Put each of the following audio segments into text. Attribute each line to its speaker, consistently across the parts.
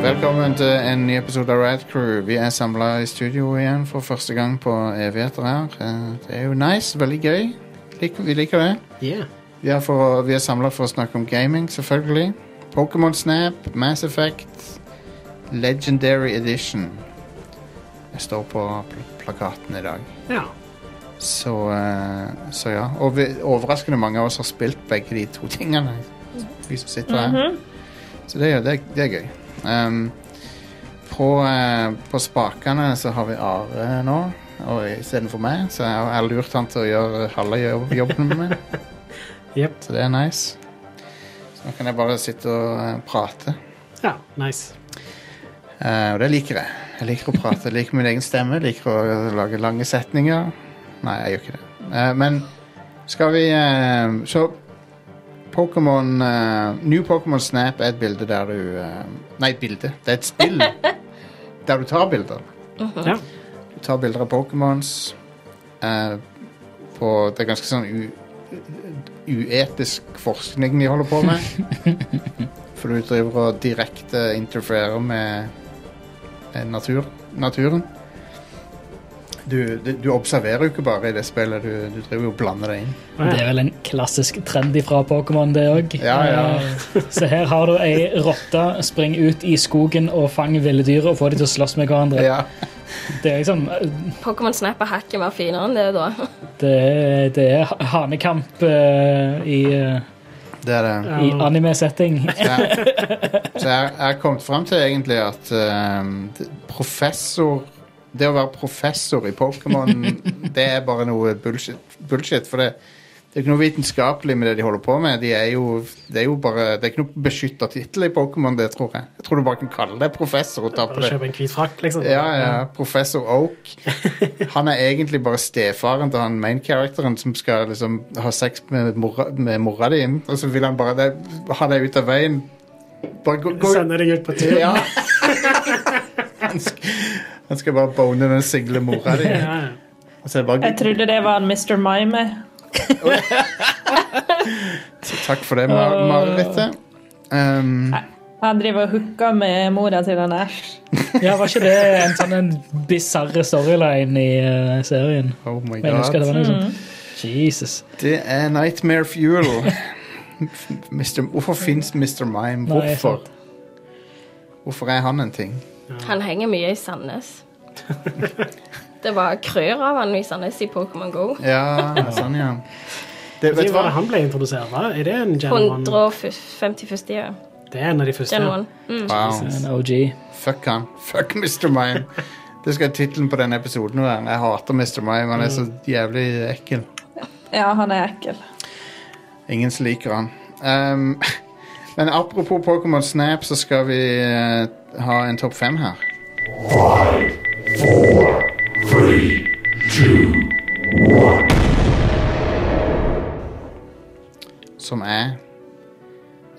Speaker 1: Velkommen til en ny episode av Rad Crew. Vi er samla i studio igjen for første gang på evigheter her. Eh, Det er jo nice. Veldig gøy. Lik- Vi liker det.
Speaker 2: Yeah.
Speaker 1: Vi er, for- vi er samla for å snakke om gaming, selvfølgelig. Pokémon Snap, Mass Effect, Legendary Edition. Jeg står på pl plakaten i dag.
Speaker 2: Ja.
Speaker 1: Så, eh, så ja. Og vi, overraskende mange av oss har spilt begge de to tingene. Vi som sitter her. Så det, er- det, er- det er gøy. Um, på, eh, på spakene så har vi Are nå, og istedenfor meg. Så jeg har lurt han til å gjøre halve jobb, jobben med meg.
Speaker 2: Jep.
Speaker 1: Så det er nice. Så nå kan jeg bare sitte og eh, prate.
Speaker 2: ja. Nice.
Speaker 1: Eh, og det liker jeg. Jeg liker å prate, jeg liker min egen stemme, jeg liker å lage lange setninger. Nei, jeg gjør ikke det. Eh, men skal vi eh, Så Pokémon eh, New Pokémon Snap er et bilde der du eh, Nei, et bilde. Det er et spill der du tar bilder.
Speaker 2: Ja.
Speaker 1: Du tar bilder av Pokémons eh, på Det er ganske sånn u, uetisk forskning de holder på med. For du driver og direkte interferer med eh, natur, naturen. Du, du, du observerer jo ikke bare i det spillet, du, du driver jo og blander deg inn.
Speaker 2: Ja.
Speaker 3: Det er vel en klassisk trend fra Pokémon, det òg.
Speaker 1: Ja, ja.
Speaker 3: Så her har du ei rotte. Spring ut i skogen og fang ville dyr og få de til å slåss med hverandre.
Speaker 1: Ja.
Speaker 3: Det er liksom
Speaker 4: Pokémon Snap er hakket mer finere enn det, da.
Speaker 3: Det er, det er hanekamp eh, i, eh,
Speaker 1: Det er det.
Speaker 3: i anime-setting.
Speaker 1: Så jeg, så jeg, jeg har kommet frem til egentlig at ehm, d- professor Det å være professor i Pokémon, det er bare noe bullshit. bullshit for det, det er ikke noe vitenskapelig med det de holder på med. De er jo, det er jo bare Det er ikke noe beskytta tittel i Pokémon, det tror jeg. Jeg tror du bare kan kalle deg professor og ta på
Speaker 2: Bare
Speaker 1: det.
Speaker 2: kjøpe en hvit frakk, liksom.
Speaker 1: Ja, ja. Professor Oak. Han er egentlig bare stefaren til han main-characteren som skal liksom ha sex med mora, med mora di, og så vil han bare det, ha deg ut av veien. Bare gå, gå
Speaker 2: Sende deg ut på tur.
Speaker 1: Ja. Han skal, han skal bare bone den single mora di.
Speaker 2: Ja, ja.
Speaker 1: Og så er det bare
Speaker 5: Jeg trodde det var en Mr. Mime.
Speaker 1: Takk for det, Mar marerittet. Um,
Speaker 5: Han driver og hooka med mora til han Ash.
Speaker 3: Ja, Var ikke det en sånn en bisarre storyline i eh, serien?
Speaker 1: oh my
Speaker 3: Men jeg husker det
Speaker 1: god.
Speaker 3: var noe sånt. Jesus.
Speaker 1: Det er Nightmare Fuel. Mr. Hvorfor fins Mr. Mime?
Speaker 3: Nei, jeg
Speaker 1: Hvorfor?
Speaker 3: sant.
Speaker 1: Hvorfor er han en ting?
Speaker 4: Han henger mye i Sandnes. Det var krør av han i Sandnes i Pokémon Go.
Speaker 1: Ja, sånn, ja. Det, vet
Speaker 2: Når
Speaker 1: du
Speaker 2: var det
Speaker 1: hva?
Speaker 2: han ble introdusert? Hva? Er det en Gen 1?
Speaker 4: 151. ja.
Speaker 2: Det er en av de første.
Speaker 4: Gen 1. Mm.
Speaker 1: Wow.
Speaker 3: En OG.
Speaker 1: Fuck han. Fuck Mr. Mime. Det skal tittelen på denne episoden være. Jeg hater Mr. Mime. Han er så jævlig ekkel.
Speaker 5: Ja, han er ekkel.
Speaker 1: Ingen som liker han. Ehm, men apropos Pokémon Snap, så skal vi eh, ha en topp fem her. Som er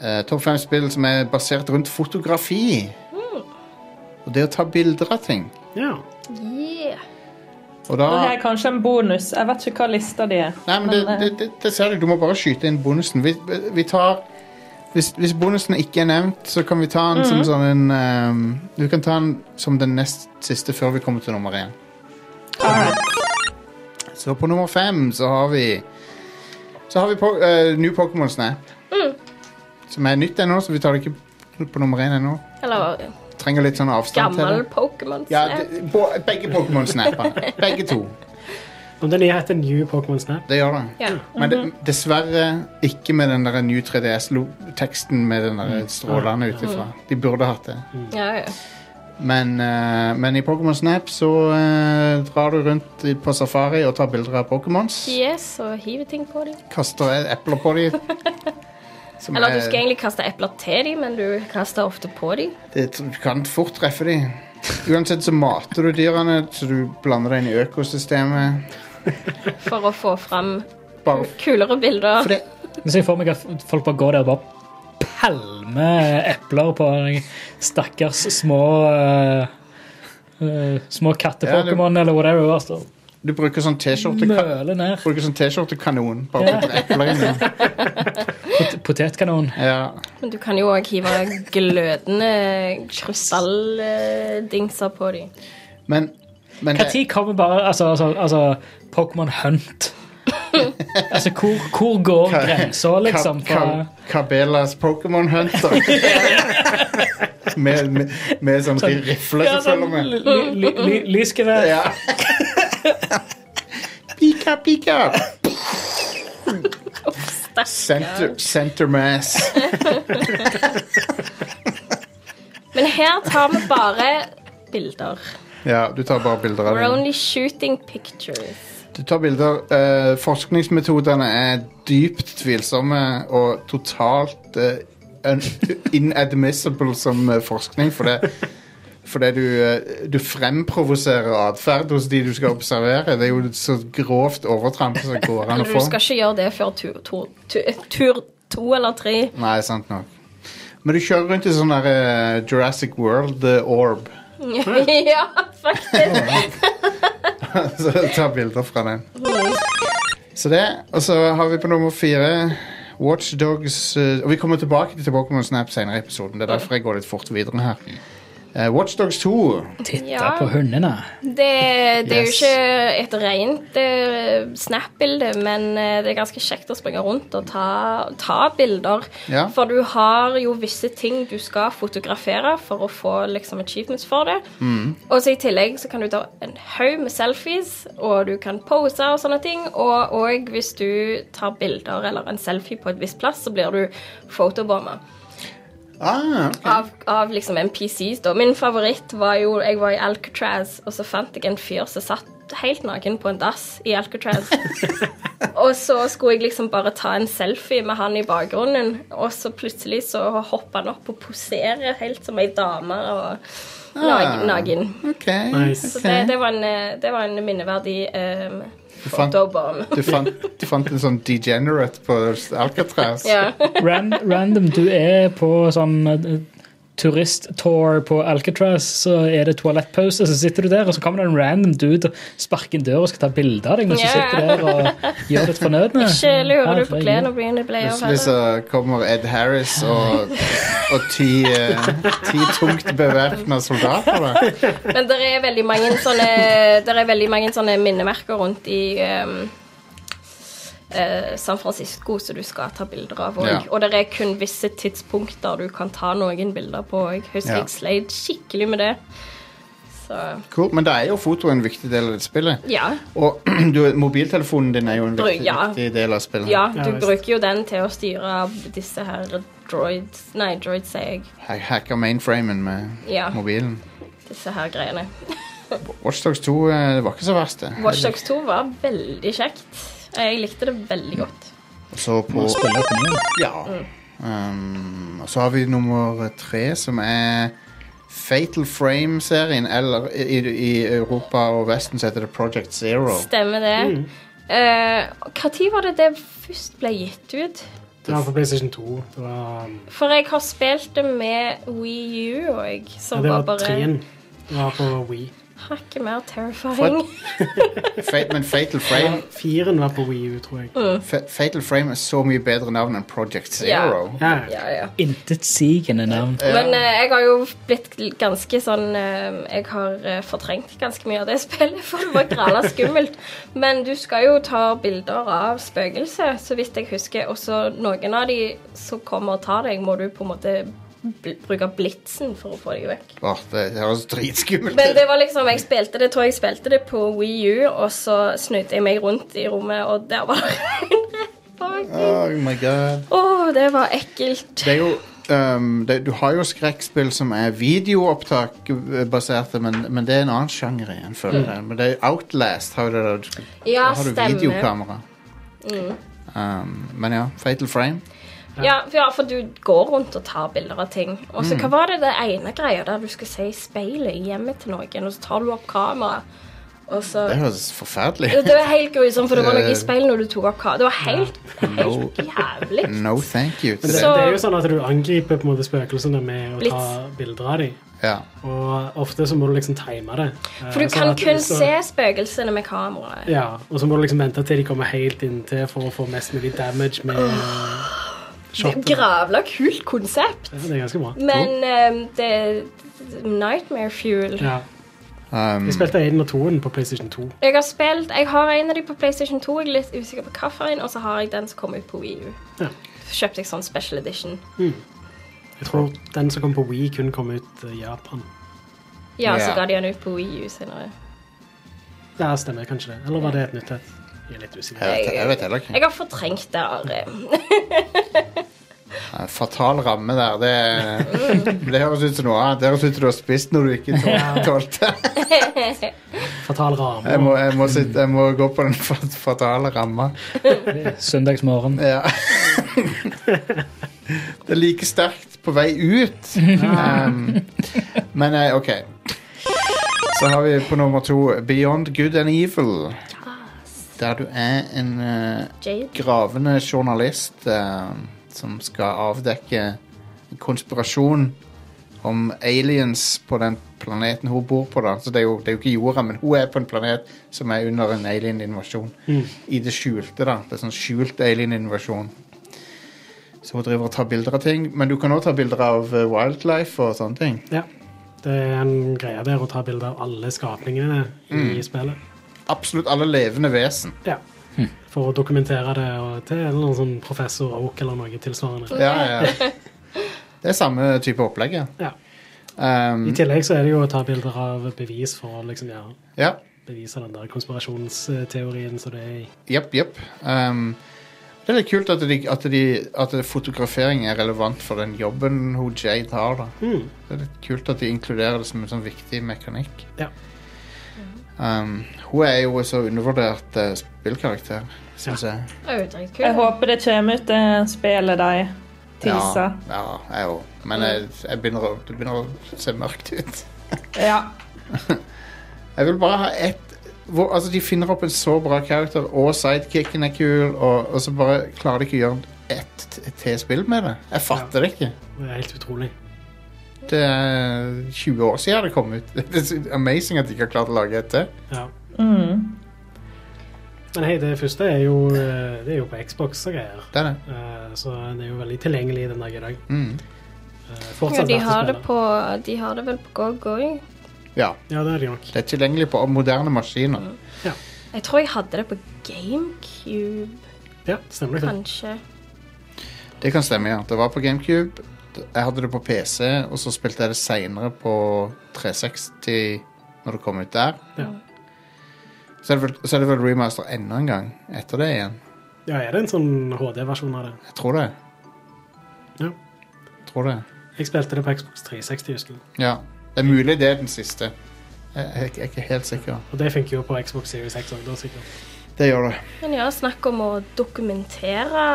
Speaker 1: eh, topp fem spill som er basert rundt fotografi. Og det å ta bilder av ting.
Speaker 2: Ja.
Speaker 4: Yeah.
Speaker 1: Og da
Speaker 5: Og her er kanskje en bonus. Jeg vet ikke hva lista di er.
Speaker 1: Ah. Nei, men det,
Speaker 5: Men, eh,
Speaker 1: det, det, det ser du. Du må bare skyte inn bonusen. Vi, vi tar hvis, hvis bonusen ikke er nevnt, så kan vi ta den som sånn en ehm, Du kan ta den som den nest siste før vi kommer til nummer én. Så på nummer fem så har vi Så har vi po eh, New Pokémon Snap. Som er nytt ennå, så vi tar det ikke på nummer én ennå.
Speaker 4: Eller
Speaker 1: Trenger litt sånn avstand til
Speaker 4: gammel
Speaker 1: det.
Speaker 4: Pokémon
Speaker 1: Ja,
Speaker 4: Snap.
Speaker 1: det- bo- begge Pokémon Snap-ene. Begge to.
Speaker 2: Om den nye heter New Pokémon Snap.
Speaker 1: Det gjør det.
Speaker 4: Ja.
Speaker 1: Men det, dessverre ikke med den der New 3DS-teksten med den der strålende ut ifra. De burde hatt det.
Speaker 4: Ja, ja.
Speaker 1: Men, eh, men i Pokémon Snap så eh, drar du rundt i- på safari og tar bilder av Pokémons.
Speaker 4: Yes, og hiver ting på dem.
Speaker 1: Kaster e- epler på dem. Som
Speaker 4: Eller du
Speaker 1: er-
Speaker 4: skal egentlig kaste epler til dem, men du kaster ofte på dem.
Speaker 1: det, Du kan fort treffe dem. Uansett så mater du dyrene, så du blander deg inn i økosystemet.
Speaker 4: For å få fram
Speaker 1: Bare
Speaker 4: kulere bilder.
Speaker 1: Oh. for det
Speaker 3: Så jeg får meg at folk bare går der og bare palmer epler på de stakkars små eh, eh, Små katte-pokémon eller whatever. og så
Speaker 1: Du bruker sånn T-skjorte
Speaker 3: Møler ned.
Speaker 1: Bruker sånn T-skjortekanon. Bare putter epler inn i den.
Speaker 3: potetkanon.
Speaker 1: Ja.
Speaker 4: Men du kan jo òg hive glødende krystalldingser på dem.
Speaker 1: Men, men det-
Speaker 3: Når kommer bare altså, altså, altså Pokémon Hunt? altså, hvor, hvor går
Speaker 1: Ka-
Speaker 3: grensa, liksom?
Speaker 1: Ka-
Speaker 3: Fra,
Speaker 1: Ka- Cabellas Pokémon Hunter. med, med, med sånn de rifler
Speaker 3: ja,
Speaker 1: som følger
Speaker 3: sånn
Speaker 1: med.
Speaker 3: ly- ly- ly- lysgevær.
Speaker 1: Ja. Pika, pika! Center, center mass.
Speaker 4: Men her tar vi bare bilder.
Speaker 1: Ja, du tar bare bilder av
Speaker 4: We're
Speaker 1: det.
Speaker 4: only shooting pictures.
Speaker 1: Du tar bilder. Eh, forskningsmetodene er dypt tvilsomme og totalt eh, un inadmissible som eh, forskning, for det fordi du, eh, du fremprovoserer atferd hos de du skal observere. Det er jo så grovt overtramp som går an
Speaker 4: Men
Speaker 1: å
Speaker 4: du
Speaker 1: få.
Speaker 4: skal ikke gjøre det før tur to, tu- tur to eller tre.
Speaker 1: Nei, sant nok. Men du kjører rundt i sånn der eh, Jurassic eh, World-orb.
Speaker 4: ja, faktisk.
Speaker 1: Så ta bilder fra den. Så det, og så har vi på nummer fire Watchdogs Og vi kommer tilbake til Pokémon Snap senere i episoden. Det er derfor jeg går litt fort videre her. Uh, Watchdogs 2.
Speaker 3: Der
Speaker 4: Ja,
Speaker 3: på hundene.
Speaker 4: det, det er jo
Speaker 1: Yes.
Speaker 4: ikke et rent eh, Snap-bilde, men eh, det er ganske kjekt å springe rundt og ta, ta bilder.
Speaker 1: Ja.
Speaker 4: For du har jo visse ting du skal fotografere for å få liksom, achievements for det.
Speaker 1: Mm.
Speaker 4: Og så i tillegg så kan du ta en haug med selfies, og du kan pose og sånne ting. Og, og hvis du tar bilder eller en selfie på et visst plass, så blir du photobomba.
Speaker 1: Ah, ok.
Speaker 4: Av, av liksom NPCs, da. Min favoritt var jo Jeg var i Alcatraz, og så fant jeg en fyr som satt helt naken på en dass i Alcatraz. og så skulle jeg liksom bare ta en selfie med han i bakgrunnen, og så plutselig så hopper han opp og poserer helt som ei dame og nag
Speaker 1: Ah.
Speaker 4: naken.
Speaker 1: ok.
Speaker 2: Nice.
Speaker 4: Så
Speaker 1: ok.
Speaker 4: det, det, var en, eh, det var en minneverdig um,
Speaker 1: Du fant,
Speaker 4: photobomb.
Speaker 1: du, fant, du fant en sånn degenerate på Alcatraz.
Speaker 4: Ja.
Speaker 3: Ran, random, du er på sånn eh, turisttour på Alcatraz, så er det toalettpause, så sitter du der, og så kommer det en random dude og sparker inn døra og skal ta bilde av deg mens
Speaker 4: Ja.
Speaker 3: du sitter der og gjør ditt fornødne.
Speaker 4: Ikke
Speaker 3: Ja,
Speaker 4: lurer du
Speaker 3: for
Speaker 4: på
Speaker 3: jeg-
Speaker 4: klærne dine ble av
Speaker 1: Plutselig så kommer Ed Harris og, og ti, eh, ti tungt bevæpna soldater. Da.
Speaker 4: Men det er veldig mange sånne Det er veldig mange sånne minnemerker rundt i ehm, eh, San Francisco som du skal ta bilder av òg.
Speaker 1: Ja.
Speaker 4: Og det er kun visse tidspunkter du kan ta noen bilder på. Jeg husker
Speaker 1: Ja.
Speaker 4: jeg sleit skikkelig med det. Så
Speaker 1: Cool. Men da er jo foto en viktig del av det spillet.
Speaker 4: ja.
Speaker 1: Og du, mobiltelefonen din er jo en
Speaker 4: Bru-
Speaker 1: viktig,
Speaker 4: ja.
Speaker 1: viktig del av spillet.
Speaker 4: ja
Speaker 2: Ja,
Speaker 4: du
Speaker 2: visst.
Speaker 4: bruker jo den til å styre disse her droids Nei, droids, sier jeg.
Speaker 1: Ha- Hacka mainframen med
Speaker 4: Ja.
Speaker 1: mobilen.
Speaker 4: Disse her greiene.
Speaker 1: Watchdogs 2 eh, det var ikke så verst, det.
Speaker 4: Watchdogs 2 var veldig kjekt. Jeg likte det veldig godt.
Speaker 1: Så på
Speaker 3: Og spiller på nytt.
Speaker 1: Ja.
Speaker 4: Mm.
Speaker 1: Um, og så har vi nummer tre, som er Fatal Frame-serien. Eller i, i Europa og Vesten så heter det Project Zero.
Speaker 4: Stemmer det.
Speaker 2: Mm.
Speaker 4: Eh, Hva tid var det det først ble gitt ut?
Speaker 2: Det var på PlayStation 2. Det var,
Speaker 4: For jeg har spilt det med Wii U òg,
Speaker 2: ja,
Speaker 4: som
Speaker 2: det
Speaker 4: var
Speaker 2: var
Speaker 4: bare
Speaker 2: treen. Det var på Wii.
Speaker 4: hakket mer terrifying.
Speaker 1: Fa men Fatal Frame,
Speaker 2: Firen var på Wii U, tror jeg.
Speaker 1: Fa Fatal Frame er så mye bedre navn enn Project Zero.
Speaker 2: Ja.
Speaker 4: Ja, ja.
Speaker 3: Intetsigende navn.
Speaker 4: Men eh, jeg har jo blitt ganske sånn eh, Jeg har eh, fortrengt ganske mye av det spillet, for det var grala skummelt. Men du skal jo ta bilder av spøkelser, så vidt jeg husker. Og så noen av de som kommer og tar deg, må du på en måte bl bruke blitsen for å få deg vekk.
Speaker 1: Åh, det høres dritskummelt
Speaker 4: Men
Speaker 1: ut.
Speaker 4: det var liksom, jeg spilte det, tror jeg spilte det på Wii U, og så snudde jeg meg rundt i rommet, og der var det en rett bak.
Speaker 1: Oh my god.
Speaker 4: Å, det var ekkelt.
Speaker 1: Det er jo um, det, Du har jo skrekkspill som er videoopptak-baserte, men, men det er en annen sjanger igjen, føler jeg. Men det er Outlast har jo det der. Du skal-
Speaker 4: Mm. Ja,
Speaker 1: da har du
Speaker 4: stemmer. Mm.
Speaker 1: videokamera. Um, men ja, Fatal Frame.
Speaker 4: Ja, for- ja, for du går rundt og tar bilder av ting. Og
Speaker 1: Mm.
Speaker 4: så hva var det det ene greia der du skal se i speilet i hjemmet til noen, og så tar du opp kamera, og så
Speaker 1: Det høres forferdelig
Speaker 4: Det
Speaker 1: ut.
Speaker 4: det var helt grusomt, for det var noe
Speaker 1: Eh.
Speaker 4: i speilet når du tok opp kamera. Det var helt,
Speaker 1: No.
Speaker 4: helt jævlig.
Speaker 1: No thank you.
Speaker 2: Men
Speaker 1: Til
Speaker 2: det,
Speaker 1: det.
Speaker 4: Så-
Speaker 2: det er jo sånn at du angriper på en måte spøkelsene med å ta
Speaker 4: Blitz.
Speaker 2: bilder av dem.
Speaker 1: Ja.
Speaker 2: Og ofte så må du liksom time det. Eh,
Speaker 4: For du
Speaker 2: sånn
Speaker 4: kan
Speaker 2: at
Speaker 4: kun
Speaker 2: hvis du-
Speaker 4: se spøkelsene med kameraet.
Speaker 2: Ja, og så må du liksom vente til de kommer helt inntil for å få mest mulig damage med Shot.
Speaker 4: Gravla kult konsept.
Speaker 2: Det er ganske bra.
Speaker 4: Men eh, det er nightmare fuel.
Speaker 2: Ja.
Speaker 1: Um,
Speaker 2: Jeg spilte 1 og 2 på PlayStation 2.
Speaker 4: Jeg har spilt, jeg har en av de på PlayStation 2, jeg er litt usikker på hvilken, og så har jeg den som kom ut på Wii U.
Speaker 2: Ja.
Speaker 4: Kjøpte jeg sånn special edition.
Speaker 2: Jeg tror den som kom på Wii, kun kom ut eh, i Japan.
Speaker 4: Ja,
Speaker 1: Ja.
Speaker 4: så ga de den ut på Wii U senere.
Speaker 2: Ja, stemmer kanskje det. Eller var det et nytt et? Jeg er litt usikker.
Speaker 1: jeg, vet, jeg vet heller ikke.
Speaker 4: Jeg har fortrengt det. Are.
Speaker 1: Nei, Fatal ramme der. Det,
Speaker 4: Mm.
Speaker 1: det høres ut som noe annet. Det høres ut som du har spist noe du ikke tål- tålte.
Speaker 2: Fatal
Speaker 1: Jeg
Speaker 2: rame.
Speaker 1: må, jeg må, sitte, jeg må gå på den fat- fatale ramma.
Speaker 3: Søndagsmorgen.
Speaker 1: Ja. Det er like sterkt på vei ut. Um, men eh, OK. Så har vi på nummer to Beyond Good and Evil. Der du er en eh,
Speaker 4: Jade.
Speaker 1: gravende journalist eh, som skal avdekke en konspirasjon om aliens på den planeten hun bor på. Da. Så det er, jo, det er jo ikke jorda, men hun er på en planet som er under en alien-invasjon.
Speaker 2: Mm.
Speaker 1: I det skjulte, da. Det er sånn skjult alien-invasjon. Så hun driver og tar bilder av ting. Men du kan òg ta bilder av eh, wildlife og sånne ting.
Speaker 2: Ja. Det er en greie der å ta bilder av alle skapningene
Speaker 1: Mm.
Speaker 2: i spillet.
Speaker 1: Absolutt alle levende vesen.
Speaker 2: Ja.
Speaker 1: Hm.
Speaker 2: For å dokumentere det og til en eller annen sånn professor Oak eller noe tilsvarende.
Speaker 1: Ja, ja, ja. Det er samme type opplegg, ja.
Speaker 2: Ja. I
Speaker 1: Um,
Speaker 2: tillegg så er det jo å ta bilder av bevis for å liksom, ja,
Speaker 1: ja.
Speaker 2: bevise den der konspirasjonsteorien som det er i.
Speaker 1: Jepp, jepp. Ehm, det er litt kult at, de, at, de, at fotografering er relevant for den jobben hun Jade har. da.
Speaker 2: Mm.
Speaker 1: Det er litt kult at de inkluderer det som en sånn viktig mekanikk.
Speaker 2: Ja.
Speaker 1: Ehm, hun er jo så undervurdert eh, spillkarakter, syns jeg.
Speaker 4: Å,
Speaker 5: eh, Jeg
Speaker 4: dritkul.
Speaker 5: håper det kommer ut det spillet de
Speaker 1: Ja,
Speaker 5: teaser.
Speaker 1: ja, jeg òg. Men jeg, jeg begynner å, det begynner å se mørkt ut.
Speaker 5: Ja.
Speaker 1: Jeg vil bare ha ett hvor, altså De finner opp en så bra karakter, og sidekicken er kul, og, og så bare klarer de ikke å gjøre ett t- til spill med det. Jeg fatter det ikke.
Speaker 2: Det er helt utrolig.
Speaker 1: Det er 20 år siden det kom ut. Det er så amazing at de ikke har klart å lage et til.
Speaker 2: Ja.
Speaker 5: Mm.
Speaker 2: Men hei, det første er jo, eh, det er jo på Xbox og greier.
Speaker 1: Det er det.
Speaker 2: Eh, Så det er jo veldig tilgjengelig den dag i dag.
Speaker 1: Mm.
Speaker 2: Eh,
Speaker 4: Ja,
Speaker 2: Fortsatt
Speaker 4: de
Speaker 2: verdt å
Speaker 4: har det
Speaker 2: spille.
Speaker 4: på De har det vel på GoGo.
Speaker 1: Ja,
Speaker 2: Ja, det er de nok.
Speaker 1: det er tilgjengelig på moderne maskiner.
Speaker 4: Jeg tror jeg hadde det på GameCube,
Speaker 2: Ja, stemmer det.
Speaker 4: kanskje.
Speaker 1: Det kan stemme, ja. Det var på GameCube. Jeg hadde det på PC, og så spilte jeg det seinere på 360 når det kom ut der.
Speaker 2: Ja.
Speaker 1: Så er det vel, så er det vel remaster enda en gang etter det igjen.
Speaker 2: Ja, er det en sånn HD-versjon av det?
Speaker 1: Jeg tror det.
Speaker 2: Ja.
Speaker 1: Tror det.
Speaker 2: Jeg spilte det på Xbox 360, husker jeg.
Speaker 1: Ja. Det er mulig det er den siste. Jeg, jeg, jeg er ikke helt sikker.
Speaker 2: Og det funker jo på Xbox Series X òg, da sikkert.
Speaker 1: Det gjør det.
Speaker 4: Men ja, snakk om å dokumentere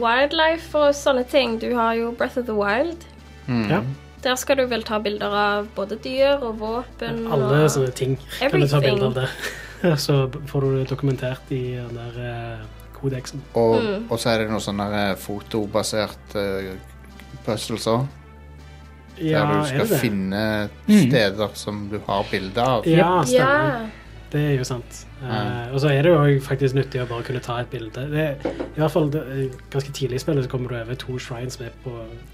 Speaker 4: wildlife og sånne ting. Du har jo Breath of the Wild.
Speaker 1: Mm.
Speaker 2: Ja.
Speaker 4: Der skal du vel ta bilder av både dyr og våpen
Speaker 2: Alle
Speaker 4: og
Speaker 2: sånne ting kan du ta
Speaker 4: uh, Everything.
Speaker 2: bilde av det. Så får du det dokumentert i den der eh, kodeksen.
Speaker 1: Og, og så er det noe sånn der, eh, fotobasert eh, puzzles òg.
Speaker 2: Ja,
Speaker 1: der du
Speaker 2: er
Speaker 1: skal
Speaker 2: det det?
Speaker 1: finne
Speaker 3: Mm.
Speaker 1: steder som du har bilde av.
Speaker 2: Ja, stemmer.
Speaker 4: Ja.
Speaker 2: Det er jo sant. Eh, og så er det jo også faktisk nyttig å bare kunne ta et bilde. Det, I hvert fall det, eh, Ganske tidlig i spillet så kommer du over to shrines som er på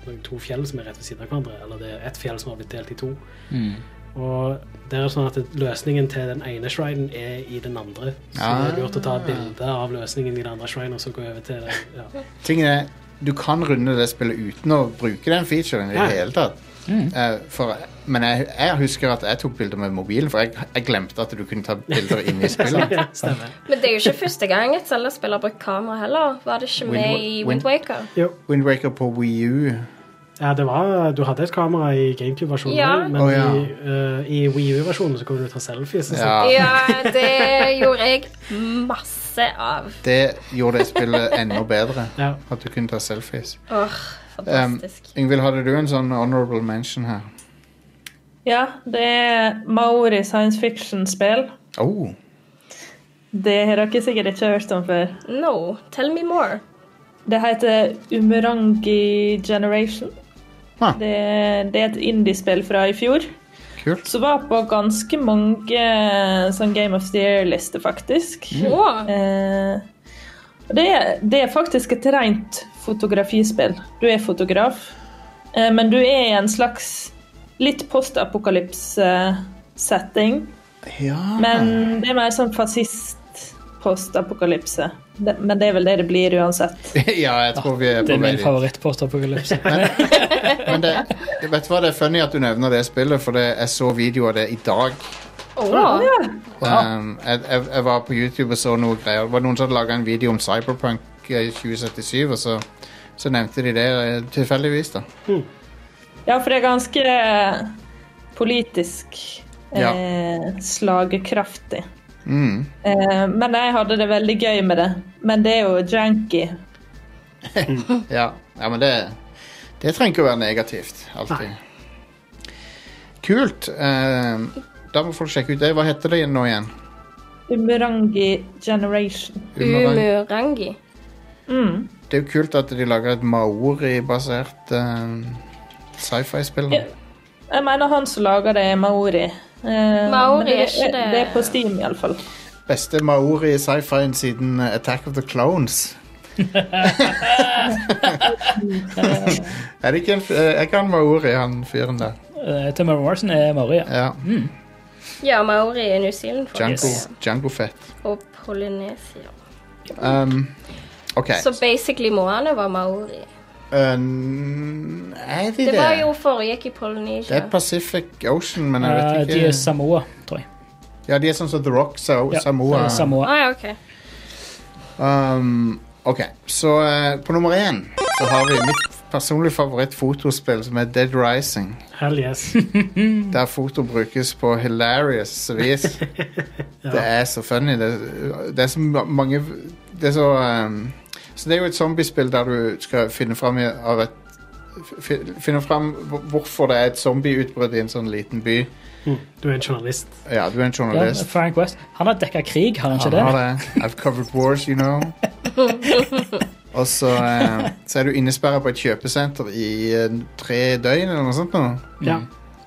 Speaker 2: noen to fjell som er rett ved siden av hverandre. Eller det er ett fjell som har blitt delt i to.
Speaker 3: Mm.
Speaker 2: Og det er sånn at løsningen til den ene shrinen er i den andre. Så
Speaker 1: Ah.
Speaker 2: det er lurt å ta et bilde av løsningen i den andre shrinen og så gå over til den. Ja.
Speaker 1: Tingen er, du kan runde det spillet uten å bruke den featuren i det
Speaker 2: Ja. Mm.
Speaker 1: hele tatt. Eh, for, men jeg, jeg husker at jeg tok bilder med mobilen, for jeg, jeg glemte at du kunne ta bilder inne i spillet.
Speaker 2: Ja, stemmer.
Speaker 4: Men det er jo ikke første gang et Zelda-spill har brukt kamera heller. Var det ikke
Speaker 1: Wind-
Speaker 4: med i
Speaker 1: Wind-
Speaker 4: Wind Waker?
Speaker 2: Jo.
Speaker 1: Windwaker på Wii U
Speaker 2: Ja, det var, du hadde et kamera i GameCube-versjonen,
Speaker 4: Ja.
Speaker 2: men
Speaker 1: Å, ja.
Speaker 2: i, eh, i Wii U-versjonen så kunne du ta selfies. og sånn. sånt.
Speaker 1: ja,
Speaker 4: Ja, det gjorde jeg masse av.
Speaker 1: Det gjorde det spillet enda bedre.
Speaker 2: Ja.
Speaker 1: At du kunne ta selfies.
Speaker 4: Åh,
Speaker 1: Um,
Speaker 4: fantastisk.
Speaker 1: Ingvild, hadde du en sånn honorable mention her?
Speaker 5: ja, det er Maori science fiction-spill.
Speaker 1: Oh.
Speaker 5: Det har dere sikkert ikke hørt om før.
Speaker 4: No, tell me more.
Speaker 5: Det heter Umurangi Generation.
Speaker 1: Ah.
Speaker 5: Det, det er et indiespill fra i fjor.
Speaker 1: Kult.
Speaker 5: Som var på ganske eh,
Speaker 1: Mm.
Speaker 4: Mm.
Speaker 5: mange sånn Game of the Year-lister, faktisk.
Speaker 4: Åh,
Speaker 5: Eh, Det er, det er faktisk et rent fotografispill. Du er fotograf, eh, men du er i en slags litt postapokalypse-setting.
Speaker 1: Ja.
Speaker 5: Men det er mer sånn fascist-postapokalypse. Det- Men det er vel det det blir uansett.
Speaker 1: ja, jeg tror vi er
Speaker 3: Det
Speaker 1: på
Speaker 3: er
Speaker 1: vei
Speaker 3: min
Speaker 1: dit.
Speaker 3: favorittpostapokalypse.
Speaker 1: Men det, vet du hva, det er funny at du nevner det spillet, for det, jeg så video av det i dag. Ah,
Speaker 4: Åh,
Speaker 5: Ja.
Speaker 1: Um, jeg, jeg, jeg var på YouTube og så noe greier. Det var noen som hadde laga en video om Cyberpunk eh, 2077, og så, så nevnte de det eh, tilfeldigvis, da.
Speaker 5: Ja, for det er ganske eh, politisk eh,
Speaker 1: Ja.
Speaker 5: slagkraftig.
Speaker 1: Mm.
Speaker 5: Eh, men jeg hadde det veldig gøy med det. Men det er jo janky.
Speaker 1: Ja. ja, men det Det trenger ikke å være negativt. Alltid. Kult. Um, da må folk sjekke ut det. Hva heter det igjen nå igjen?
Speaker 5: Umurangi Generation.
Speaker 1: Umarang.
Speaker 4: Umurangi.
Speaker 5: Mm.
Speaker 1: Det er jo kult at de lager et maori-basert um, sci-fi-spill. nå.
Speaker 5: Ja. Jeg mener han som lager det, er maori. Eh,
Speaker 4: Maori
Speaker 5: men det,
Speaker 4: er ikke det-
Speaker 5: Det er på Steam, iallfall.
Speaker 1: Beste maori i sci-fien siden eh, Attack of the Clones. er det ikke en f- eh, Er ikke han maori, han fyren der?
Speaker 3: Eh, Tim Morrison er Maria.
Speaker 1: Ja.
Speaker 4: Mm. Ja, maori i New Zealand,
Speaker 1: Django,
Speaker 4: faktisk.
Speaker 1: Django Fett.
Speaker 4: Og Polynesia.
Speaker 1: Um, OK.
Speaker 4: Så basically Moana var maori.
Speaker 1: Um, er de det?
Speaker 4: Det var jo foregikk i Polynesia.
Speaker 1: Det er Pacific Ocean, men jeg
Speaker 3: Eh,
Speaker 1: vet
Speaker 3: de er
Speaker 1: ikke
Speaker 3: Samoa, tror jeg.
Speaker 1: Ja, de er sånn som The Rock, Sa
Speaker 3: Ja,
Speaker 1: Samoa.
Speaker 3: eh, Samoa.
Speaker 4: Ah, ja, ok.
Speaker 1: Um, ok, så eh, på nummer én så har vi mitt personlige favorittfotospill, som er Dead Rising.
Speaker 2: Hell yes.
Speaker 1: Der foto brukes på hilarious vis. Det er så funny. Det, det er så ma- mange Det er så um, Så det er jo et zombiespill der du skal finne fram i- av et fi- Finne fram hvor- hvorfor det er et zombieutbrudd i en sånn liten by.
Speaker 2: Du er en journalist.
Speaker 1: Ja, du er en
Speaker 3: Ja,
Speaker 1: journalist.
Speaker 3: Frank West. Han har dekka krig, har han ikke
Speaker 1: Han
Speaker 3: det?
Speaker 1: har det. I've covered wars, you know. Og så, eh, så er du innesperra på et kjøpesenter i eh, tre døgn eller noe sånt. Nå.
Speaker 2: Ja.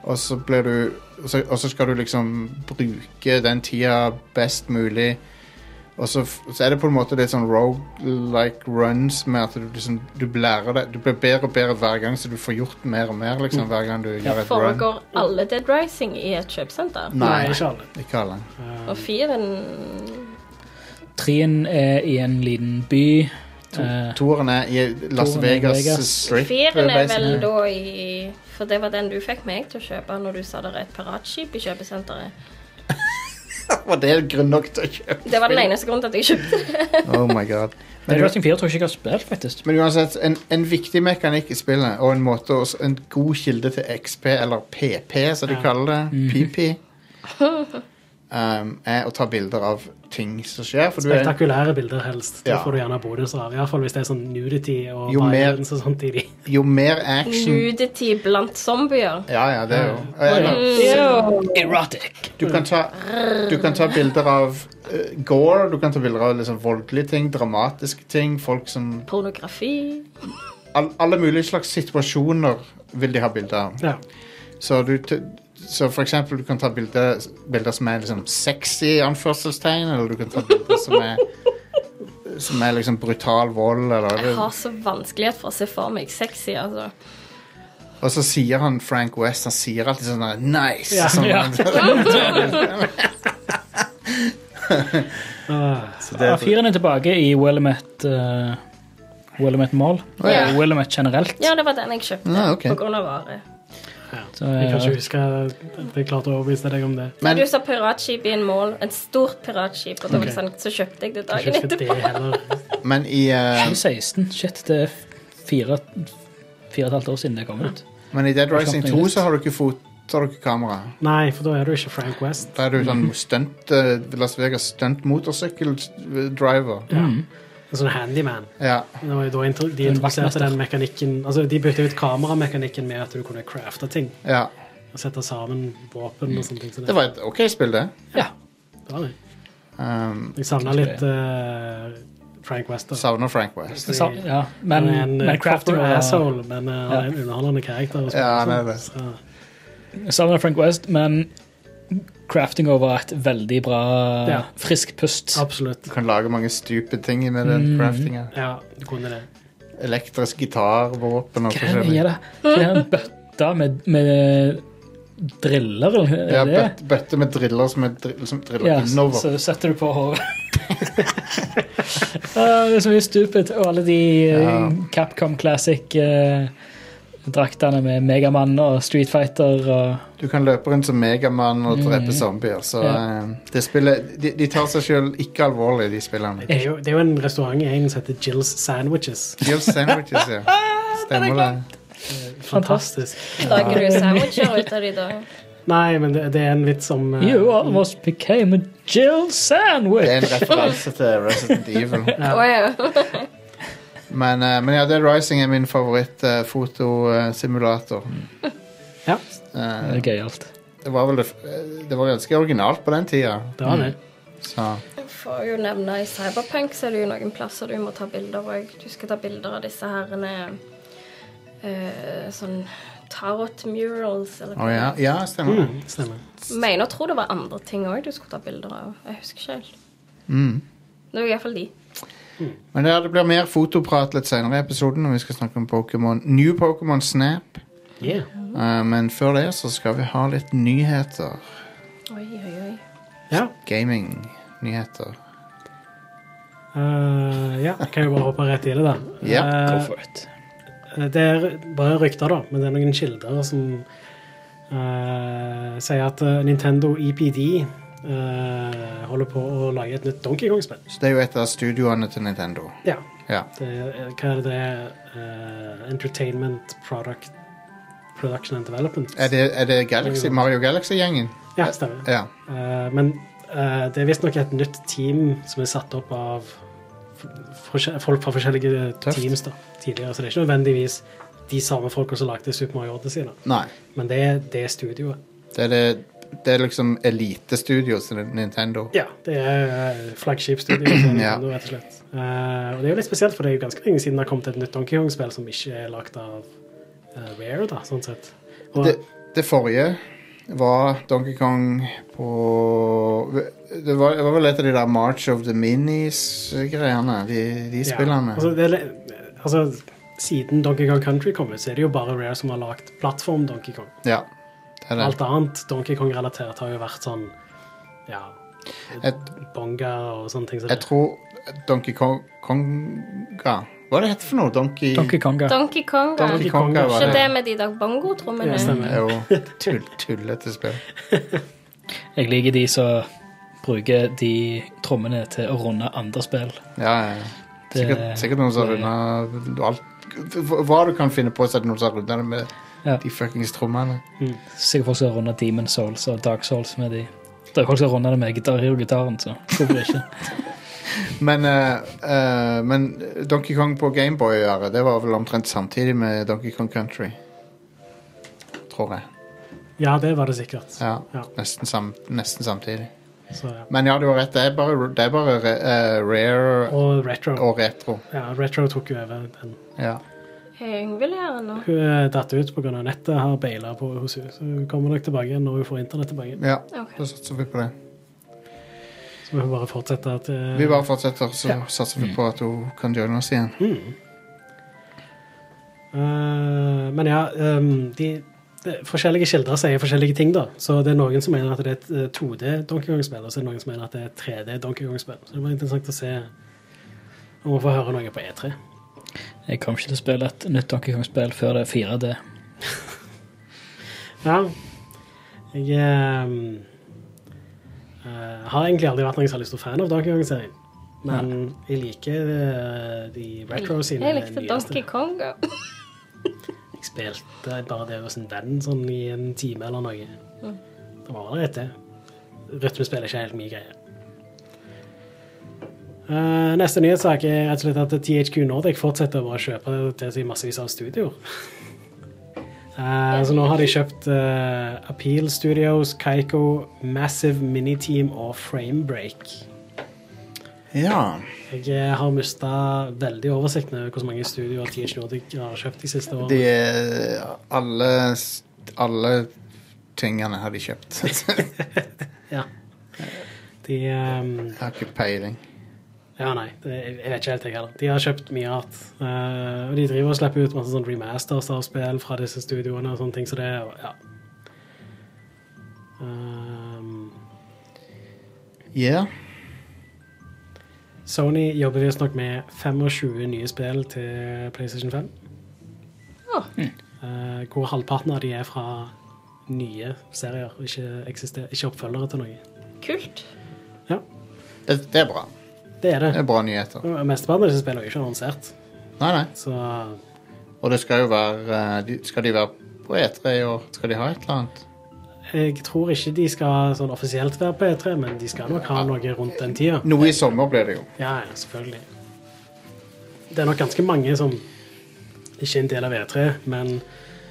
Speaker 1: Og så blir du og så, og så skal du liksom bruke den tida best mulig. Og så, f- så er det på en måte litt sånn roguelike runs med at du liksom du lærer deg Du blir bedre og bedre hver gang, så du får gjort mer og mer liksom hver gang du gjør et run.
Speaker 4: Foregår alle Dead Rising i et kjøpesenter?
Speaker 2: Nei,
Speaker 1: Nei,
Speaker 2: ikke alle. Eh,
Speaker 1: ikke alle.
Speaker 4: Og firen
Speaker 3: Trien er i en liten by. Eh,
Speaker 1: Toeren er i Las
Speaker 3: Toeren er i
Speaker 1: Vegas,
Speaker 3: Vegas.
Speaker 1: Strip. eh,
Speaker 4: Firen er vel
Speaker 1: basically.
Speaker 4: da i For det var den du fikk meg til å kjøpe når du sa det var et piratskip i kjøpesenteret.
Speaker 1: Var det grunn nok til å kjøpe?
Speaker 4: Det var den eneste grunnen til at jeg kjøpte det.
Speaker 1: Oh my god.
Speaker 3: Dead
Speaker 1: Men,
Speaker 3: Rising 4 tror jeg ikke jeg har spilt, faktisk.
Speaker 1: men uansett, en, en viktig mekanikk i spillet, og en, måte, å- en god kilde til XP, eller PP, som de
Speaker 2: Ja.
Speaker 1: kaller det, PP, um, er å ta bilder av ting som skjer. For du er,
Speaker 2: Spektakulære bilder helst. Det
Speaker 1: Ja.
Speaker 2: får du gjerne bonuser av. Iallfall hvis det er sånn nudity og
Speaker 1: Jo mer-
Speaker 2: violence og sånt i de.
Speaker 1: jo mer action
Speaker 4: Nudity blant zombier. Mm.
Speaker 1: Ja, ja, det er jo eller,
Speaker 5: Det er jo
Speaker 3: Erotic.
Speaker 1: du, kan ta, du kan ta bilder av eh, gore, du kan ta bilder av liksom, voldelige ting, dramatiske ting, folk som
Speaker 4: Pornografi.
Speaker 1: all, Alle mulige slags situasjoner vil de ha bilder av.
Speaker 2: Ja.
Speaker 1: Så, du, t- så for eksempel du kan ta bilder, bilder som er liksom sexy i anførselstegn, eller du kan ta bilder som er som er liksom brutal vold,
Speaker 4: Jeg
Speaker 1: eller
Speaker 4: har så vanskelighet for å se for meg sexy, altså.
Speaker 1: Og så sier han Frank West, han sier alltid sånn der, nice!
Speaker 3: Ja,
Speaker 1: sånn,
Speaker 3: ja.
Speaker 1: Så
Speaker 3: Ja,
Speaker 1: det,
Speaker 3: Firen er tilbake i Willamette uh, Willamette Mall.
Speaker 1: Å, ja.
Speaker 3: Eh, Willamette generelt.
Speaker 4: Ja, det var den jeg kjøpte
Speaker 1: Ja, ok.
Speaker 4: på grunn av vare.
Speaker 3: Så,
Speaker 2: Jeg kan
Speaker 3: eh,
Speaker 2: ikke huske at jeg klarte å overbevise deg om det.
Speaker 1: men,
Speaker 4: du sa piratskip i en mål, et stort piratskip, og da var det sånn, så kjøpte jeg det
Speaker 2: Kanskje
Speaker 4: dagen
Speaker 2: ikke det
Speaker 4: etterpå.
Speaker 2: heller.
Speaker 1: men i eh,
Speaker 3: 2016. Shit, det er fire, fire og et halvt år siden det kom ut.
Speaker 1: Men i Dead Rising 2
Speaker 3: Something nytt.
Speaker 1: så har du ikke fot, så har du ikke kamera.
Speaker 2: Nei, for da er du ikke Frank West.
Speaker 1: Da er du sånn stunt eh, Las Vegas stunt motorsykkeldriver.
Speaker 2: Ja.
Speaker 3: Mm.
Speaker 2: En sånn handyman.
Speaker 1: Ja.
Speaker 2: Det var jo da intro- de
Speaker 3: En
Speaker 2: introduserte
Speaker 3: vaktmester.
Speaker 2: den mekanikken Altså, de bytte ut kameramekanikken med at du kunne crafte ting.
Speaker 1: ja.
Speaker 2: Og sette sammen våpen og sånne ting. Så
Speaker 1: Det var et OK spill, det.
Speaker 3: Ja.
Speaker 2: det var det.
Speaker 1: Um,
Speaker 2: Jeg savna litt eh, Frank West. da.
Speaker 1: Savner Frank West.
Speaker 3: Så, ja. Men,
Speaker 2: Han er en
Speaker 3: men
Speaker 2: eh,
Speaker 3: Crafting
Speaker 2: proper
Speaker 3: var
Speaker 2: asshole, men eh, han er en underholdende karakter. og sånn.
Speaker 1: Ja, han er det.
Speaker 2: Så-
Speaker 3: Savner Frank West, men craftinga var et veldig bra
Speaker 2: Ja.
Speaker 3: frisk pust.
Speaker 2: Absolutt.
Speaker 1: Du kan lage mange stupid ting med den craftinga.
Speaker 2: Ja, du kunne det.
Speaker 1: Elektrisk gitar, våpen og
Speaker 3: Hva er det?
Speaker 1: forskjellig.
Speaker 3: Det er en bøtte med, med driller, eller
Speaker 1: Ja,
Speaker 3: er det?
Speaker 1: bøt, bøtte med driller som, er dri- som driller
Speaker 3: Ja, så,
Speaker 1: innover.
Speaker 3: så setter du på håret. Ah, det er så mye stupid. Og alle de eh,
Speaker 1: Ja.
Speaker 3: Capcom Classic-draktene med Megamann og Street Fighter og
Speaker 1: Du kan løpe rundt som Megamann og drepe zombier. Så
Speaker 3: Ja.
Speaker 1: eh, det spillet, de, de tar seg sjøl ikke alvorlig, de spillene.
Speaker 2: Det er jo, det er jo en restaurant i England som heter Jill's Sandwiches.
Speaker 1: Deal sandwiches, ja. Stemmer det.
Speaker 2: Fantastisk.
Speaker 4: Lager du sandwicher ut av de da?
Speaker 2: Nei, men det, det er en vits om eh,
Speaker 3: You almost became a Jill
Speaker 1: Det er
Speaker 3: Sandwich!
Speaker 1: en referanse til Resident Evil.
Speaker 4: Å ja.
Speaker 1: Men, eh, men ja, Dead Rising er min eh, favoritt-fotosimulator.
Speaker 2: Ja,
Speaker 3: Det er gøyalt.
Speaker 1: Eh, det var vel det, f- eh, det var ganske originalt på den tida.
Speaker 2: det var det.
Speaker 1: Så
Speaker 4: Får jo nevne i Cyberpunk så er det jo noen plasser du må ta bilder òg. Du skal ta bilder av disse herrene eh, Sånn tarot murals eller
Speaker 1: Å ja. ja, stemmer.
Speaker 2: Mm, stemmer.
Speaker 4: Mener og tror det var andre ting òg du skulle ta bilder av. Jeg husker ikke helt.
Speaker 1: Mm.
Speaker 4: Det var iallfall de.
Speaker 1: Men ja, det blir mer fotoprat litt senere i episoden når vi skal snakke om Pokémon. New Pokémon Snap.
Speaker 2: Yeah.
Speaker 1: Eh, men før det så skal vi ha litt nyheter.
Speaker 4: Oi, oi, oi.
Speaker 2: Ja.
Speaker 1: Gaming-nyheter.
Speaker 2: eh, ja, kan jo bare hoppe rett i det, da.
Speaker 1: Ja,
Speaker 2: Eh,
Speaker 3: Go for it.
Speaker 2: Det er bare rykter, da, men det er noen kilder som eh, sier at eh, Nintendo EPD eh, holder på å lage et nytt Donkey Kong-spill.
Speaker 1: Så det er jo et av studioene til Nintendo.
Speaker 2: Ja.
Speaker 1: Ja.
Speaker 2: Det er, hva er det det er? Eh, entertainment Product Production and Development.
Speaker 1: Er det, er det Galaxy, Mario Galaxy-gjengen?
Speaker 2: Ja, stemmer.
Speaker 1: Ja.
Speaker 2: Eh, men eh, det er visstnok et nytt team som er satt opp av f- forskje- folk fra forskjellige
Speaker 1: Tøft.
Speaker 2: teams da, tidligere, så det er ikke nødvendigvis de samme folka som lagde Super Mario Odyssey. Da.
Speaker 1: Nei.
Speaker 2: Men det er det studioet.
Speaker 1: Det er, det, det er liksom elitestudio til Nintendo.
Speaker 2: Ja, det er eh, flaggskipstudio til
Speaker 1: Ja.
Speaker 2: Nintendo, rett og slett. Eh, og det er jo litt spesielt, for det er jo ganske lenge siden det har kommet et nytt Donkey Kong-spill som ikke er lagd av eh, Rare, da, sånn sett. Og,
Speaker 1: Det, det forrige var Donkey Kong på det var, det var vel et av de der March of the Minis-greiene. De, de spillene.
Speaker 2: Ja, altså, det er, li- altså, siden Donkey Kong Country kom ut, så er det jo bare Rare som har lagd plattform-Donkey Kong.
Speaker 1: Ja, det er det.
Speaker 2: Alt annet Donkey Kong-relatert har jo vært sånn ja,
Speaker 1: Jeg,
Speaker 2: bonga og sånne ting. som
Speaker 1: jeg
Speaker 2: det.
Speaker 1: tror Donkey Kong Konga Hva er det hette for noe? Donkey,
Speaker 3: Donkey Konga.
Speaker 4: Donkey Kong. da.
Speaker 1: Donkey Konga var
Speaker 4: Ikke
Speaker 1: det.
Speaker 4: det med de der bongotrommene?
Speaker 2: Ja, stemmer.
Speaker 1: Det er jo tull, tullete spill.
Speaker 3: Jeg liker de som bruker de trommene til å runde andre spill.
Speaker 1: Ja, ja, ja. Sikkert,
Speaker 3: Det-
Speaker 1: sikkert noen som har
Speaker 3: det-
Speaker 1: runda alt Hva du kan finne på, så er det noen som har runda det med
Speaker 3: Ja.
Speaker 1: de fuckings trommene.
Speaker 3: Sikkert folk som runder Demon Souls og Dark Souls med de. Det er folk som runder det med Guitar Hero-gitaren, så hvorfor ikke?
Speaker 1: Men, eh, eh, men Donkey Kong på Gameboy Are, det var vel omtrent samtidig med Donkey Kong Country. Tror jeg.
Speaker 2: Ja, det var det sikkert.
Speaker 1: Ja,
Speaker 2: Ja.
Speaker 1: Nesten, sam, nesten samtidig.
Speaker 2: Så, ja.
Speaker 1: Men ja, du har rett. Det er bare, det er bare re, eh, rare
Speaker 2: Og Retro.
Speaker 1: og retro.
Speaker 2: Ja, Retro tok jo over den.
Speaker 1: Ja.
Speaker 4: Jeg vil gjøre noe.
Speaker 2: Hun er datt ut pga. nettet, har beila på hos henne. Så hun kommer nok tilbake igjen når hun får internett tilbake.
Speaker 1: ja.
Speaker 4: Ok.
Speaker 1: Da satser vi på det.
Speaker 2: Så må hun bare fortsette at eh,
Speaker 1: Vi bare fortsetter, så satser vi på at hun kan joine oss igjen.
Speaker 2: eh, Men ja, ehm, de, de forskjellige kilder sier forskjellige ting, da. Så det er noen som mener at det er et eh, 2D Donkey Kong-spill, og så er det noen som mener at det er et 3D Donkey Kong-spill. Så det var interessant å se om vi får høre noe på E E3.
Speaker 3: Jeg kommer ikke til å spille et nytt Donkey Kong-spill før det er 4D.
Speaker 2: Ja. Jeg ehm, eh, har egentlig aldri vært noen som har lyst til å fan av Donkey Kong-serien. Men jeg liker eh, de retro sine
Speaker 4: Jeg likte Donkey Kong. ja.
Speaker 2: Jeg spilte bare det hos en venn sånn i en time eller noe. Det var allerede det. Rytmespill er ikke helt mye greie. Eh, neste nyhetssak er rett og slett at THQ Nordic fortsetter å bare kjøpe til seg massevis av studioer. Eh, så nå har de kjøpt eh, Appeal Studios, Kaiko, Massive Miniteam og Framebreak.
Speaker 1: Ja.
Speaker 2: Jeg eh, har mista veldig oversikten over hvor mange studioer THQ Nordic har kjøpt de siste årene.
Speaker 1: De er eh, alle, alle tingene har de kjøpt.
Speaker 2: Ja. De ehm,
Speaker 1: Jeg har ikke peiling.
Speaker 2: Ja, nei. Det, jeg jeg vet ikke helt, jeg heller. De har kjøpt mye rart. eh, og de driver og slipper ut masse sånn remasters av spill fra disse studioene og sånne ting som så det. er, Og, ja. Ehm,
Speaker 1: Ja.
Speaker 2: Sony jobber visstnok med 25 nye spill til PlayStation 5.
Speaker 4: Ja.
Speaker 2: Eh, hvor halvparten av de er fra nye serier, og ikke, eksister, ikke oppfølgere til noe.
Speaker 4: Kult.
Speaker 2: Ja,
Speaker 1: Det, det er bra.
Speaker 2: det er
Speaker 1: Det
Speaker 2: det.
Speaker 1: er bra nyheter.
Speaker 2: Og Mesteparten av disse spillene er jo ikke annonsert,
Speaker 1: Nei, nei.
Speaker 2: så
Speaker 1: Og det skal jo være eh, de- Skal de være på E3 i år? Skal de ha et eller annet?
Speaker 2: Jeg tror ikke de skal sånn offisielt være på E3, men de skal nok ha noe rundt den tida.
Speaker 1: Noe i sommer blir det jo.
Speaker 2: Ja, ja, selvfølgelig. Det er nok ganske mange som ikke er en del av E3, men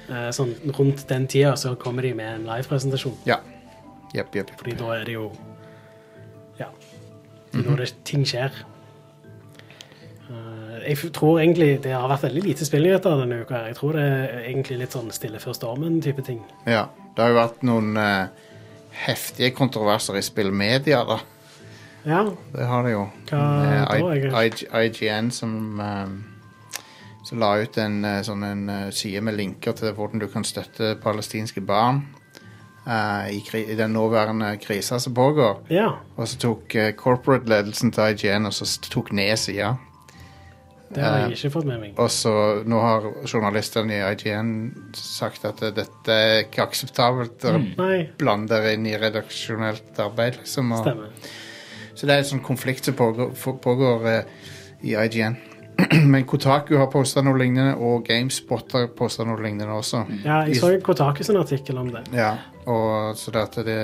Speaker 2: eh, sånn rundt den tida så kommer de med en live-presentasjon.
Speaker 1: Ja. Jepp, jepp.
Speaker 2: Fordi da er det jo Ja. Det er da det ting skjer. Eh, jeg f- tror egentlig det har vært veldig lite spillnyheter denne uka. her. Jeg tror det er egentlig litt sånn stille før stormen-type ting.
Speaker 1: Ja. Det har jo vært noen eh, heftige kontroverser i spillmedia, da.
Speaker 2: Ja,
Speaker 1: Det har det jo.
Speaker 2: Hva
Speaker 1: Eh,
Speaker 2: da,
Speaker 1: I-
Speaker 2: egentlig?
Speaker 1: I- IGN som eh, som la ut en eh, sånn en eh, side med linker til hvordan du kan støtte palestinske barn eh, i, kri i den nåværende krisa som pågår.
Speaker 2: ja
Speaker 1: Og så tok eh, corporate-ledelsen til IGN og så s- tok ned sida.
Speaker 2: det har jeg ikke fått med meg.
Speaker 1: Og så nå har journalistene i IGN sagt at eh, dette er ikke akseptabelt. Dere
Speaker 2: Nei,
Speaker 1: blander dere inn i redaksjonelt arbeid, liksom. Og,
Speaker 2: stemmer.
Speaker 1: Så det er en sånn konflikt som pågår, for- pågår eh, i IGN. Men Kotaku har posta noe lignende, og GameSpot har posta noe lignende også.
Speaker 2: Ja, jeg så Kotaku sin artikkel om det.
Speaker 1: Ja, og så det at det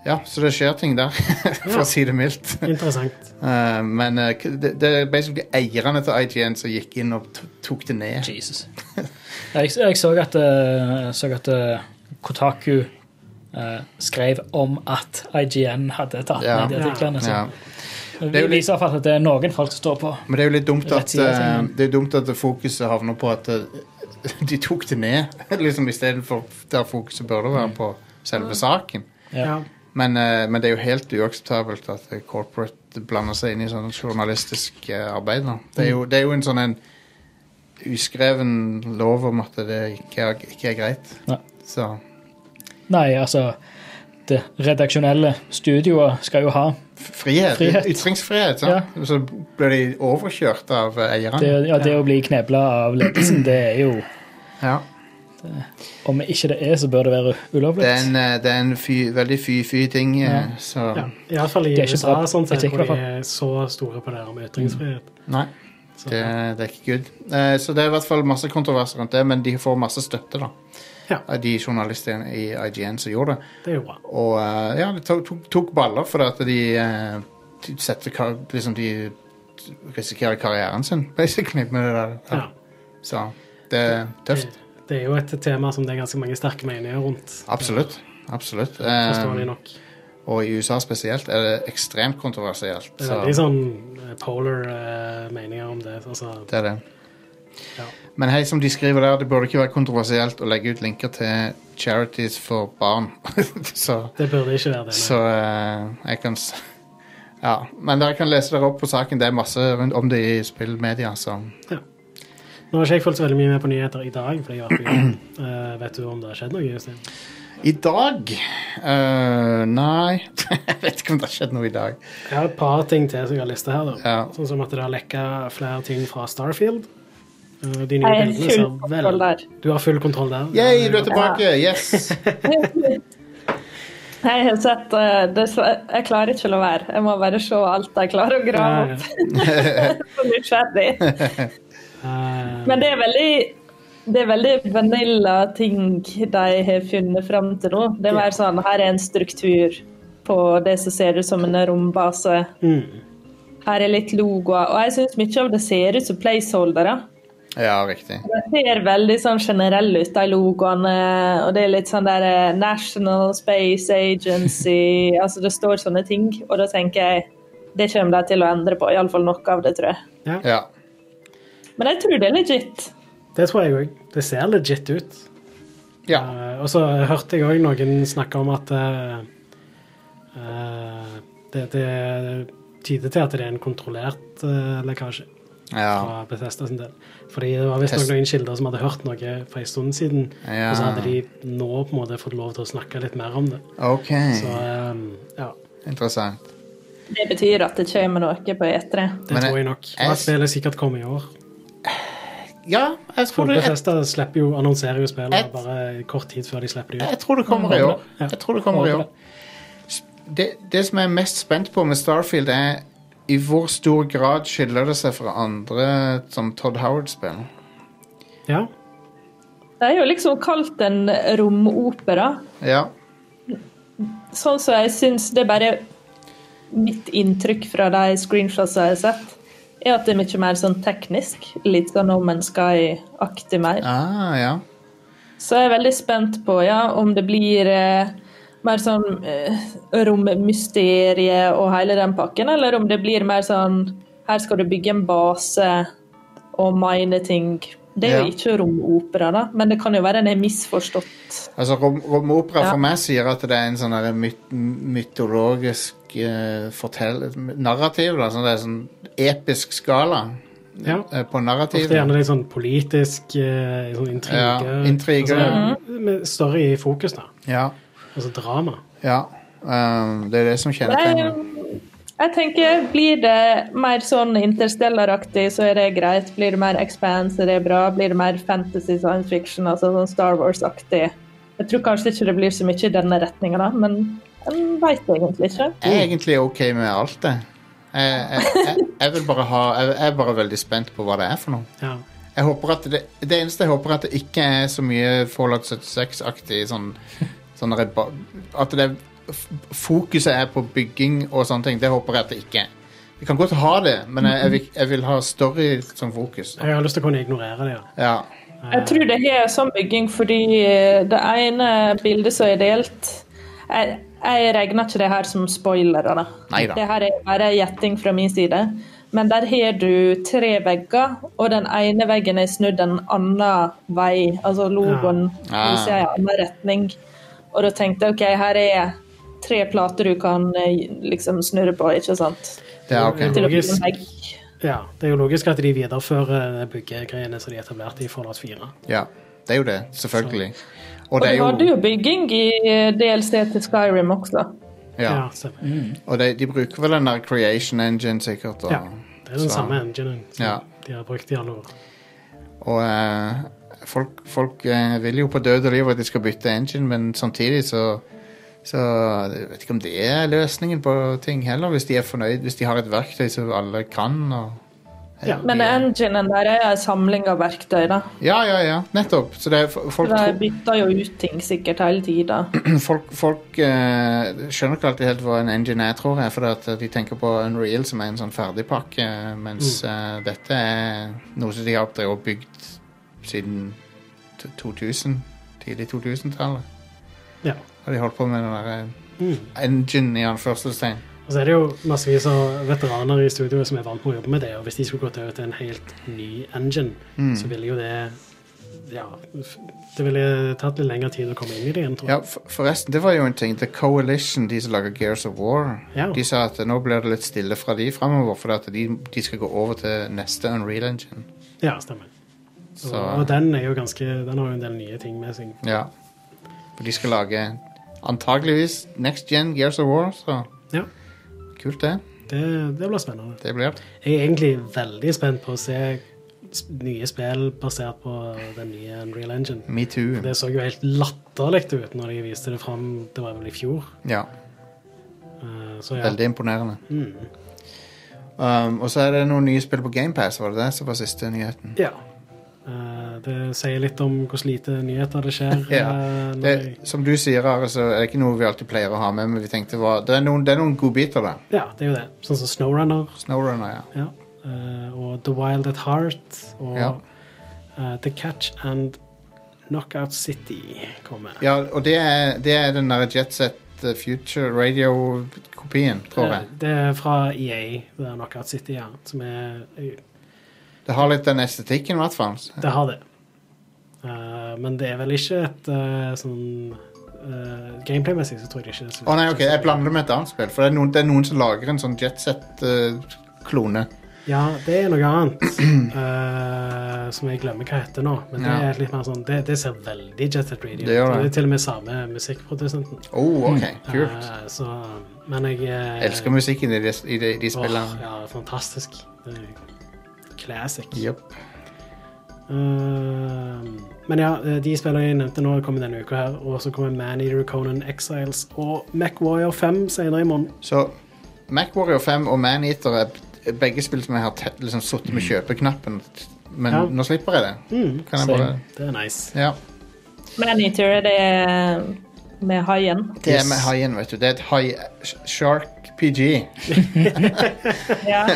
Speaker 1: Ja, så det skjer ting der, for
Speaker 2: Ja.
Speaker 1: å si det mildt.
Speaker 2: Interessant.
Speaker 1: Eh, men eh, k- det, det er basically eierne til IGN som gikk inn og to- tok det ned.
Speaker 3: Jesus. Jeg, jeg så at, eh, jeg så at eh, Kotaku eh, skrev om at IGN hadde tatt
Speaker 1: Ja.
Speaker 3: ned de
Speaker 2: altså.
Speaker 3: artiklene.
Speaker 1: Ja.
Speaker 3: så Det
Speaker 1: er jo litt-
Speaker 3: viser iallfall at det er noen folk som står på.
Speaker 1: Men det er jo litt dumt
Speaker 3: Rett
Speaker 1: at,
Speaker 3: side av
Speaker 1: eh,
Speaker 3: tingen.
Speaker 1: det er dumt at fokuset havner på at eh, de tok det ned, liksom istedenfor der fokuset burde være på selve saken.
Speaker 2: Ja.
Speaker 1: Men, eh, men det er jo helt uakseptabelt at eh, corporate blander seg inn i sånn journalistisk eh, arbeid. Da. Det, er jo, det er jo en sånn en uskreven lov om at det ikke er, ikke er greit.
Speaker 3: Nei.
Speaker 1: Så
Speaker 3: Nei, altså Det redaksjonelle studioet skal jo ha
Speaker 1: frihet.
Speaker 3: Frihet.
Speaker 1: Ytringsfrihet. Sant? Så blir de overkjørt av eh,
Speaker 3: det,
Speaker 1: eierne.
Speaker 3: ja, det å bli knebla av ledelsen, det er jo
Speaker 1: Ja.
Speaker 3: Om ikke det er, så bør det være ulovlig.
Speaker 1: Det er en, eh, det er en fy, veldig fy-fy ting. eh,
Speaker 3: Ja.
Speaker 1: Så
Speaker 2: Ja. I hvert fall i
Speaker 3: Det er ikke
Speaker 2: USA,
Speaker 3: bra
Speaker 2: sånn sett,
Speaker 3: butikk,
Speaker 2: hvor
Speaker 3: i hvert
Speaker 2: de er så store på det her med ytringsfrihet.
Speaker 1: nei,
Speaker 2: Så,
Speaker 1: det, det er ikke good. Eh, Så det er i hvert fall masse kontroverser rundt det, men de får masse støtte da.
Speaker 2: Ja.
Speaker 1: av de journalistene i IGN som gjorde det.
Speaker 2: det er jo bra.
Speaker 1: Og eh, ja, det tok, tok, tok baller fordi at de, eh, de setter kar liksom de risikerer karrieren sin, basically, med det der.
Speaker 2: Ja.
Speaker 1: Så det er
Speaker 2: Det,
Speaker 1: tøft.
Speaker 2: det er jo et tema som det er ganske mange sterke meninger rundt.
Speaker 1: Absolutt. Absolutt.
Speaker 2: Forståelig
Speaker 1: Eh,
Speaker 2: nok.
Speaker 1: og i USA spesielt er det ekstremt kontroversielt.
Speaker 2: Det er
Speaker 1: så-
Speaker 2: veldig sånn eh, polar eh, meninger om det. Altså,
Speaker 1: Det er det.
Speaker 2: Ja.
Speaker 1: Men hei, som de skriver der, det burde ikke være kontroversielt å legge ut linker til charities for barn. så
Speaker 2: det burde ikke være det. nei.
Speaker 1: Så eh, jeg kan s- Ja. Men dere kan lese dere opp på saken. Det er masse rundt om det i spillmedia. Så.
Speaker 2: Nå har ikke jeg fulgt så veldig mye med på nyheter i dag, fordi jeg har vært på jobb. Eh, vet du om det har skjedd noe? Justin?
Speaker 1: I dag eh, Nei. jeg vet ikke om det har skjedd noe i dag.
Speaker 2: Jeg har et par ting til som jeg har lista her. da.
Speaker 1: Ja.
Speaker 2: Sånn som at det har lekka flere ting fra Starfield. Eh, De nye
Speaker 5: Jeg har
Speaker 2: bildene
Speaker 5: full
Speaker 2: ser
Speaker 5: kontroll
Speaker 2: vel
Speaker 5: der.
Speaker 2: Du har full kontroll der?
Speaker 1: Yay, du
Speaker 2: Ja,
Speaker 1: er tilbake! Yes!
Speaker 5: Jeg har sett eh, det, så jeg- Jeg klarer ikke å la være. Jeg må bare se alt jeg klarer å grave
Speaker 2: ja.
Speaker 5: opp. Så nysgjerrig.
Speaker 2: Eh,
Speaker 5: Men det er veldig det er veldig vanilla ting de har funnet fram til nå. Det er mer sånn her er en struktur på det som ser ut som en rombase.
Speaker 2: mm,
Speaker 5: Her er litt logoer. Og jeg syns mye av det ser ut som placeholdere.
Speaker 1: Ja, riktig.
Speaker 5: Det ser veldig sånn generell ut, de logoene. Og det er litt sånn der eh, National Space Agency Altså det står sånne ting, og da tenker jeg det kommer de til å endre på. Iallfall noe av det, tror jeg.
Speaker 1: Ja.
Speaker 5: Men jeg tror det er legit.
Speaker 2: det tror jeg òg. Det ser legit ut.
Speaker 1: Ja.
Speaker 2: Eh, og så hørte jeg òg noen snakke om at eh, eh, det, det tyder til at det er en kontrollert eh, lekkasje
Speaker 1: Ja.
Speaker 2: fra Bethesda sin del. Fordi det var visstnok
Speaker 1: Test-
Speaker 2: noen kilder som hadde hørt noe for en stund siden,
Speaker 1: Ja.
Speaker 2: og så hadde de nå på en måte fått lov til å snakke litt mer om det.
Speaker 1: OK.
Speaker 2: Så eh, ja,
Speaker 1: Interessant.
Speaker 5: Det betyr at det kommer noe på E E3.
Speaker 2: det
Speaker 1: Men jeg-
Speaker 2: tror jeg nok.
Speaker 1: jeg-
Speaker 2: Og at spillet sikkert kommer i år.
Speaker 1: Ja, jeg tror
Speaker 2: For
Speaker 1: det, jeg,
Speaker 2: Bethesda slipper jo, annonserer jo spillet
Speaker 1: Jeg-
Speaker 2: bare kort tid før de slipper det ut.
Speaker 1: jeg tror det kommer i år.
Speaker 2: Mm. Ja.
Speaker 1: Jeg tror det kommer i år.
Speaker 3: Håper
Speaker 1: Det, det som jeg er mest spent på med Starfield, er i hvor stor grad skiller det seg fra andre som Todd Howard-spill.
Speaker 2: Ja,
Speaker 5: Det er jo liksom kalt en romopera.
Speaker 1: Ja.
Speaker 5: Sånn som jeg syns Det er bare mitt inntrykk fra de screenshotsene jeg har sett, er at det er mye mer sånn teknisk. Litt sånn om en skal akte mer.
Speaker 1: Ah, ja.
Speaker 5: Så jeg er veldig spent på ja, om det blir eh, mer sånn eh, rommysterie og hele den pakken, eller om det blir mer sånn her skal du bygge en base og mine ting. Det er
Speaker 1: Ja.
Speaker 5: jo ikke romopera, da, men det kan jo være en har misforstått.
Speaker 1: Altså, rom, romopera
Speaker 5: Ja.
Speaker 1: for meg sier at det er en sånn der myt, mytologisk eh, fortell... Narrativ, da. Sånn, det er sånn episk skala
Speaker 2: ja.
Speaker 1: eh, på
Speaker 2: Ofte
Speaker 1: narrativet.
Speaker 2: gjerne litt sånn politisk eh, sånn intrige.
Speaker 1: Ja, intrige.
Speaker 2: Altså, med story i fokus, da.
Speaker 1: Ja.
Speaker 2: Altså drama.
Speaker 1: ja. Um, det er det som kjennetegner det.
Speaker 5: Nei, jeg tenker, blir det mer sånn interstellaraktig, så er det greit. Blir det mer expanse, er det bra. Blir det mer fantasy, science fiction, altså sånn Star Wars-aktig. Jeg tror kanskje ikke det blir så mye i denne retninga, da, men en veit egentlig ikke.
Speaker 1: Jeg er egentlig OK med alt, det. Jeg, jeg, jeg, jeg vil bare ha jeg, jeg er bare veldig spent på hva det er for noe.
Speaker 2: Ja.
Speaker 1: Jeg håper at det, det eneste jeg håper er at det ikke er så mye Fallout 76-aktig sånn, sånn reba- At det f- fokuset er på bygging og sånne ting. Det håper jeg at det ikke er. Vi kan godt ha det, men jeg, jeg, vil, jeg vil ha story som fokus.
Speaker 2: Jeg har lyst til å kunne ignorere det. Ja.
Speaker 1: Ja.
Speaker 5: Jeg tror det er sånn bygging fordi eh, det ene bildet som er delt Jeg, jeg regner ikke det her som spoilere, da.
Speaker 1: Neida.
Speaker 5: Det her er bare gjetting fra min side. Men der har du tre vegger, og den ene veggen er snudd en annen vei. Altså logoen
Speaker 1: Ja.
Speaker 5: viser en annen retning. Og da tenkte jeg OK, her er tre plater du kan eh, liksom snurre på, ikke sant?
Speaker 1: Det er ok.
Speaker 5: Til å bli
Speaker 2: Logisk.
Speaker 5: en vegg.
Speaker 2: ja. Det er jo logisk at de viderefører byggegreiene som de etablerte i Fallout 4.
Speaker 1: ja. Det er jo det. Selvfølgelig. Og
Speaker 5: Og
Speaker 1: det er
Speaker 5: du hadde
Speaker 1: jo
Speaker 5: jo bygging i eh, DLC til Skyrim også.
Speaker 1: ja.
Speaker 2: stemmer.
Speaker 1: Og de, de bruker vel den der creation engine, sikkert. Og,
Speaker 2: Ja. Det er den
Speaker 1: Så-
Speaker 2: samme enginen som
Speaker 1: Ja.
Speaker 2: de har brukt i alle år.
Speaker 1: Og eh, folk, folk eh, vil jo på død og liv at de skal bytte engine, men samtidig så så jeg vet ikke om det er løsningen på ting heller, hvis de er fornøyd, hvis de har et verktøy som alle kan. Og...
Speaker 2: Ja.
Speaker 5: Men enginen der er en samling av verktøy, da.
Speaker 1: Ja, ja, ja, nettopp. Så det er, fo- folk,
Speaker 5: De
Speaker 1: tror,
Speaker 5: bytter jo ut ting sikkert hele tida.
Speaker 1: folk, folk eh, skjønner ikke alltid helt hva en engine er, tror jeg, for at de tenker på Unreal som er en sånn ferdigpakke, mens
Speaker 2: Mm.
Speaker 1: eh, dette er noe som de har drevet og bygd siden t- 2000, tidlig 2000-tallet.
Speaker 2: Ja.
Speaker 1: Har de holdt på med den der
Speaker 2: Mm.
Speaker 1: eh, engine i anførselstegn?
Speaker 2: Og så er det jo massevis av veteraner i studioet som er vant med å jobbe med det, og hvis de skulle gått over til en helt ny engine,
Speaker 1: Mm.
Speaker 2: så ville jo det Ja, f- det ville tatt litt lengre tid å komme inn i det igjen, tror jeg.
Speaker 1: Ja, for- forresten, det var jo en ting. The Coalition, de som lager Gears of War,
Speaker 2: Ja.
Speaker 1: de sa at eh, nå blir det litt stille fra de framover, fordi at de, de skal gå over til neste Unreal Engine.
Speaker 2: Ja, stemmer.
Speaker 1: Så-
Speaker 2: Og, og den er jo ganske Den har jo en del nye ting med seg.
Speaker 1: Ja. For de skal lage antageligvis next gen Gears of War, så
Speaker 2: Ja,
Speaker 1: kult det.
Speaker 2: det, det blir spennende.
Speaker 1: Det blir det.
Speaker 2: Jeg er egentlig veldig spent på å se s- nye spill basert på den nye Unreal Engine.
Speaker 1: Me too.
Speaker 2: Det så jo helt latterlig ut når de viste det fram, det var vel i fjor.
Speaker 1: Ja,
Speaker 2: Eh, Så ja.
Speaker 1: veldig imponerende.
Speaker 2: Mm.
Speaker 1: Um, og så er det noen nye spill på GamePass, var det det som var siste nyheten?
Speaker 2: ja. Eh, Det sier litt om hvor lite nyheter det skjer.
Speaker 1: Ja,
Speaker 2: eh, når
Speaker 1: Det,
Speaker 2: jeg-
Speaker 1: som du sier, Are, så er det ikke noe vi alltid pleier å ha med, men vi tenkte hva Det er noen, det er noen godbiter der.
Speaker 2: ja, det er jo det. Sånn som Snowrunner.
Speaker 1: Snowrunner, ja.
Speaker 2: Ja. eh, og The Wild at Heart og
Speaker 1: Ja.
Speaker 2: eh, The Catch and Knockout City kommer.
Speaker 1: ja og det er, det er den der Jetset Future Radio-kopien, tror jeg.
Speaker 2: Eh, det er fra EA, det er Knockout City, ja. Som er eh,
Speaker 1: Det har litt den estetikken, i hvert fall.
Speaker 2: Det har det. Eh, men det er vel ikke et eh, sånn eh, Gameplay-messig så tror jeg ikke det
Speaker 1: Å nei, ok, jeg blander det med et annet spill. For det er noen, det er noen som lager en sånn Jetset-klone.
Speaker 2: Ja, det er noe annet eh, som jeg glemmer hva heter nå. Men det
Speaker 1: Ja.
Speaker 2: er litt mer sånn Det, det ser veldig Jet Set Radio ut.
Speaker 1: Det gjør det.
Speaker 2: Det er til og med samme musikkprodusenten.
Speaker 1: oh, ok, kult.
Speaker 2: Eh, så Men jeg eh,
Speaker 1: Jeg Ah. elsker musikken i de, i de, de
Speaker 2: åh,
Speaker 1: spillene.
Speaker 2: ja, fantastisk. Det er Classic.
Speaker 1: Jep.
Speaker 2: Eh, men ja, eh, de spillene jeg nevnte nå, kommer denne uka her. Og så kommer Maneater, Conan Exiles og MacWarrior 5 senere i måneden.
Speaker 1: Så MacWarrior 5 og Maneater er b- begge spill som jeg har te- liksom sittet med kjøpeknappen, men
Speaker 2: Ja.
Speaker 1: nå slipper jeg det.
Speaker 2: Mm,
Speaker 1: Kan jeg bare
Speaker 2: det er nice.
Speaker 1: Ja.
Speaker 5: Maneater er det med haien.
Speaker 1: Det er med haien, vet du. Det er et hai... sh- Shark PG.
Speaker 5: Ja.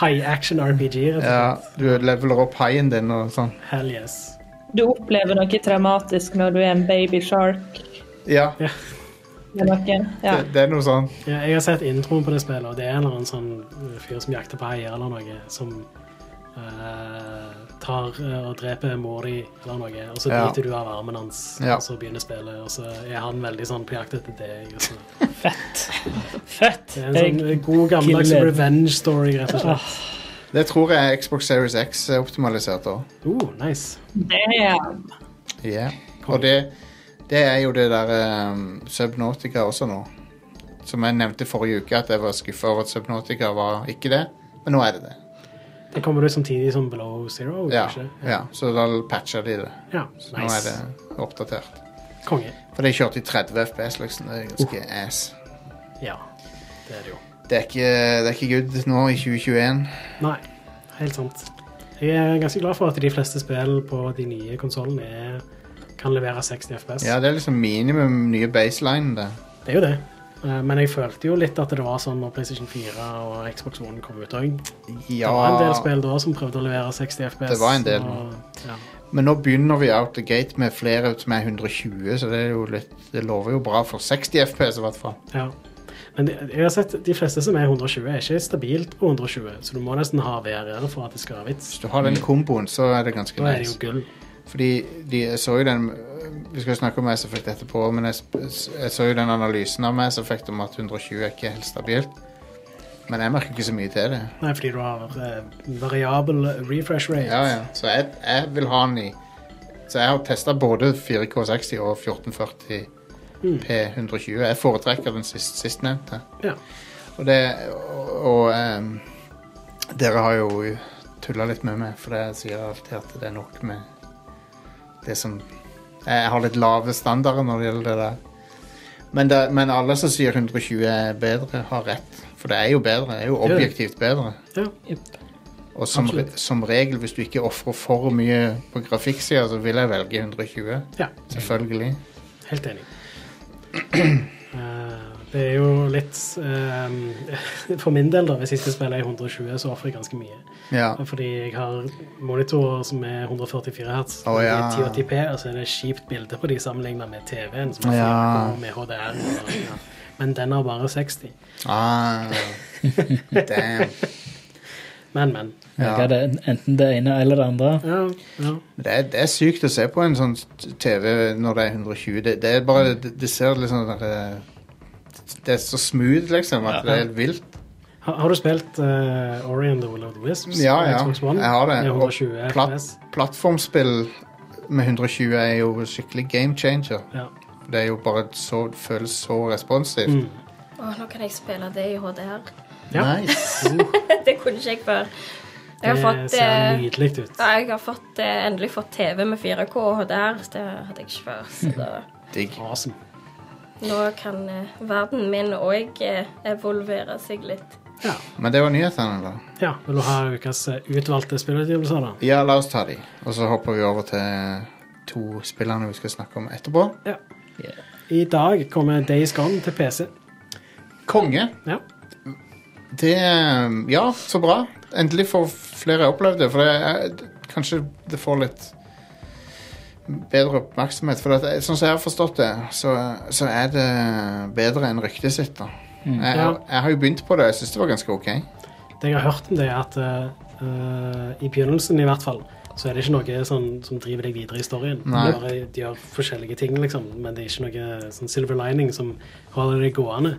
Speaker 2: High action RPG, rett og slett.
Speaker 1: Ja, du leveler opp haien din og sånn.
Speaker 2: Hell yes.
Speaker 5: Du opplever noe traumatisk når du er en baby shark.
Speaker 1: Ja,
Speaker 2: Ja.
Speaker 5: Eller noe. Ja.
Speaker 1: det, det er noe sånn.
Speaker 2: Ja, jeg har sett introen på det spillet, og det er en eller annen sånn uh, fyr som jakter på eier eller noe, som eh, tar eh, og dreper Mori eller noe, og så
Speaker 1: Ja.
Speaker 2: biter du av armen hans,
Speaker 1: Ja.
Speaker 2: og så begynner spillet, og så er han veldig sånn på jakt etter deg. Og så.
Speaker 3: Fett. Fett.
Speaker 2: Det er en sånn
Speaker 3: Jeg,
Speaker 2: eh, god gammeldags
Speaker 3: gleder-
Speaker 2: revenge story, rett og slett.
Speaker 1: Det tror jeg er Xbox Series X er optimalisert òg.
Speaker 2: Oh, nice.
Speaker 5: Damn.
Speaker 1: Yeah. Og det, det er jo det der ehm, Subnautica også nå. Som jeg nevnte forrige uke, at jeg var skuffa over at Subnautica var ikke det. Men nå er det det.
Speaker 2: Det kommer ut samtidig som Below Zero,
Speaker 1: Ja,
Speaker 2: kanskje?
Speaker 1: ja. Så da patcha de det.
Speaker 2: Ja,
Speaker 1: Så nå er
Speaker 2: nice.
Speaker 1: det oppdatert.
Speaker 2: Konge.
Speaker 1: For de kjørte i 30 FPS, liksom. Det er ganske
Speaker 2: Uh.
Speaker 1: ass.
Speaker 2: Ja, det er det jo.
Speaker 1: Det er, ikke, det er ikke good nå i 2021.
Speaker 2: Nei, helt sant. Jeg er ganske glad for at de fleste spill på de nye konsollene er- kan levere 60 FPS.
Speaker 1: Ja, Det er liksom minimum nye baseline. Det.
Speaker 2: Det er jo det. Eh, Men jeg følte jo litt at det var sånn når PlayStation 4 og Xbox One kom ut òg. Det var en
Speaker 1: Ja,
Speaker 2: del spill da som prøvde å levere 60 FPS.
Speaker 1: Det var en del.
Speaker 2: Og, ja.
Speaker 1: men nå begynner vi out the gate med flere som er 120, så det er jo litt Det lover jo bra for 60 FPS i hvert fall.
Speaker 2: ja. Men de- jeg har sett de fleste som er 120, er ikke stabilt på 120, så du må nesten ha VR-ere for at det skal ha vits.
Speaker 1: Hvis du har den komboen, så er det ganske
Speaker 2: Mm. Da er det jo
Speaker 1: nice.
Speaker 2: gull.
Speaker 1: Fordi de jeg så jo den Vi skal jo snakke om Mass Effect etterpå, men jeg, sp- jeg så jo den analysen av Mass Effect om at 120 er ikke helt stabilt. Men jeg merker ikke så mye til det.
Speaker 2: Nei, fordi du har eh, variabel refresh rate.
Speaker 1: Ja, ja. Så jeg, jeg vil ha den i Så jeg har testa både 4K60 og 1440
Speaker 2: Mm,
Speaker 1: P120. Jeg foretrekker den sist, sistnevnte.
Speaker 2: Ja.
Speaker 1: Og det Og, og em, dere har jo tulla litt med meg, for jeg sier alltid at det er nok med det som Jeg har litt lave standarder når det gjelder det der. Men, det, men alle som sier 120 er bedre, har rett. For det er jo bedre. Det er jo
Speaker 2: Det er det.
Speaker 1: objektivt bedre.
Speaker 2: Ja.
Speaker 1: Og som,
Speaker 2: Absolutt.
Speaker 1: re som regel, hvis du ikke ofrer for mye på grafikksida, så vil jeg velge 120.
Speaker 2: ja.
Speaker 1: Selvfølgelig.
Speaker 2: Helt enig. Eh, det er jo litt eh, For min del, da, hvis jeg skal spille i 120, så ofrer jeg ganske mye.
Speaker 1: Ja.
Speaker 2: Fordi jeg har monitorer som er 144 hertz.
Speaker 1: Å, ja.
Speaker 2: Det er 1080p, og så er det kjipt bilde på de sammenlignet med TV-en, som er
Speaker 1: Ja.
Speaker 2: 4K med HDR. og- Ja. Men den har bare 60.
Speaker 1: Ah, damn.
Speaker 2: Men, men.
Speaker 1: Ja.
Speaker 3: det, enten det ene eller det andre.
Speaker 2: Ja, ja.
Speaker 1: Det er, det er sykt å se på en sånn TV når det er 120. Det, det er bare Det, det ser litt sånn at det, det er så smooth, liksom, at det er helt vilt.
Speaker 2: Har, har du spilt eh, Ori and the Will of the Wisps?
Speaker 1: Ja,
Speaker 2: på
Speaker 1: ja.
Speaker 2: Xbox One?
Speaker 1: Jeg har det.
Speaker 2: Med
Speaker 1: Og
Speaker 2: 120
Speaker 1: platt-
Speaker 2: FPS.
Speaker 1: Plattformspill med 120 er jo skikkelig game changer.
Speaker 2: Ja.
Speaker 1: Det er jo bare så det føles så responsivt.
Speaker 2: Mm.
Speaker 4: Å, nå kan jeg spille det i HDR.
Speaker 2: Ja.
Speaker 1: Nice.
Speaker 4: det kunne ikke jeg før. Jeg har
Speaker 2: Mm. Det
Speaker 4: fått eh,
Speaker 2: ser nydelig ut.
Speaker 4: Ja, jeg har fått, eh, endelig fått TV med 4K og HDR. Det hadde jeg ikke før. Så da,
Speaker 1: Digg.
Speaker 2: Awesome.
Speaker 4: nå kan eh, verden min òg eh, evolvere seg litt.
Speaker 2: Ja.
Speaker 1: Men det var nyhetene, da.
Speaker 2: Ja, vil du ha ukas eh, utvalgte spillutgivelser, da?
Speaker 1: Ja, la oss ta de. Og så hopper vi over til to spillerne vi skal snakke om etterpå.
Speaker 2: I dag kommer Days Gone til PC.
Speaker 1: Konge.
Speaker 2: Ja.
Speaker 1: Det eh, Ja, så bra. Endelig får flere opplevd det. For det er, kanskje det får litt bedre oppmerksomhet. For det, sånn som jeg har forstått det, så, så er det bedre enn ryktet sitt. da. Jeg,
Speaker 2: Ja.
Speaker 1: jeg har jo begynt på det, og jeg syns det var ganske OK.
Speaker 2: Det jeg har hørt om det, er at eh, eh, i begynnelsen i hvert fall, så er det ikke noe sånn, som driver deg videre i storyen.
Speaker 1: Nei.
Speaker 2: De, bare, de gjør forskjellige ting, liksom, men det er ikke noe sånn silver lining som holder det gående.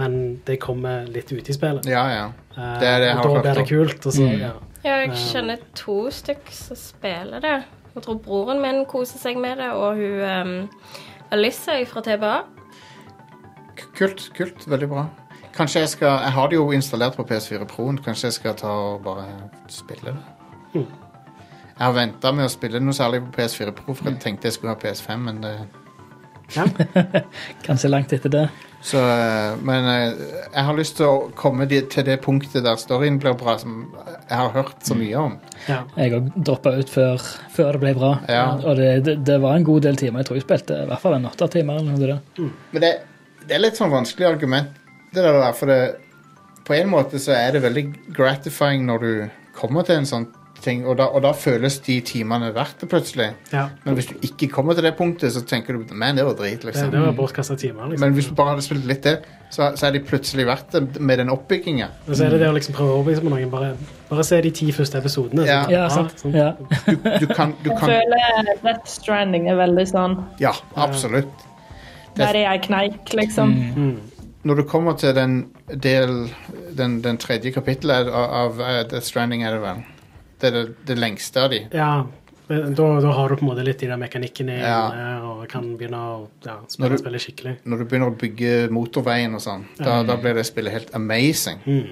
Speaker 2: Men det kommer litt ut i spillet.
Speaker 1: Ja, ja.
Speaker 2: Eh,
Speaker 1: Det er det jeg har
Speaker 2: og
Speaker 1: hørt
Speaker 2: da blir det
Speaker 1: om. Mm.
Speaker 2: kult. Og så, ja.
Speaker 4: Ja, jeg kjenner to stykk som spiller det. Jeg tror broren min koser seg med det, og hun ehm, Alyssa fra TBA.
Speaker 1: K- Kult, kult, veldig bra. Kanskje jeg skal Jeg har det jo installert på PS4 Proen. Kanskje jeg skal ta og bare spille det. Jeg har venta med å spille noe særlig på PS4 Pro, for jeg tenkte jeg skulle ha PS5, men det
Speaker 2: Ja.
Speaker 3: Kanskje langt etter det.
Speaker 1: Så, eh, men eh, jeg har lyst til å komme de, til det punktet der storyen blir bra, som jeg har hørt så mye om.
Speaker 2: Ja.
Speaker 3: Jeg òg droppa ut før, før det ble bra.
Speaker 1: Ja.
Speaker 3: Og det, det, det var en god del timer. Jeg tror jeg spilte i hvert fall en åtte timer. eller noe sånt der.
Speaker 1: Men det, det er litt sånn vanskelig argument, det der, da, for det, på en måte så er det veldig gratifying når du kommer til en sånn ting, og da, og da føles de timene verdt det plutselig.
Speaker 2: ja.
Speaker 1: Men hvis du ikke kommer til det punktet, så tenker du man, det var drit,
Speaker 2: Det,
Speaker 1: liksom.
Speaker 2: det var bortkasta timer. liksom.
Speaker 1: Men hvis du bare hadde spilt litt til, så, så er de plutselig verdt det med den oppbygginga.
Speaker 2: Men så er det det å liksom prøve å overbevise noen. Bare, bare se de ti første episodene.
Speaker 1: Ja.
Speaker 2: sånn.
Speaker 3: Ja, Ah, sant.
Speaker 2: sånn.
Speaker 3: Ja.
Speaker 1: Du, du kan, du
Speaker 5: Jeg
Speaker 1: kan
Speaker 5: føler Death Stranding er veldig sånn
Speaker 1: Ja, absolutt.
Speaker 5: Der er jeg kneik, liksom.
Speaker 1: Mm,
Speaker 3: Mm,
Speaker 2: Mm.
Speaker 1: når du kommer til den del Den, den tredje kapittelet av, av eh, Death Stranding, er det vel? Det er det, det lengste av de.
Speaker 2: Ja, men da, da har du på en måte litt de der mekanikkene i
Speaker 1: Ja.
Speaker 2: hjernen, og kan begynne å ja,
Speaker 1: Når du-
Speaker 2: spille spillet skikkelig.
Speaker 1: Når du begynner å bygge motorveien og sånn, da, da blir det spillet helt amazing.
Speaker 2: Mm.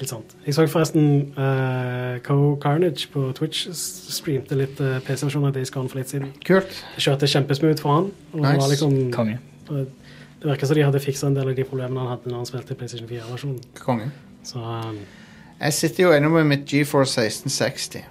Speaker 2: Helt sant. Jeg så forresten eh, Co Carnage på Twitch s- streamte litt eh, PC-versjonen av Days Gone for litt siden.
Speaker 1: Kult.
Speaker 2: Det kjørte kjempesmooth for han. Og det var
Speaker 1: Nice.
Speaker 2: liksom,
Speaker 3: Konge.
Speaker 2: eh, det virker som de hadde fiksa en del av de problemene han hadde når han spilte PlayStation 4-versjonen.
Speaker 1: Konge.
Speaker 2: Så eh,
Speaker 1: Jeg sitter jo ennå med mitt GeForce 1660.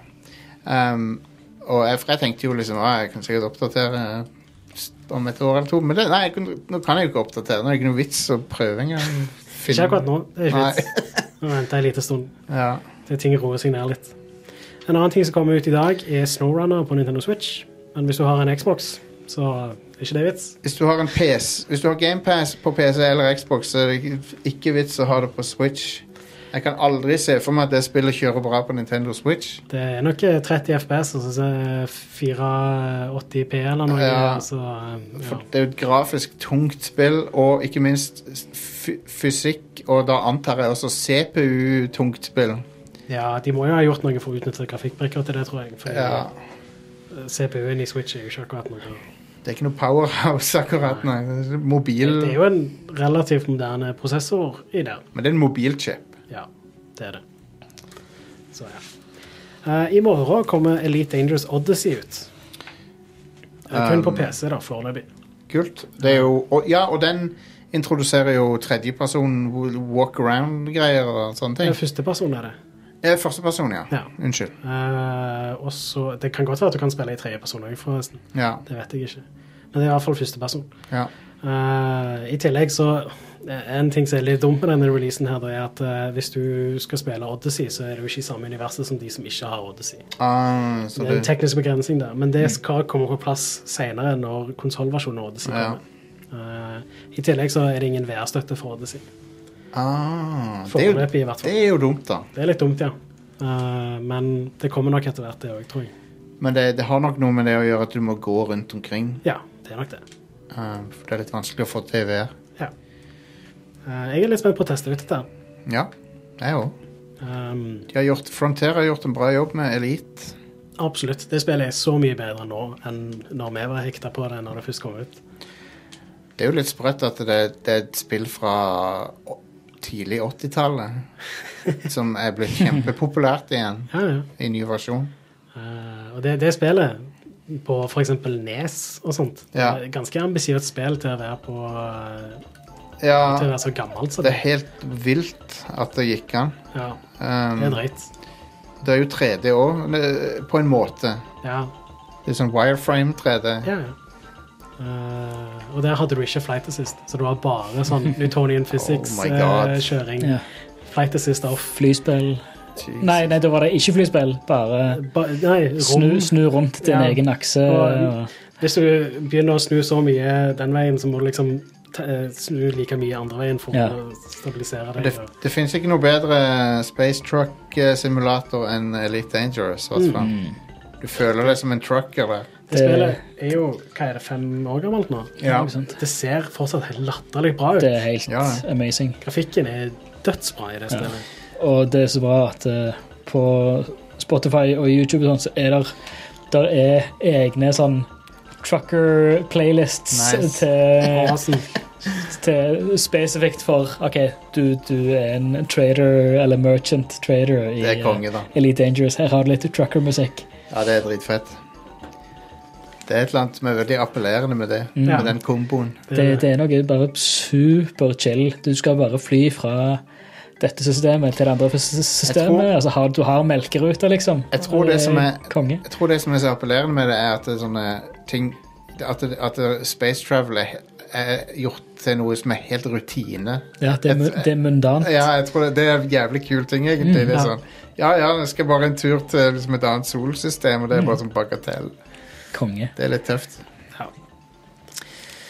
Speaker 1: Um, og jeg, for jeg tenkte jo liksom ah, jeg kan sikkert oppdatere eh, om et år eller to, men det, nei, jeg kunne, nå kan jeg jo ikke oppdatere. Nå er det ikke noe vits å prøve engang.
Speaker 2: ikke akkurat nå. Det er ikke
Speaker 1: Nei.
Speaker 2: vits. Nå venter jeg en liten stund.
Speaker 1: Ja.
Speaker 2: til ting roer seg ned litt. En annen ting som kommer ut i dag, er Snowrunner på Nintendo Switch. Men hvis du har en Xbox, så er ikke det vits.
Speaker 1: Hvis du har en PS Hvis du har GamePass på PC eller Xbox, så er det ikke- ikke vits å ha det på Switch. Jeg kan aldri se for meg at det spillet kjører bra på Nintendo Switch.
Speaker 2: Det er nok eh, 30 FPS, altså så er det 480P eller noe.
Speaker 1: Ja.
Speaker 2: Altså,
Speaker 1: For
Speaker 2: ja.
Speaker 1: det er jo et grafisk tungt spill, og ikke minst fy- fysikk, og da antar jeg også CPU-tungt spill.
Speaker 2: ja, de må jo ha gjort noe for å utnytte grafikkbrikker til det, tror jeg. For uh,
Speaker 1: Ja.
Speaker 2: CPU-en i Switch er jo ikke akkurat noe.
Speaker 1: Det er ikke noe powerhouse akkurat, nei. Det er
Speaker 2: Det er
Speaker 1: Mobil
Speaker 2: jo en relativt moderne prosessor i der.
Speaker 1: Men det er en mobilchip.
Speaker 2: Ja, det er det. Så ja. Eh, I morgen kommer Elite Dangerous Odyssey ut. Eh, kun på PC, da, foreløpig.
Speaker 1: Kult. Det er jo og, Ja, og den introduserer jo tredjeperson walk around-greier og sånne
Speaker 2: Det
Speaker 1: ting.
Speaker 2: er Førsteperson er det.
Speaker 1: Eh, Førsteperson, ja.
Speaker 2: Ja.
Speaker 1: Unnskyld.
Speaker 2: Eh, og så Det kan godt være at du kan spille i tredjeperson òg, forresten.
Speaker 1: Ja.
Speaker 2: Det vet jeg ikke. Men det er iallfall førsteperson.
Speaker 1: ja.
Speaker 2: Eh, I tillegg så eh, En ting som er litt dumt med denne releasen, her, da, er at eh, hvis du skal spille Odyssey, så er det jo ikke i samme universet som de som ikke har Odyssey.
Speaker 1: Ah, så
Speaker 2: Det er en
Speaker 1: det,
Speaker 2: teknisk begrensning der, men det skal komme på plass senere når konsollversjonen av Odyssey
Speaker 1: Ja.
Speaker 2: kommer. Eh, I tillegg så er det ingen VR-støtte for Odyssey.
Speaker 1: ah, det, er jo,
Speaker 2: Foreløpig, i hvert fall.
Speaker 1: det er jo dumt, da.
Speaker 2: Det er litt dumt, ja. Eh, men det kommer nok etter hvert, det òg, tror jeg.
Speaker 1: Men det, det har nok noe med det å gjøre at du må gå rundt omkring.
Speaker 2: Ja, det er nok det.
Speaker 1: eh, for det er litt vanskelig å få til i VR.
Speaker 2: Ja. Eh, jeg er litt spent på å teste ut dette.
Speaker 1: Ja, jeg òg.
Speaker 2: Um,
Speaker 1: De har gjort- Frontier har gjort en bra jobb med Elite.
Speaker 2: absolutt. Det spillet er så mye bedre nå enn når vi var hekta på det når det først kom ut.
Speaker 1: Det er jo litt sprøtt at det, det er et spill fra å- tidlig 80-tallet som er blitt kjempepopulært igjen
Speaker 2: Ja, ja.
Speaker 1: i ny versjon.
Speaker 2: Eh, og det, det spillet på f.eks. Nes E og sånt
Speaker 1: Ja.
Speaker 2: det er Ganske ambisiøst spill til å være på eh, Til å
Speaker 1: Ja,
Speaker 2: være så gammelt som
Speaker 1: det
Speaker 2: det.
Speaker 1: er helt vilt at det gikk an.
Speaker 2: Ja,
Speaker 1: Um,
Speaker 2: det er drøyt.
Speaker 1: det er jo 3D òg, på en måte.
Speaker 2: Ja,
Speaker 1: Det er sånn wireframe 3D.
Speaker 2: ja, ja. Eh, og der hadde du ikke flight assist, så det var bare sånn Newtonian
Speaker 1: Oh my God.
Speaker 2: physics-kjøring.
Speaker 3: Ja.
Speaker 2: Flight assist off.
Speaker 3: Flyspill
Speaker 1: Jesus.
Speaker 3: Nei, nei, da var det ikke flyspill. Bare
Speaker 2: Ba, nei, rom.
Speaker 3: snu, snu rundt til en
Speaker 2: Ja.
Speaker 3: egen akse.
Speaker 2: Og- Hvis du begynner å snu så mye den veien, så må du liksom ta- eh, snu like mye andre veien for
Speaker 3: Ja.
Speaker 2: å stabilisere
Speaker 1: Men
Speaker 2: deg.
Speaker 1: Det, det fins ikke noe bedre space truck-simulator enn Elite Dangerous. i
Speaker 2: Mm.
Speaker 1: hvert fall.
Speaker 3: Mm.
Speaker 1: Du føler deg som en trucker der.
Speaker 2: Det spillet er jo hva er det, fem år gammelt nå.
Speaker 1: Ja.
Speaker 3: Ikke sant?
Speaker 2: Det ser fortsatt helt latterlig bra ut.
Speaker 3: Det er helt
Speaker 1: Ja, ja.
Speaker 3: amazing.
Speaker 2: Grafikken er dødsbra i det spillet.
Speaker 3: Og det er så bra at eh, på Spotify og YouTube og sånt, så er der, der er egne sånn trucker-playlists
Speaker 1: Nice.
Speaker 3: til,
Speaker 2: Awesome.
Speaker 3: til spesifikt for OK, du, du er en trader eller merchant trader i
Speaker 1: Det er
Speaker 3: eh,
Speaker 1: konge, da.
Speaker 3: Elite Dangerous. Her har du litt trucker-musikk.
Speaker 1: Ja, det er dritfett. Det er et eller annet som er veldig appellerende med det.
Speaker 2: Mm. Ja.
Speaker 1: Med den komboen.
Speaker 3: Det, det er noe bare super chill. Du skal bare fly fra dette systemet til det andre sys- systemet.
Speaker 1: tror-
Speaker 3: altså, har, du har melkeruter, liksom. Eh,
Speaker 1: Jeg tror det som er-
Speaker 3: Konge.
Speaker 1: Jeg tror det som er så appellerende med det, er at det er sånne ting At, det, at det, space travel er, er gjort til noe som er helt rutine.
Speaker 3: Ja, det er, mu- det er mundant.
Speaker 1: Ja, jeg tror det, det er en jævlig kul ting, egentlig. det er
Speaker 2: Mm. ja.
Speaker 1: sånn, ja, ja, jeg skal bare en tur til liksom, et annet solsystem,
Speaker 2: Mm.
Speaker 1: og det er bare sånn bagatell.
Speaker 3: Konge.
Speaker 1: Det er litt tøft.
Speaker 2: Ja.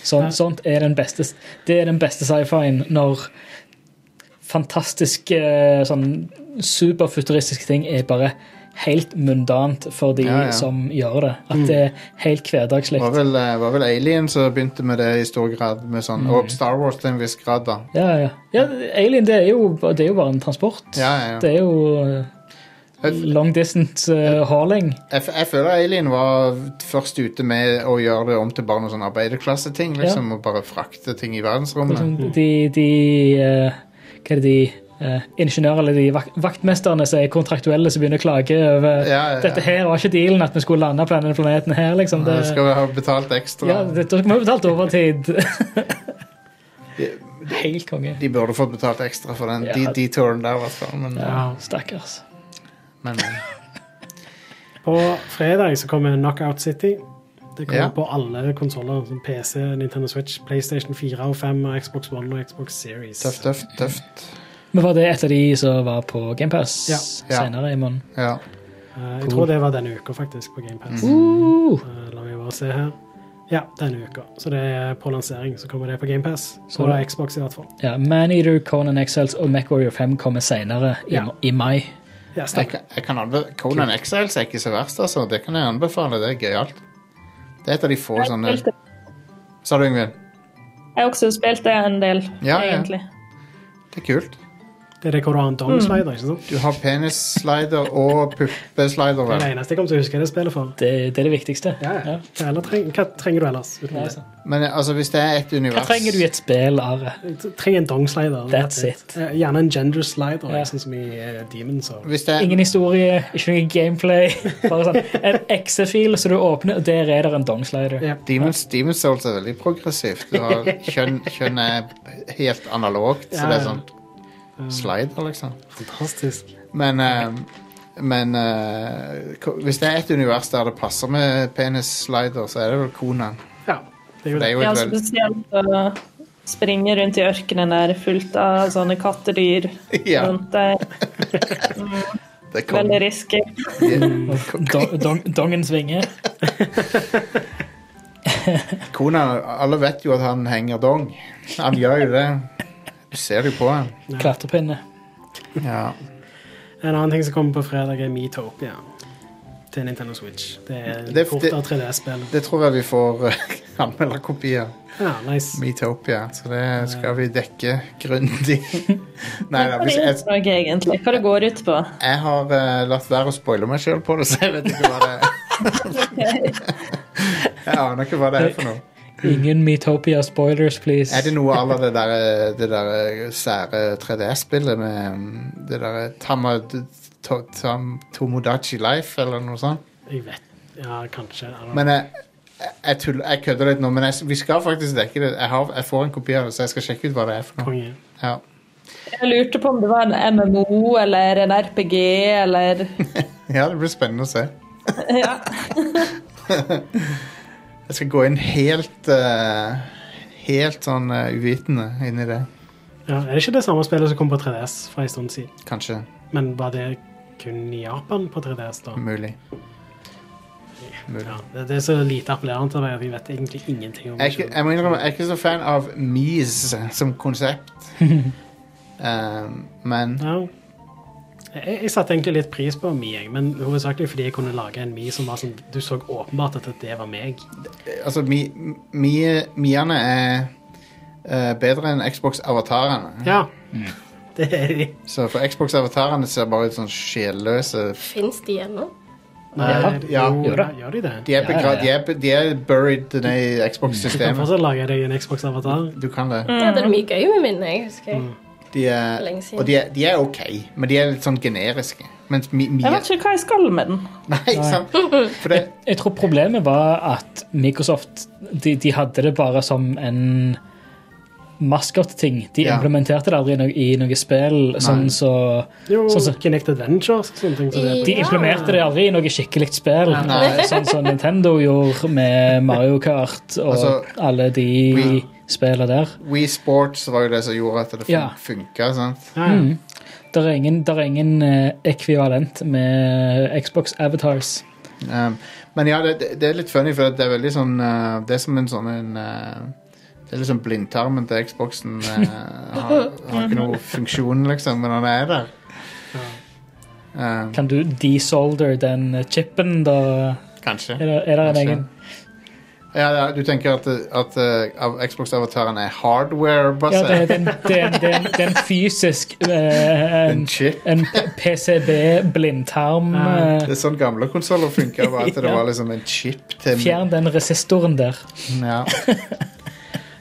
Speaker 3: Sånt, sånt er den beste Det er den beste sci-fien når fantastiske sånn superfuturistiske ting er bare helt mundant for de
Speaker 1: Ja, Mm. ja.
Speaker 3: som gjør det. At det er helt hverdagslig.
Speaker 1: var vel, eh, var vel Alien som begynte med det i stor grad. Med sånn,
Speaker 3: Mm.
Speaker 1: Og Star Wars til en viss grad, da.
Speaker 3: Ja, ja. ja, Alien, det er, jo, det er jo bare en transport.
Speaker 1: Ja, ja, ja.
Speaker 3: Det er jo eh,
Speaker 1: Jeg,
Speaker 3: long distance eh, hauling.
Speaker 1: jeg, jeg føler Alien var først ute med å gjøre det om til bare noen sånn arbeiderklasseting. Liksom, Og bare frakte ting i verdensrommet.
Speaker 3: Liksom, de de eh, Hva er det de eh, Ingeniører eller de vak vaktmesterne som er kontraktuelle, som begynner å klage over
Speaker 1: Ja, ja, ja.
Speaker 3: Dette her var ikke dealen at vi skulle lande på denne planeten her, liksom. Det,
Speaker 1: Det skal vi ha betalt ekstra.
Speaker 3: ja, det, dere må jo betalt overtid. Helt konge.
Speaker 1: De burde fått betalt ekstra for den
Speaker 3: Ja.
Speaker 1: de, de turen der, i hvert fall. Men,
Speaker 2: Ja.
Speaker 3: Stakkars.
Speaker 1: men eh,
Speaker 2: På fredag så kommer Knockout City. Det kommer
Speaker 1: Ja.
Speaker 2: på alle konsoller. som PC, Nintendo Switch, PlayStation 4 og 5, og Xbox One og Xbox Series.
Speaker 1: tøft, tøft, tøft.
Speaker 3: Men var det et av de som var på GamePass
Speaker 2: Ja.
Speaker 1: Ja.
Speaker 3: senere i måneden?
Speaker 1: Ja.
Speaker 2: Eh, Jeg tror det var denne uka, faktisk, på GamePass.
Speaker 3: Uh,
Speaker 2: Eh, La meg bare se her. Ja, denne uka. Så det er på lansering. Så kommer det på GamePass.
Speaker 3: Så
Speaker 2: På
Speaker 3: det-
Speaker 2: Xbox, i hvert fall.
Speaker 3: ja, Maneater, Conan Exiles og MacWarrior 5 kommer senere i,
Speaker 2: Ja.
Speaker 3: i mai.
Speaker 2: Ja,
Speaker 1: Jeg,
Speaker 2: stemmer.
Speaker 1: kan- jeg kan anbe- Conan Exiles er ikke så verst, altså. Det kan jeg anbefale. Det er gøyalt. Det er et av de få
Speaker 5: Jeg,
Speaker 1: sånne
Speaker 5: spilte,
Speaker 1: Sa du, Yngvild?
Speaker 5: jeg har også spilt det en del,
Speaker 1: Ja, ja.
Speaker 5: egentlig.
Speaker 1: Det er kult.
Speaker 2: Det er det hvor du har en
Speaker 3: Mm.
Speaker 2: dongslider, ikke sant?
Speaker 1: Du har penis-slider og puppeslider.
Speaker 2: Det er det
Speaker 1: vel?
Speaker 2: eneste jeg kommer til å huske det spillet for.
Speaker 3: Det, det er det viktigste.
Speaker 2: Ja, ja.
Speaker 3: Ja.
Speaker 2: Hva ellers treng, hva trenger du ellers? utenom
Speaker 3: Nei,
Speaker 2: det?
Speaker 3: sant.
Speaker 1: Men eh, altså, hvis det er et univers
Speaker 3: Hva trenger du i et spill, Are?
Speaker 2: Du trenger en dongslider.
Speaker 3: That's it.
Speaker 2: Eh, Gjerne en gender slider,
Speaker 3: Ja.
Speaker 2: sånn som i eh, Demons. Og...
Speaker 1: Hvis det er,
Speaker 3: Ingen historie, ikke noe gameplay. Bare sånn en Excel-fil som du åpner, og der er det en dongslider.
Speaker 2: Ja.
Speaker 1: Demons, Demons Souls er veldig progressivt. Du har kjønn, kjønn er helt analogt, så
Speaker 2: Ja,
Speaker 1: det er
Speaker 2: ja.
Speaker 1: sånn slider, liksom.
Speaker 2: Fantastisk.
Speaker 1: Men, eh, men eh, ko- hvis det er et univers der det passer med penis-slider, så er det vel Konan.
Speaker 2: Ja, det er jo
Speaker 1: Det
Speaker 2: det.
Speaker 1: er jo
Speaker 5: Ja,
Speaker 1: et vel...
Speaker 5: spesielt å springe rundt i ørkenen der fullt av sånne kattedyr
Speaker 1: Ja,
Speaker 5: rundt deg.
Speaker 1: det er
Speaker 5: Veldig
Speaker 1: konge.
Speaker 5: risky.
Speaker 3: Do- dong- Dongen svinger.
Speaker 1: Konan, alle vet jo at han henger dong. Han gjør jo det. Du ser det jo på han.
Speaker 3: Klatrepinne.
Speaker 1: Ja.
Speaker 2: En annen ting som kommer på fredag, er Metopia. Til Nintendo Switch. Det er
Speaker 1: Det- det-
Speaker 2: et kortere 3D-spill.
Speaker 1: Det tror jeg vi får eh, anmelderkopier.
Speaker 2: Ja, nice.
Speaker 1: Metopia. Så det skal vi dekke grundig. Nei da.
Speaker 5: Hva er
Speaker 1: Hvis
Speaker 5: det
Speaker 1: jeg,
Speaker 5: utdraget egentlig? Hva det går ut på?
Speaker 1: jeg har eh, latt være å spoile meg sjøl på det, så jeg vet ikke hva det er. Jeg aner ikke hva det er for noe.
Speaker 3: Ingen Metopia spoilers, please.
Speaker 1: Er det noe à la det der, eh, det der eh, sære 3D-spillet med mm, det derre Tamad... To, tam, Tomodachi Life, eller noe sånt?
Speaker 2: Jeg vet Ja, kanskje. I don't know.
Speaker 1: Men jeg, jeg, jeg tuller- jeg kødder litt nå, men jeg, vi skal faktisk dekke det. Jeg, har, jeg får en kopi av det, så jeg skal sjekke ut hva det er for noe.
Speaker 2: Konge.
Speaker 1: Ja.
Speaker 5: Jeg lurte på om det var en MMO eller en RPG eller
Speaker 1: ja, det blir spennende å se.
Speaker 5: ja.
Speaker 1: Jeg skal gå inn helt eh, Helt sånn eh, uvitende inn i det,
Speaker 2: Ja, er det ikke det samme spillet som kom på 3DS for en stund siden?
Speaker 1: kanskje. Mm.
Speaker 2: Men var det kun i Japan på 3DS, da?
Speaker 1: Mulig.
Speaker 2: Ja, det, det er så lite appellerende til meg at jeg vet egentlig ingenting om
Speaker 1: Jeg, er
Speaker 2: det
Speaker 1: ikke- jeg må innrømme, jeg er ikke så fan av Mies som konsept. Um, men
Speaker 2: Ja. Jeg, jeg satte egentlig litt pris på Mi, jeg, men hovedsakelig fordi jeg kunne lage en Mi som var sånn Du så åpenbart at det var meg.
Speaker 1: altså, Mi- Mi- Miene er eh, bedre enn Xbox-avatarene.
Speaker 2: Ja.
Speaker 1: Mm.
Speaker 2: Det er de.
Speaker 1: Så for Xbox-avatarene ser bare ut som sånn sjelløse
Speaker 4: Fins de ennå?
Speaker 2: Nei,
Speaker 1: ja.
Speaker 2: jo,
Speaker 3: Gjør det.
Speaker 2: gjør de det?
Speaker 1: De er,
Speaker 3: Ja,
Speaker 1: begra
Speaker 3: ja,
Speaker 1: de er, de er buried ned i
Speaker 2: Du kan
Speaker 1: Xbox-systemet.
Speaker 2: fortsatt lage deg en Xbox-avatar.
Speaker 1: Du kan det.
Speaker 4: Det hadde det mye gøy med mine, jeg husker. jeg.
Speaker 1: De er,
Speaker 4: Lenge siden.
Speaker 1: og de er, de er ok, men de er litt sånn generiske. Mens Mi-
Speaker 5: Jeg
Speaker 1: Mia
Speaker 5: vet ikke hva jeg skal med den.
Speaker 1: Nei, sant? For det,
Speaker 3: Jeg tror problemet var at Microsoft de, de hadde det bare som en maskotting. De
Speaker 1: Ja.
Speaker 3: implementerte det aldri i noe, i noe spill. Sånn så,
Speaker 2: Jo,
Speaker 3: Sånn som-
Speaker 2: Kinect Adventures og sånne ting. Så det
Speaker 4: I-
Speaker 3: de
Speaker 4: Ja.
Speaker 3: implementerte det aldri i noe skikkelig spill.
Speaker 1: Nei.
Speaker 3: Sånn som Nintendo gjorde med Mario Kart og
Speaker 1: Altså,
Speaker 3: alle de
Speaker 1: Wii-
Speaker 3: spillene der.
Speaker 1: We Sports var jo det som gjorde at det fun
Speaker 3: Ja.
Speaker 1: funka. Sant?
Speaker 2: ja, ja.
Speaker 3: Det er ingen, Mm. der er ingen eh, ekvivalent med Xbox Avatars.
Speaker 1: Um, men ja, det, det- det er litt funny, for det er veldig sånn uh, Det er som en sånn en uh, Det er liksom blindtarmen til Xboxen. Uh, har, har ikke noe funksjon, liksom, men han er der. Um,
Speaker 3: Kan du desolder den chipen, da?
Speaker 1: Um, kanskje.
Speaker 3: Er det, er det en
Speaker 1: Kanskje.
Speaker 3: egen
Speaker 1: Ja, ja, du tenker at, at uh, av- Xbox-avataren er
Speaker 3: Ja, det, er-
Speaker 1: hardware-basert?
Speaker 3: det, er en- det, er en- det, er en- det er en fysisk eh,
Speaker 1: en
Speaker 3: en,
Speaker 1: chip?
Speaker 3: en PCB-blindtarm.
Speaker 2: Ja.
Speaker 1: Det er sånn gamle konsoller funka, at det var liksom en chip til
Speaker 3: Fjern den resistoren der.
Speaker 1: Ja.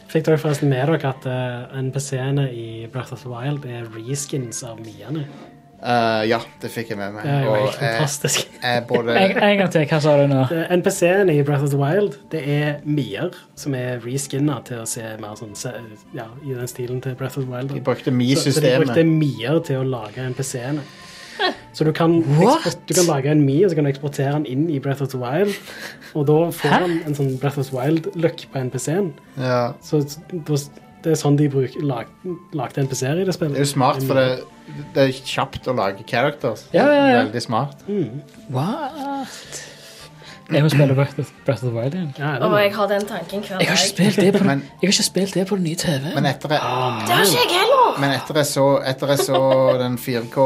Speaker 2: Fikk dere forresten med dere at uh, NPC-ene i Breath of the Wild er reskins av Miene?
Speaker 1: Uh, ja, det fikk jeg med meg.
Speaker 2: Det er jo
Speaker 1: Og eh,
Speaker 2: helt
Speaker 1: jeg,
Speaker 2: fantastisk.
Speaker 1: jeg både
Speaker 3: En, en gang til, hva sa du nå?
Speaker 2: Eh, NPC-ene i Breath of the Wild, det er Mier som er reskinna til å se mer sånn se, Ja, i den stilen til Breath of the Wild.
Speaker 1: De brukte
Speaker 2: Så, så de brukte
Speaker 1: Mi-systemet.
Speaker 2: Mier til å lage NPC-ene. Så du kan,
Speaker 3: What?
Speaker 2: eksport, du kan lage en Mi og så kan du eksportere den inn i Breath of the Wild. Og da får
Speaker 3: Hæ?
Speaker 2: han en sånn Breath of the Wild-look på NPC-en.
Speaker 1: Ja.
Speaker 2: Så s- da- det er sånn de bruk, lag, lagde NPC-er i det spillet.
Speaker 1: Det er jo smart, for det, det er kjapt å lage characters.
Speaker 3: Ja, ja, ja.
Speaker 1: Veldig smart.
Speaker 3: What? Jeg må spille Breath of, Breath of the Wild igjen.
Speaker 2: Ja, det
Speaker 4: Og
Speaker 2: er
Speaker 4: jeg har den tanken hver
Speaker 3: Jeg har ikke
Speaker 4: dag.
Speaker 3: spilt det på den,
Speaker 1: Men-
Speaker 3: jeg har ikke spilt det på den nye TV-en.
Speaker 1: Men etter
Speaker 3: Ah.
Speaker 1: jeg,
Speaker 4: Det har ikke jeg heller!
Speaker 1: men etter jeg så, etter jeg så den 4K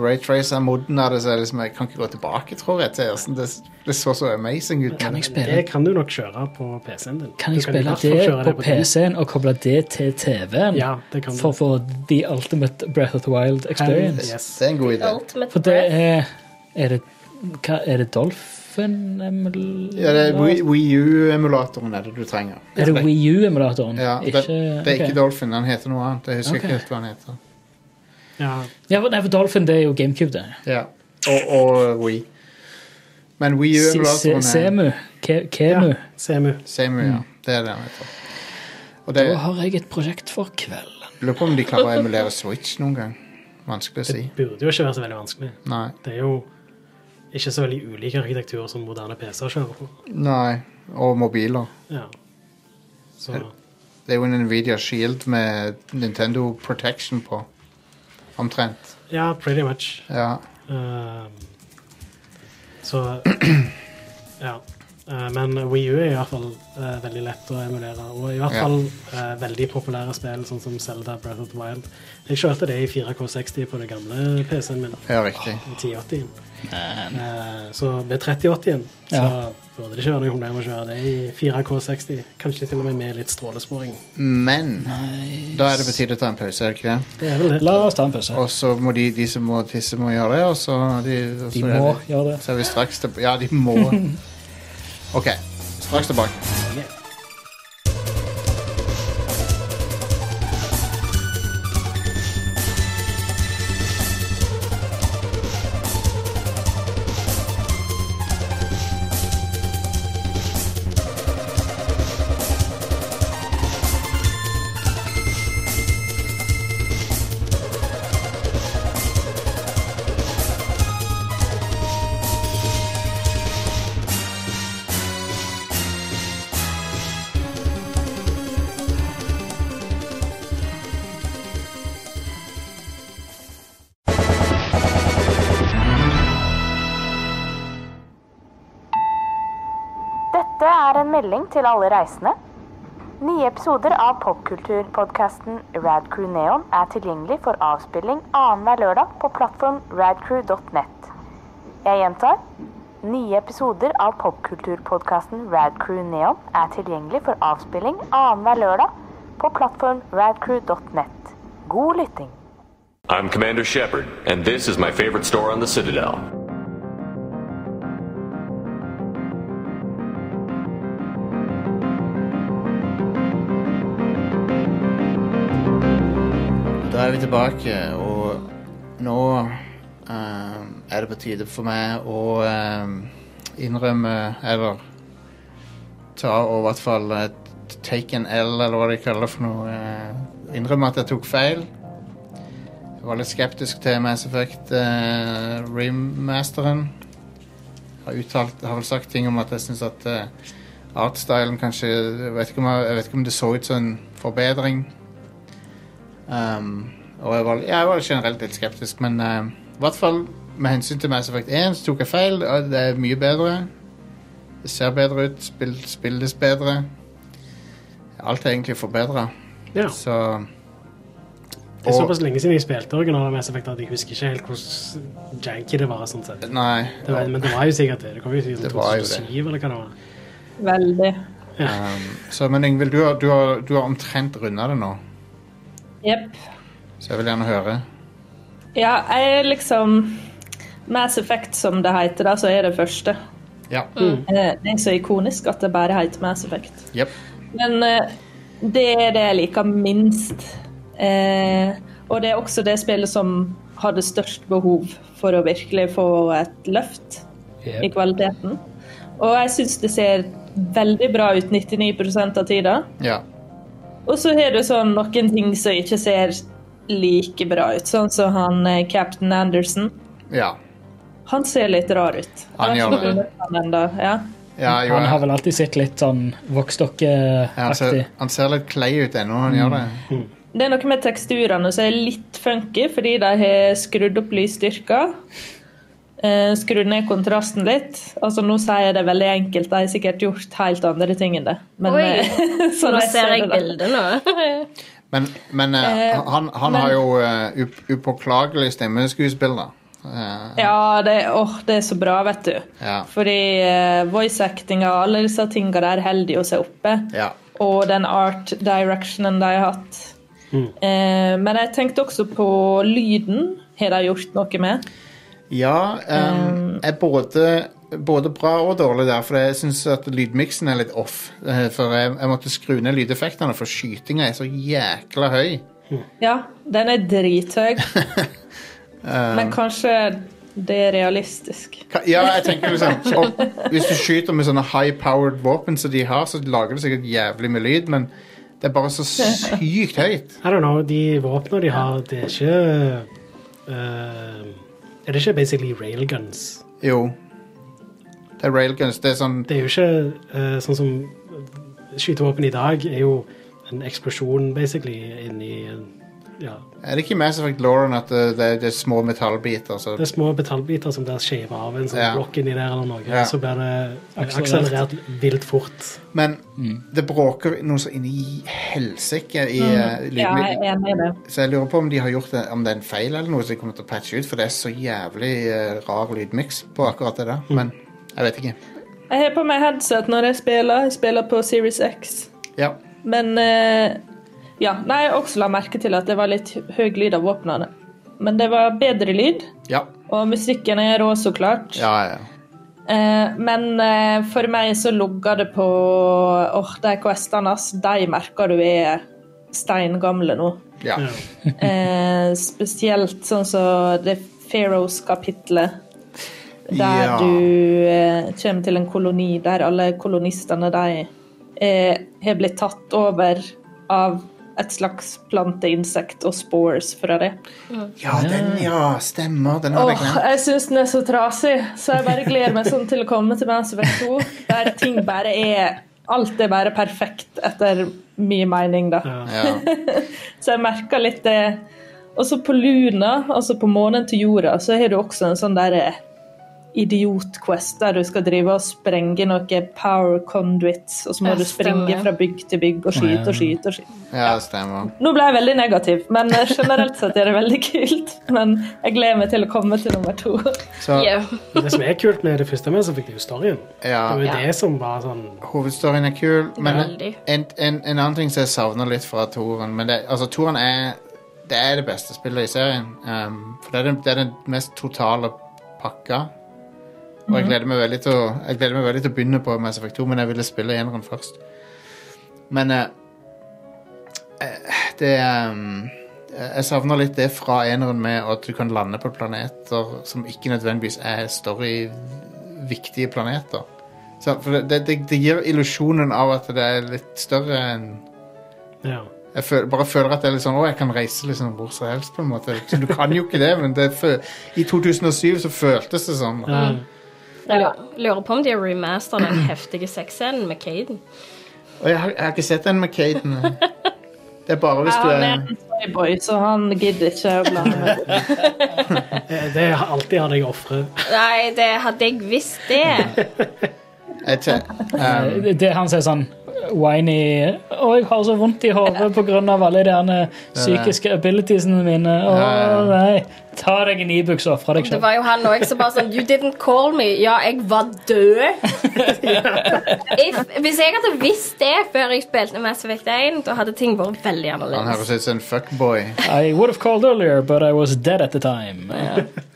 Speaker 1: Raytracer-moden av det, så er det liksom, jeg kan ikke gå tilbake, tror jeg. Til. Sånn, Det, det så så amazing ut.
Speaker 3: Kan jeg
Speaker 2: det. det
Speaker 3: spille,
Speaker 2: kan du nok kjøre på PC-en din.
Speaker 3: kan
Speaker 2: Du i
Speaker 3: jeg spille
Speaker 2: hvert fall kjøre
Speaker 3: det på
Speaker 2: din.
Speaker 3: PC-en og koble det til TV-en?
Speaker 2: Ja, det kan du.
Speaker 3: For å få the ultimate Breath of the Wild experience?
Speaker 2: Yes.
Speaker 1: Det er en god idé.
Speaker 4: Ultimate
Speaker 3: For det
Speaker 4: Breath.
Speaker 3: er Er det, hva, er det Dolphin emulator?
Speaker 1: Ja, det er Wii- Wii U-emulatoren er det du trenger.
Speaker 3: Er det Wii U-emulatoren?
Speaker 1: Ja, det, det er ikke Dolphin, han heter noe annet. Jeg husker
Speaker 3: Ok.
Speaker 1: ikke helt hva han heter.
Speaker 2: Ja.
Speaker 3: Ja, for- nei, for Dolphin det er jo GameCube, det.
Speaker 1: Ja. Og, og Wii. Men Wii
Speaker 3: Se- se-
Speaker 1: U-emulatoren er
Speaker 3: Semu. Ke-
Speaker 2: ja.
Speaker 3: Kemu.
Speaker 2: Semu.
Speaker 1: Samu, ja. Det er det han heter. Og det,
Speaker 3: Mm. Da har jeg et prosjekt for kvelden.
Speaker 1: Lurer på om de klarer å emulere Switch noen gang. Vanskelig å si.
Speaker 2: Burde jo ikke være så veldig vanskelig.
Speaker 1: Nei.
Speaker 2: Det er jo ikke så veldig ulik arkitektur som moderne PC-er kjører på.
Speaker 1: Nei. Og mobiler.
Speaker 2: Ja. Så
Speaker 1: Det er jo en Nvidia Shield med Nintendo Protection på. Omtrent.
Speaker 2: ja, pretty much.
Speaker 1: Ja.
Speaker 2: Ehm, så Ja. Eh, Men Wii U er i hvert fall eh, veldig lett å emulere, og i hvert
Speaker 1: Ja.
Speaker 2: fall eh, veldig populære spill, sånn som Zelda Breath of the Wild. Jeg kjørte det i 4K60 på det gamle PC-en min.
Speaker 1: Ja, riktig.
Speaker 2: 1080-en. Eh, Så ved 3080-en så
Speaker 3: Ja.
Speaker 2: burde det ikke være noe problem å kjøre det i 4K60. Kanskje til og med med litt strålesporing.
Speaker 1: Men da er det på tide å ta en pause, er det ikke det?
Speaker 2: Det er vel det.
Speaker 3: La oss ta en pause.
Speaker 1: Og så må de, de som må tisse, må gjøre det, og så de, og så
Speaker 3: De
Speaker 1: er
Speaker 3: må
Speaker 1: vi-
Speaker 3: gjøre det.
Speaker 1: Så er vi straks tilbake. Ja, de må. OK. Straks tilbake.
Speaker 6: Dette er en melding til alle reisende. Nye episoder av popkulturpodkasten Radcrew Neon er tilgjengelig for avspilling annenhver lørdag på plattform radcrew.net. Jeg gjentar. Nye episoder av popkulturpodkasten Radcrew Neon er tilgjengelig for avspilling annenhver lørdag på plattform radcrew.net. God lytting.
Speaker 7: I'm Commander Shepard, and this is my favorite store on the Citadel.
Speaker 1: Da er vi tilbake, og nå eh, er det på tide for meg å eh, innrømme Eller ta og i hvert fall eh, take an L, eller hva de kaller det for noe. eh, innrømme at jeg tok feil. Jeg var litt skeptisk til Mass Effect eh, Remasteren. Har, uttalt, har vel sagt ting om at jeg syns at eh, artstylen kanskje jeg vet, ikke om jeg, jeg vet ikke om det så ut som en forbedring. Um, og jeg var, ja, jeg var generelt litt skeptisk, men eh, i hvert fall med hensyn til Mass Effect 1 så tok jeg feil. og Det er mye bedre. Det ser bedre ut, spill, spilles bedre. Alt er egentlig forbedra,
Speaker 2: Ja.
Speaker 1: så
Speaker 2: Det er såpass lenge siden jeg spilte originale Mass Effect at jeg husker ikke helt hvordan janky det var. sånn sett.
Speaker 1: Nei.
Speaker 2: Det var, men det var jo sikkert det. Det kom jo sikkert i
Speaker 1: Det var jo det.
Speaker 2: 2007 eller hva det var.
Speaker 5: Veldig.
Speaker 1: Så, men Yngvild, du har, du, har, du har omtrent runda det nå,
Speaker 5: Jepp.
Speaker 1: så jeg vil gjerne høre.
Speaker 5: Ja, jeg er liksom Mass Effect, som det heter, da, så er det første.
Speaker 1: Ja.
Speaker 2: Mm.
Speaker 5: Eh, Det er så ikonisk at det bare heter Mass Effect.
Speaker 1: Jep.
Speaker 5: Men eh, det er det jeg liker minst. Eh, og det er også det spillet som hadde størst behov for å virkelig få et løft i kvaliteten. Og jeg syns det ser veldig bra ut 99 av tida.
Speaker 1: Ja.
Speaker 5: Og så har du sånn noen ting som ikke ser like bra ut, sånn som han eh, Captain Anderson.
Speaker 1: ja.
Speaker 5: Han ser litt rar ut.
Speaker 1: Han
Speaker 5: Jeg har
Speaker 1: gjør
Speaker 5: ikke
Speaker 1: det.
Speaker 5: funnet han enda, ja.
Speaker 1: ja jo,
Speaker 3: Han har
Speaker 1: jeg,
Speaker 3: vel alltid sett litt sånn eh,
Speaker 1: han, ser,
Speaker 3: voksdokkeaktig.
Speaker 1: han ser litt klei ut ennå, han gjør det.
Speaker 5: Det er noe med teksturene som er litt funky, fordi de har skrudd opp lysstyrka. eh, Skrudd ned kontrasten litt. Altså Nå sier jeg det veldig enkelt, de har sikkert gjort helt andre ting enn det. Men,
Speaker 4: Oi,
Speaker 5: eh,
Speaker 4: Så
Speaker 5: sånn
Speaker 4: nå
Speaker 5: jeg
Speaker 4: ser jeg
Speaker 5: det da.
Speaker 4: bildet nå.
Speaker 1: Men, men eh, han, han har jo eh, up, upåklagelig stemmeskuespiller. Eh,
Speaker 5: Ja, det, åh, det er så bra, vet du.
Speaker 1: Ja.
Speaker 5: Fordi eh, voice acting og alle disse tinga der holder jo seg oppe.
Speaker 1: ja.
Speaker 5: Og den art directionen de har hatt. Eh, men jeg tenkte også på lyden. Har de gjort noe med?
Speaker 1: ja eh, er både, både bra og dårlig der, for jeg syns at lydmiksen er litt off. Eh, for jeg, jeg måtte skru ned lydeffektene, for skytinga er så jækla høy.
Speaker 5: Ja, den er drithøy. Men kanskje det er realistisk.
Speaker 1: Ka- Ja, jeg tenker liksom og Hvis du skyter med sånne high-powered våpen som de har, så lager det sikkert jævlig med lyd, men det er bare så sykt høyt.
Speaker 2: I don't know, De våpnene de har, det er ikke eh, Er det ikke basically railguns?
Speaker 1: Jo. Det er railguns. Det er sånn
Speaker 2: Det er jo ikke eh, sånn som Skytevåpen i dag er jo en eksplosjon, basically, inni en- ja,
Speaker 1: Er det ikke Mass Effect Lauren at eh, det, det, er- det er små metallbiter? Så,
Speaker 2: Det er små metallbiter som blir skjeva av en sånn
Speaker 1: Ja.
Speaker 2: blokk inni der eller noe.
Speaker 1: Ja.
Speaker 2: Så blir det
Speaker 3: Akselerert.
Speaker 2: akselerert vilt fort.
Speaker 1: men
Speaker 2: Mm.
Speaker 1: det bråker noe så inn i helsike i eh,
Speaker 5: Ja, jeg
Speaker 1: lydmik-
Speaker 5: er enig i det.
Speaker 1: Så jeg lurer på om de har gjort det, om det er en feil eller noe som de kommer til å patche ut, for det er så jævlig eh, rar lydmiks på akkurat det
Speaker 2: Mm.
Speaker 1: der. Men jeg vet ikke.
Speaker 5: Jeg har på meg headset når jeg spiller. Jeg spiller på Series X.
Speaker 1: Ja.
Speaker 5: Men eh, ja, nei, jeg også la merke til at det var litt høy lyd av våpnene. Men det var bedre lyd,
Speaker 1: Ja.
Speaker 5: og musikken er rå, så klart.
Speaker 1: Ja, ja.
Speaker 5: Eh, men eh, for meg så logger det på Åh, de questene, ass. De merker du er steingamle nå.
Speaker 1: ja.
Speaker 2: Ja.
Speaker 5: Eh, spesielt sånn som The Pharaohs-kapitlet. Der
Speaker 1: Ja.
Speaker 5: du eh, kommer til en koloni der alle kolonistene de eh, har blitt tatt over av et slags planteinsekt og spores fra det.
Speaker 1: Ja, den, ja. Stemmer. Den hadde jeg
Speaker 5: Åh,
Speaker 1: glemt.
Speaker 5: jeg syns den er så trasig, så jeg bare gleder meg sånn til å komme til Mass Effect 2, der ting bare er Alt er bare perfekt, etter min mening, da.
Speaker 1: Ja.
Speaker 5: Så jeg merka litt eh, det. Og så på Luna, altså på månen til jorda, så har du også en sånn der idiotquest der du skal drive og sprenge noen power conduits, og så
Speaker 4: Ja,
Speaker 5: må du sprenge
Speaker 4: stemmer.
Speaker 5: fra bygg til bygg og skyte og skyte og skyte.
Speaker 1: Ja, det stemmer.
Speaker 5: Nå ble jeg veldig negativ, men eh, generelt sett er det veldig kult. Men jeg gleder meg til å komme til nummer to.
Speaker 1: Så
Speaker 4: Yeah.
Speaker 2: Men Det som er kult med det første med, så fikk det jo storyen. Det var
Speaker 1: ja,
Speaker 2: jo det som var sånn
Speaker 1: hovedstoryen er kul, men
Speaker 4: Veldig.
Speaker 1: en, en, en annen ting som jeg savner litt fra toeren Men det, altså, toeren er det, er det beste spillet i serien. Um, for det er, den, det er den mest totale pakka. Og jeg gleder meg veldig til å, jeg gleder meg veldig til å begynne på Mass Effect 2, men jeg ville spille eneren først. Men eh, eh, det ehm, Jeg savner litt det fra eneren med at du kan lande på planeter som ikke nødvendigvis er story-viktige planeter. Så, for det, det, det gir illusjonen av at det er litt større enn
Speaker 2: ja.
Speaker 1: Jeg føl, bare føler at det er litt sånn, å, jeg kan reise liksom hvor som helst. på en måte Så Du kan jo ikke det, men det, fø- i 2007 så føltes det sånn.
Speaker 2: ja.
Speaker 4: Jeg lurer- lurer på om de har remasteret den heftige sexscenen med Caden.
Speaker 1: Og jeg har, jeg har ikke sett den med Caden. Det er bare hvis du
Speaker 5: Han
Speaker 1: er
Speaker 5: er en soyboy, så han gidder ikke å blande meg opp.
Speaker 2: Eh, Det har alltid hadde jeg ofre.
Speaker 4: Nei, det hadde jeg visst det.
Speaker 1: jeg te- um,
Speaker 3: Det, det han sier sånn whiny Å, jeg har så vondt i hodet pga. alle de her eh, psykiske abilitiesene mine. Å
Speaker 1: Ja, ja.
Speaker 3: nei. Ta deg en Ibux og ofre deg
Speaker 4: Det
Speaker 3: sjøl.
Speaker 4: var jo han òg som bare sånn You didn't call me. Ja, jeg var død. If, hvis jeg hadde visst det før jeg spilte Mass Effect 1, da hadde ting vært veldig
Speaker 1: Han høres
Speaker 4: annerledes.
Speaker 1: ut som en fuckboy.
Speaker 3: I would have called earlier, but I was dead at the time.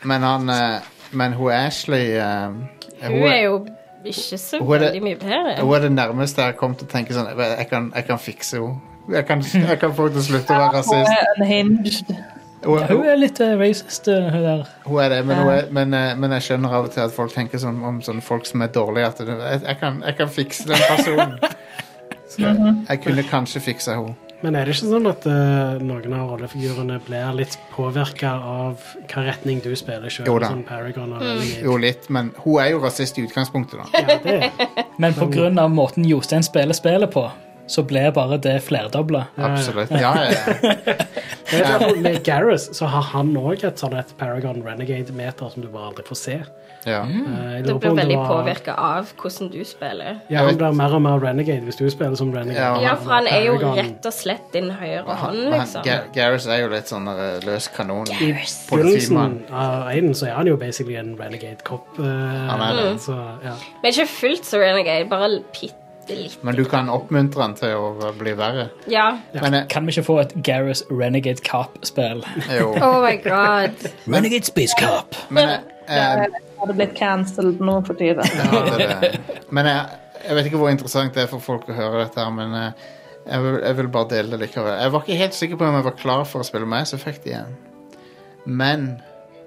Speaker 1: Men han eh, Men hun Ashley um,
Speaker 4: Hun er jo ikke så
Speaker 1: Hun er det-
Speaker 4: veldig mye bedre.
Speaker 1: Hun er det nærmeste jeg kom til å tenke sånn Jeg kan, jeg kan fikse henne. Jeg kan, jeg kan få henne til å slutte å være
Speaker 5: Han
Speaker 1: rasist.
Speaker 5: er unhinged.
Speaker 1: Hun,
Speaker 3: Hun er litt eh, racist, eh, hun der.
Speaker 1: hun er det, men, hun er, men, eh, men jeg skjønner av og til at folk tenker sånn om sånne folk som er dårlige, at det- jeg, jeg, kan, jeg kan fikse den personen. Så jeg, jeg kunne kanskje fiksa henne.
Speaker 2: Men er det ikke sånn at eh, noen av rollefigurene blir litt påvirka av hva retning du spiller sjøl?
Speaker 1: Jo da.
Speaker 2: Sånn Paragon og Renegade?
Speaker 1: Jo, litt, men hun er jo rasist i utgangspunktet, da.
Speaker 2: ja, det.
Speaker 3: Men pga. måten Jostein spiller spillet på, så ble bare det flerdobla.
Speaker 1: Absolutt. Ja, ja, ja.
Speaker 2: Men jeg tror sånn Med Gareth så har han òg et sånn et Paragon Renegade-meter som du bare aldri får se.
Speaker 1: ja.
Speaker 2: Eh, jeg
Speaker 4: Du
Speaker 2: lurer på
Speaker 4: blir
Speaker 2: om det
Speaker 4: veldig
Speaker 2: var-
Speaker 4: påvirka av hvordan du spiller.
Speaker 2: Ja, han blir mer og mer renegade hvis du spiller som renegade.
Speaker 1: Ja.
Speaker 4: Ja, for han er jo
Speaker 2: Paragon.
Speaker 4: rett og slett din høyre hånd,
Speaker 1: Men han-
Speaker 4: liksom.
Speaker 1: Ga- Garrus er jo litt sånn eh, løs kanon. Politimann.
Speaker 2: Begynnelsen av Aiden så er han jo basically en renegade-kopp. eh,
Speaker 1: Han er det.
Speaker 2: Så, ja.
Speaker 4: Men ikke fullt så renegade, bare bitte litt.
Speaker 1: Men du kan oppmuntre han til å bli verre.
Speaker 4: Ja.
Speaker 1: Men, eh,
Speaker 3: Kan vi ikke få et Gareth Renegade Cop-spill?
Speaker 1: jo.
Speaker 4: Oh my god.
Speaker 3: Renegade Space Cop!
Speaker 1: Men eh, eh,
Speaker 5: Jeg hadde blitt cancelled nå for tiden.
Speaker 1: Ja, det er det. Men jeg, jeg vet ikke hvor interessant det er for folk å høre dette, her, men eh, jeg vil, jeg vil bare dele det likevel. Jeg var ikke helt sikker på om jeg var klar for å spille Mass Effect igjen. Men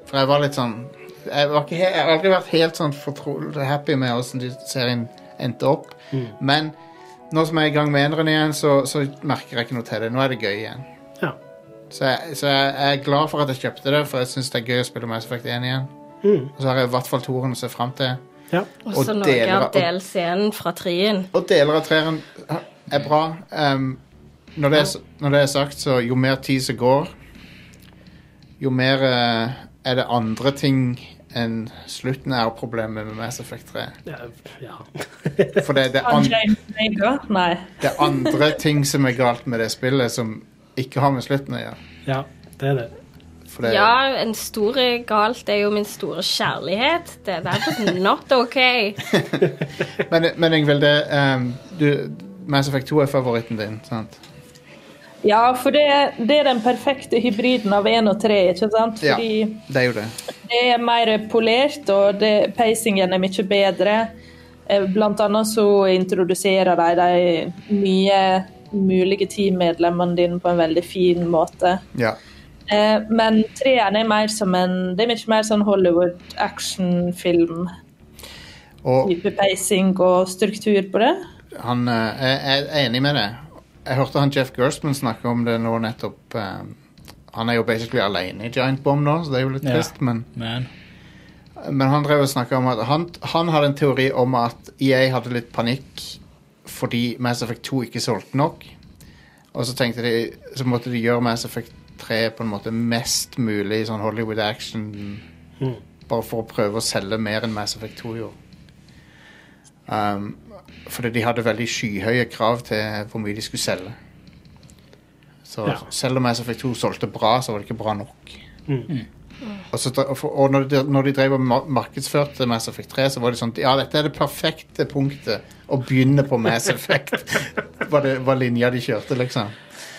Speaker 1: For jeg var litt sånn Jeg, var ikke, he- jeg har aldri vært helt sånn fortro- happy med åssen serien endte opp. Men nå som jeg er i gang med eneren igjen, så, så merker jeg ikke noe til det. Nå er det gøy igjen.
Speaker 2: ja.
Speaker 1: Så jeg, så jeg jeg er glad for at jeg kjøpte det, for jeg syns det er gøy å spille Mass Effect 1 igjen.
Speaker 2: Mm.
Speaker 1: Og så har jeg i hvert fall toeren å se fram til.
Speaker 2: ja.
Speaker 4: Og
Speaker 1: Og
Speaker 4: så noe
Speaker 1: deler-
Speaker 4: av
Speaker 1: og-
Speaker 4: delscenen fra trien.
Speaker 1: Og deler av treeren er bra. Ehm, når, det er, s- når det er sagt, så jo mer tid som går, jo mer eh, er det andre ting enn slutten er problemet med Mass Effect 3.
Speaker 2: Ja, ja.
Speaker 1: For det, det, er
Speaker 5: Han
Speaker 1: an,
Speaker 5: James Mago? Nei.
Speaker 1: det er andre ting som er galt med det spillet, som ikke har med slutten å gjøre.
Speaker 2: ja, det er det.
Speaker 1: For det,
Speaker 4: Ja, en stor galt er jo min store kjærlighet. Det er just not ok.
Speaker 1: Men, men Ingvild, det, ehm, du, Mass Effect 2 er favoritten din, sant?
Speaker 5: Ja, for det, det er den perfekte hybriden av 1 og 3, ikke sant?
Speaker 1: Ja.
Speaker 5: Fordi
Speaker 1: Det er jo det.
Speaker 5: det er mer polert, og det, pacingen er mye bedre. Eh, Blant annet så introduserer de de nye mulige teammedlemmene dine på en veldig fin måte.
Speaker 1: Ja.
Speaker 5: Eh, Men treeren er mer som en Det er mye mer sånn Hollywood-actionfilm-type
Speaker 1: Og
Speaker 5: pacing og struktur på det.
Speaker 1: han eh, jeg jeg er enig med det. Jeg hørte han Jeff Gerstmann snakke om det nå nettopp. eh, han er jo basically alene i Giant Bomb nå, så det er jo litt
Speaker 3: Ja.
Speaker 1: trist. Men,
Speaker 3: Man.
Speaker 1: men han drev og snakka om at han, han hadde en teori om at EA hadde litt panikk fordi Mass Effect 2 ikke solgte nok. Og så tenkte de Så måtte de gjøre Mass Effect 3 på en måte mest mulig sånn Hollywood action.
Speaker 2: Mm.
Speaker 1: Bare for å prøve å selge mer enn Mass Effect 2 gjorde. Um, fordi de hadde veldig skyhøye krav til hvor mye de skulle selge. Så
Speaker 2: Ja.
Speaker 1: selv om Mass Effect 2 solgte bra, så var det ikke bra nok.
Speaker 2: Mm.
Speaker 1: Og, så, dre- og Altså, for- og når, de, når de drev og mar- markedsførte Mass Effect 3, så var det sånn Ja, dette er det perfekte punktet å begynne på Mass Effect. var, det, var linja de kjørte, liksom.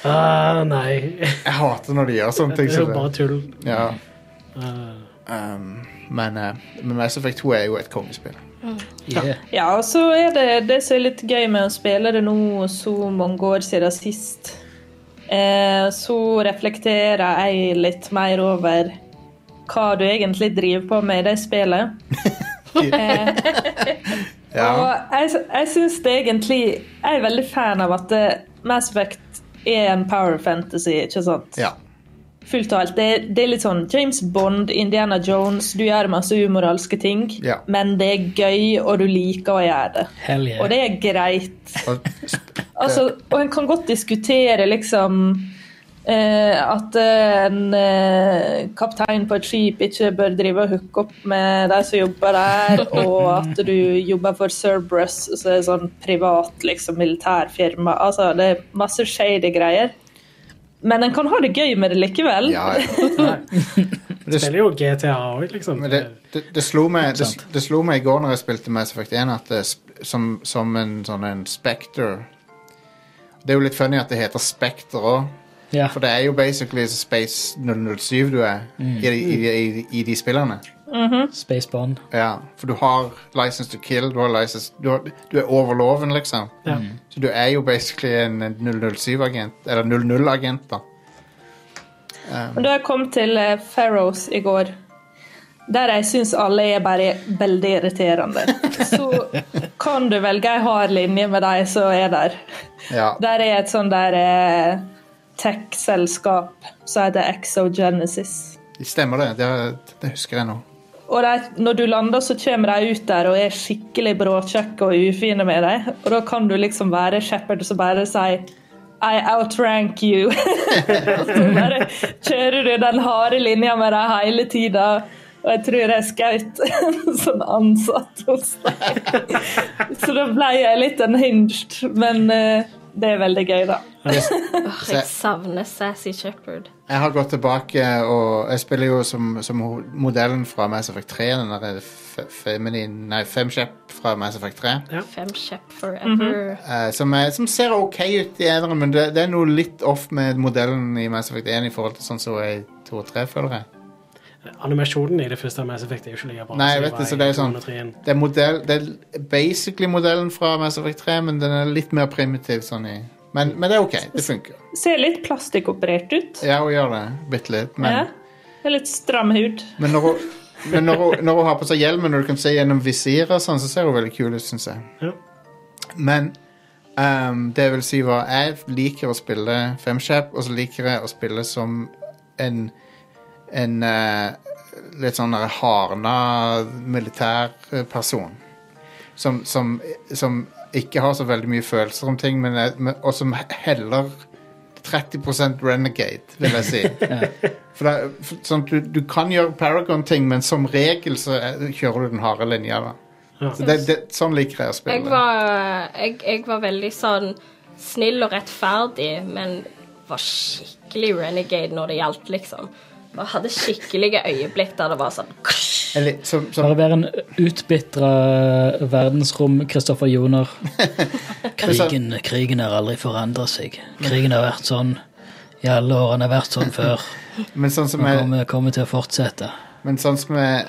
Speaker 2: Ah, nei.
Speaker 1: Jeg hater når de gjør sånne
Speaker 2: Det
Speaker 1: ting.
Speaker 2: er
Speaker 1: som
Speaker 2: jo
Speaker 1: det.
Speaker 2: bare tull.
Speaker 1: Ja,
Speaker 2: Ah,
Speaker 1: um, men, eh, men Mass Effect 2 er jo et kongespill.
Speaker 3: Yeah.
Speaker 5: Ja, og så er det det som er litt gøy med å spille det nå så mange år siden sist. Eh, så reflekterer jeg litt mer over hva du egentlig driver på med i det spillet.
Speaker 1: Ja.
Speaker 5: Og jeg, jeg syns det egentlig Jeg er veldig fan av at eh, Mass Effect er en power fantasy, ikke sant?
Speaker 1: ja.
Speaker 5: Fullt og alt. Det, det er litt sånn James Bond, Indiana Jones, du gjør masse umoralske ting,
Speaker 1: Ja.
Speaker 5: men det er gøy, og du liker å gjøre det.
Speaker 3: Hell yeah.
Speaker 5: Og det er greit.
Speaker 1: Og,
Speaker 5: Altså, og en kan godt diskutere liksom eh, at eh, en eh, kaptein på et skip ikke bør drive og hooke opp med de som jobber der, og at du jobber for Cerberus, så er det sånn privat liksom, militærfirma. Altså, det er masse shady greier. Men en kan ha det gøy med det likevel.
Speaker 1: ja, ja. Men Det,
Speaker 2: Spiller jo GTA òg, liksom.
Speaker 1: men det, det, det, slo meg, det, det slo meg i går når jeg spilte Mass Effect 1, at det, sp- som, som en sånn en Spectre Det er jo litt funny at det heter Spectre òg,
Speaker 3: ja.
Speaker 1: for det er jo basically Space 007 du er i, i, i, i de spillene.
Speaker 3: Space Bond.
Speaker 1: Ja, for du har license to kill, du, har license, du, har, du er over loven, liksom.
Speaker 2: Ja.
Speaker 1: Så du er jo basically en 007-agent, eller 00-agent, da.
Speaker 5: Men da jeg kom til eh, Faroes i går, der jeg syns alle er bare veldig irriterende, så kan du velge ei hard linje med de som er der.
Speaker 1: Ja.
Speaker 5: Der er et sånn der eh, tech-selskap som heter Exogenesis.
Speaker 1: Stemmer det. det. Det husker jeg nå.
Speaker 5: Og de, når du lander, så kommer de ut der og er skikkelig bråkjekke og ufine med deg. Og da kan du liksom være Shepherd som bare sier I outrank you. så bare kjører du den harde linja med dem hele tida. Og jeg tror jeg skjøt en sånn ansatt hos deg. Så da ble jeg litt unhinged. Men eh, det er veldig gøy, da.
Speaker 4: Åh, jeg savner Sassy Shepherd.
Speaker 1: Jeg har gått tilbake, og jeg spiller jo som, som ho- modellen fra Mass Effect 3. Den der eh, fe- feminin Nei, Femshep fra Mass Effect 3.
Speaker 4: Fem Shep forever.
Speaker 1: eh, som, er, som ser OK ut i eneren, men det, det er noe litt off med modellen i Mass Effect 1 i forhold til sånn som er i 2 og 3, føler jeg.
Speaker 2: Animasjonen i det første Mass Effect er jo ikke like bra.
Speaker 1: Nei,
Speaker 2: som
Speaker 1: jeg vet
Speaker 2: var
Speaker 1: det, så
Speaker 2: i
Speaker 1: det er sånn
Speaker 2: 203.
Speaker 1: Det er, modell, det er basically modellen fra Mass Effect 3, men den er litt mer primitiv sånn i Men, men det er OK. Det funker.
Speaker 5: Ser litt plastikkoperert ut.
Speaker 1: Ja, hun gjør det bitte litt, men
Speaker 5: Ja. Det er litt stram hud.
Speaker 1: Men når hun, men når hun, når hun har på seg hjelmen og du kan se gjennom visiret, og sånn, så ser hun veldig kul ut, syns jeg.
Speaker 2: Ja.
Speaker 1: Men ehm, det vil si hva jeg liker å spille femshap, og så liker jeg å spille som en, en eh, litt sånn der hardna militærperson. Som, som, som ikke har så veldig mye følelser om ting, men, er- men, og som heller 30 renegade, vil jeg si. For det, er- for, sånn, at du, du kan gjøre Paragon-ting, men som regel så er, kjører du den harde linja. da.
Speaker 2: Ja.
Speaker 1: Så det, det, sånn liker jeg å spille.
Speaker 4: Jeg var, jeg, jeg var veldig sånn snill og rettferdig, men var skikkelig renegade når det gjaldt, liksom. Og hadde skikkelige øyeblikk der det var sånn
Speaker 1: Jeg lik- som, som,
Speaker 3: Bare være en utbitra verdensrom Kristoffer Joner. Krigen, krigen har aldri forandra seg. Krigen har vært sånn i alle år. Den har vært sånn før.
Speaker 1: men sånn som
Speaker 3: Den
Speaker 1: jeg,
Speaker 3: kommer, kommer til å fortsette.
Speaker 1: men sånn som jeg,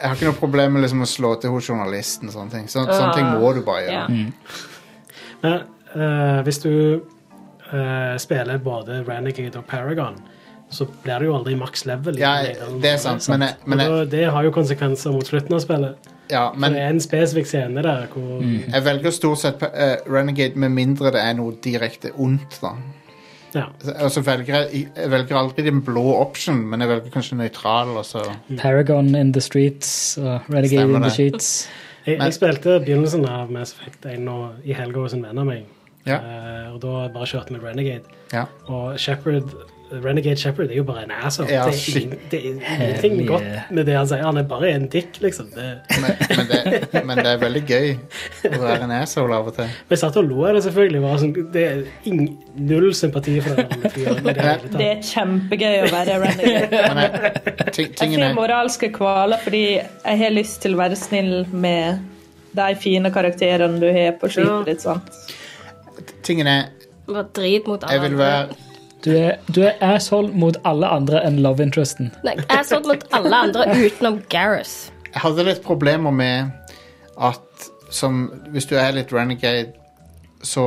Speaker 1: jeg har ikke noe problem med liksom å slå til hos journalisten. og Sånne ting Sånn- Sånne ting må du bare
Speaker 4: ja.
Speaker 1: gjøre.
Speaker 2: Men eh, hvis du eh, spiller både Renegade og Paragon, så blir det jo aldri maks level. i
Speaker 1: Ja,
Speaker 2: Renegade.
Speaker 1: det er sant, men, jeg, men,
Speaker 2: og
Speaker 1: jeg,
Speaker 2: da, det har jo konsekvenser mot slutten av spillet.
Speaker 1: ja, men Mm.
Speaker 2: det er en spesifikk scene der hvor
Speaker 1: jeg velger stort sett eh, Renegade med mindre det er noe direkte ondt. da
Speaker 2: Ja.
Speaker 1: Og så velger jeg, jeg velger aldri den blå option, men jeg velger kanskje nøytral. Og så
Speaker 2: Mm.
Speaker 3: Paragon in the streets og Renegade
Speaker 1: Stemmer
Speaker 3: in the
Speaker 1: det.
Speaker 3: sheets.
Speaker 2: Jeg,
Speaker 1: Men-
Speaker 2: jeg spilte begynnelsen av Mass Effect 1 nå, i helga hos en venn av meg,
Speaker 1: Ja.
Speaker 2: Eh, og da bare kjørte vi Renegade.
Speaker 1: ja.
Speaker 2: Og Shepherd Renegade Shepherd er jo bare en asshole.
Speaker 1: Ja,
Speaker 2: det, er ing- det er ingenting
Speaker 3: Hell yeah.
Speaker 2: godt med det han sier. Han er bare en dick, liksom. Det,
Speaker 1: Men, men, det, men det er veldig gøy å være en asshole av og til.
Speaker 2: vi satt og lo av det, selvfølgelig. Bare sånn, det er ing, null sympati for den fyren. i Det, hele tatt.
Speaker 5: Det er kjempegøy å være renegade.
Speaker 1: Men jeg, ting,
Speaker 5: Jeg
Speaker 1: tingen
Speaker 5: får
Speaker 1: er
Speaker 5: moralske kvaler fordi jeg har lyst til å være snill med de fine karakterene du har på skipet ditt. sant?
Speaker 1: Tingen er,
Speaker 4: Bare drit mot alle
Speaker 1: jeg vil være
Speaker 3: Du er, du er asshole mot alle andre enn love interesten.
Speaker 4: Nei, jeg så det mot alle andre utenom Gareth.
Speaker 1: Jeg hadde litt problemer med at som Hvis du er litt renegade, så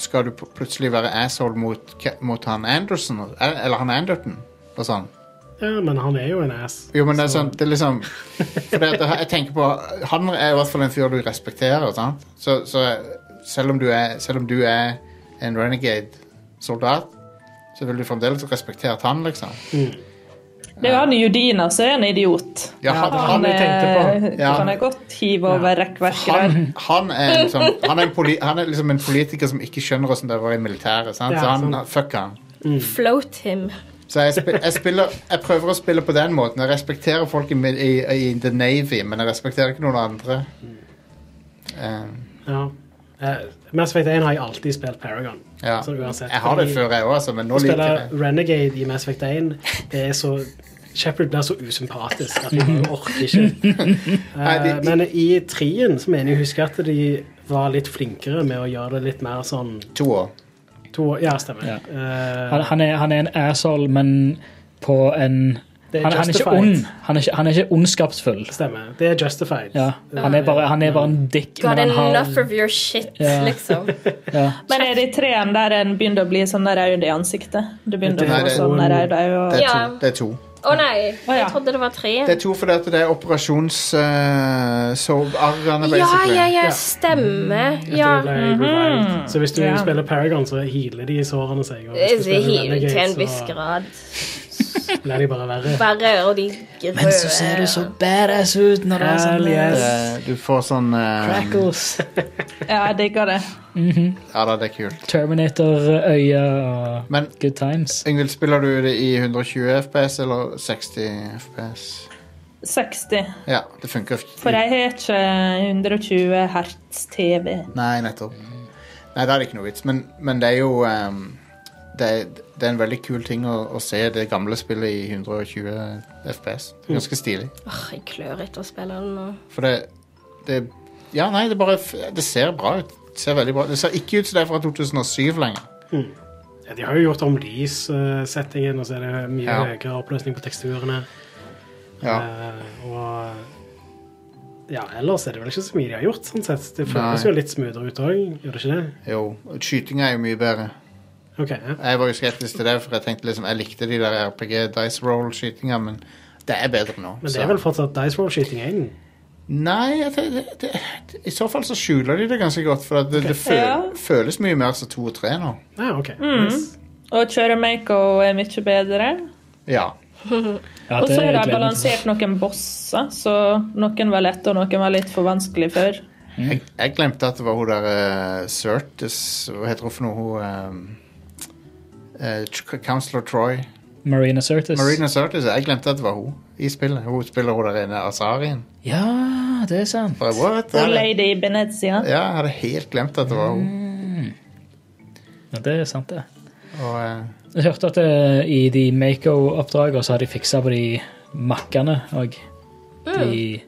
Speaker 1: skal du pl- plutselig være asshole mot, Ke- mot han Anderson, og- eller han Anderton, og sånn.
Speaker 2: Ja, men han er jo en ass.
Speaker 1: Jo, men det er
Speaker 2: Så-
Speaker 1: sånn, det er liksom For det, at jeg tenker på Han er i hvert fall en fyr du respekterer, sant? Så, så selv, om du er, selv om du er en renegade-soldat, så vil du fremdeles respektere at han, liksom.
Speaker 5: Det er jo han Judina som er en idiot.
Speaker 1: Ja, han,
Speaker 5: Han
Speaker 1: han,
Speaker 3: jeg tenkte
Speaker 5: er,
Speaker 1: Ja.
Speaker 5: kan jeg godt hive over rekkverket der.
Speaker 1: han, han er liksom han er, en poli, han er liksom en politiker som ikke skjønner hvordan det var i militæret. Sant?
Speaker 2: Ja,
Speaker 1: så han,
Speaker 2: sant.
Speaker 1: fuck han.
Speaker 4: Float him.
Speaker 1: Så jeg, spi- jeg, spiller, jeg prøver å spille på den måten. Jeg respekterer folk i, mil- i, i The Navy, men jeg respekterer ikke noen andre. Um,
Speaker 2: Ja. Eh, Mass Effect 1 har jeg alltid spilt Paragon.
Speaker 1: ja.
Speaker 2: Sånn uansett.
Speaker 1: Jeg har det
Speaker 2: Fordi
Speaker 1: før, jeg òg, altså, men nå
Speaker 2: Å
Speaker 1: liker
Speaker 2: spille
Speaker 1: jeg det.
Speaker 2: Renegade i Mass Effect 1, det er så Shepard blir så usympatisk at jeg orker ikke.
Speaker 1: Nei,
Speaker 2: Eh,
Speaker 1: de- de-
Speaker 2: Men i trien så mener jeg å huske at de var litt flinkere med å gjøre det litt mer sånn
Speaker 1: To år.
Speaker 2: to, Ja, stemmer.
Speaker 3: Ja.
Speaker 2: Eh,
Speaker 3: Han, han, er, han er en asshole, men på en
Speaker 2: Det er
Speaker 3: han, han er ikke
Speaker 2: justified.
Speaker 3: ond. Han er ikke, han er ikke ondskapsfull.
Speaker 2: stemmer. Det er justified.
Speaker 3: Ja, han, er bare, han er bare en dick.
Speaker 4: Got
Speaker 3: Men han
Speaker 4: enough
Speaker 3: har,
Speaker 4: of your shit,
Speaker 3: Ja.
Speaker 4: liksom.
Speaker 3: ja.
Speaker 5: Men er det i treen der en begynner å bli sånn der rød i ansiktet? Du
Speaker 2: Nei,
Speaker 5: begynner å få
Speaker 1: det-
Speaker 5: sånn der rød og...
Speaker 1: Det er
Speaker 4: Ja.
Speaker 1: to. Det er to.
Speaker 4: Å nei,
Speaker 5: Å, ja.
Speaker 4: jeg trodde det var tre.
Speaker 1: Det er to fordi at det er operasjonssovarrene,
Speaker 4: Ja,
Speaker 1: basically.
Speaker 4: ja, ja,
Speaker 2: Ja.
Speaker 4: stemmer. Ja. Mhm.
Speaker 2: Etter Mm. det ble revived. Så hvis du
Speaker 5: Ja.
Speaker 2: spiller Paragon, så healer de sårene seg. Og
Speaker 4: Jeg
Speaker 2: hvis du spiller
Speaker 4: healer til en
Speaker 2: Renegade,
Speaker 4: viss
Speaker 2: så
Speaker 4: grad.
Speaker 2: blir de bare verre.
Speaker 4: Bare og de røde.
Speaker 3: Men så ser du så badass ut når du har
Speaker 2: Hell
Speaker 3: sånne
Speaker 2: yes.
Speaker 1: Eh, Du får sånn eh,
Speaker 3: crackles.
Speaker 5: Ja, jeg digger det.
Speaker 1: Ja da, det er kult.
Speaker 3: Terminator-øye og
Speaker 1: Men
Speaker 3: good times.
Speaker 1: Ingvild, spiller du det i 120 FPS eller 60 FPS?
Speaker 5: 60.
Speaker 1: Ja, det funker. ikke.
Speaker 5: For jeg har ikke 120 hertz TV.
Speaker 1: Nei, nettopp. Nei, det er det ikke noe vits, men, men det er jo ehm, det, er, det er en veldig kul ting å, å se det gamle spillet i 120 FPS. Det er Ganske stilig.
Speaker 4: Åh, jeg klør etter å spille den nå.
Speaker 1: For det, det Ja, nei, det bare f- Det ser bra ut. Det ser veldig bra Det ser ikke ut som det er fra 2007 lenger.
Speaker 2: Ja, de har jo gjort om lyssettingen, og så er det mye
Speaker 1: Ja.
Speaker 2: høyere oppløsning på teksturene.
Speaker 1: Ja.
Speaker 2: Eh, og ja, ellers er det vel ikke så mye de har gjort, sånn sett. Det føles
Speaker 1: Nei.
Speaker 2: jo litt smoothere ut òg, gjør det ikke det?
Speaker 1: Jo. Skytinga er jo mye bedre.
Speaker 2: Ok, ja.
Speaker 1: Jeg var jo skeptisk til det, for jeg tenkte liksom Jeg likte de der RPG Dice Roll-skytinga, men det er bedre nå.
Speaker 2: Men det
Speaker 1: så-
Speaker 2: er vel fortsatt Dice Roll-skyting 1?
Speaker 1: Nei, jeg tenker- det, det, det, i så fall så skjuler de det ganske godt. For at det, det føl,
Speaker 5: Ja.
Speaker 1: føles mye mer som to og tre nå.
Speaker 2: Ja, ok.
Speaker 5: Mm.
Speaker 2: Yes.
Speaker 5: Og kjøre Mako er mye bedre.
Speaker 1: Ja.
Speaker 3: Ja,
Speaker 5: Og så
Speaker 3: gleder
Speaker 5: har
Speaker 3: jeg
Speaker 5: de
Speaker 3: meg
Speaker 5: balansert noen bosser, så noen var lette og noen var litt for vanskelig før.
Speaker 2: Mm.
Speaker 1: Jeg, jeg glemte at det var hun der eh, Certis Hva heter hun for noe? Hun eh, eh, Tr- Counselor Troy.
Speaker 3: til. Marina Sirtis.
Speaker 1: Marina Certis. Jeg glemte at det var hun i spillet. Hun spiller hun der inne, Azarien.
Speaker 3: Ja, det er sant.
Speaker 1: Bare, what?
Speaker 5: Og
Speaker 1: Jeg hadde-
Speaker 5: Lady
Speaker 1: Ja,
Speaker 5: Benezia.
Speaker 1: jeg hadde helt glemt at det var
Speaker 2: Mm.
Speaker 1: hun.
Speaker 3: Ja, det er sant, det.
Speaker 1: Og, eh,
Speaker 3: Jeg hørte at eh, i de Mako-oppdragene så har de fiksa på de makkene òg. De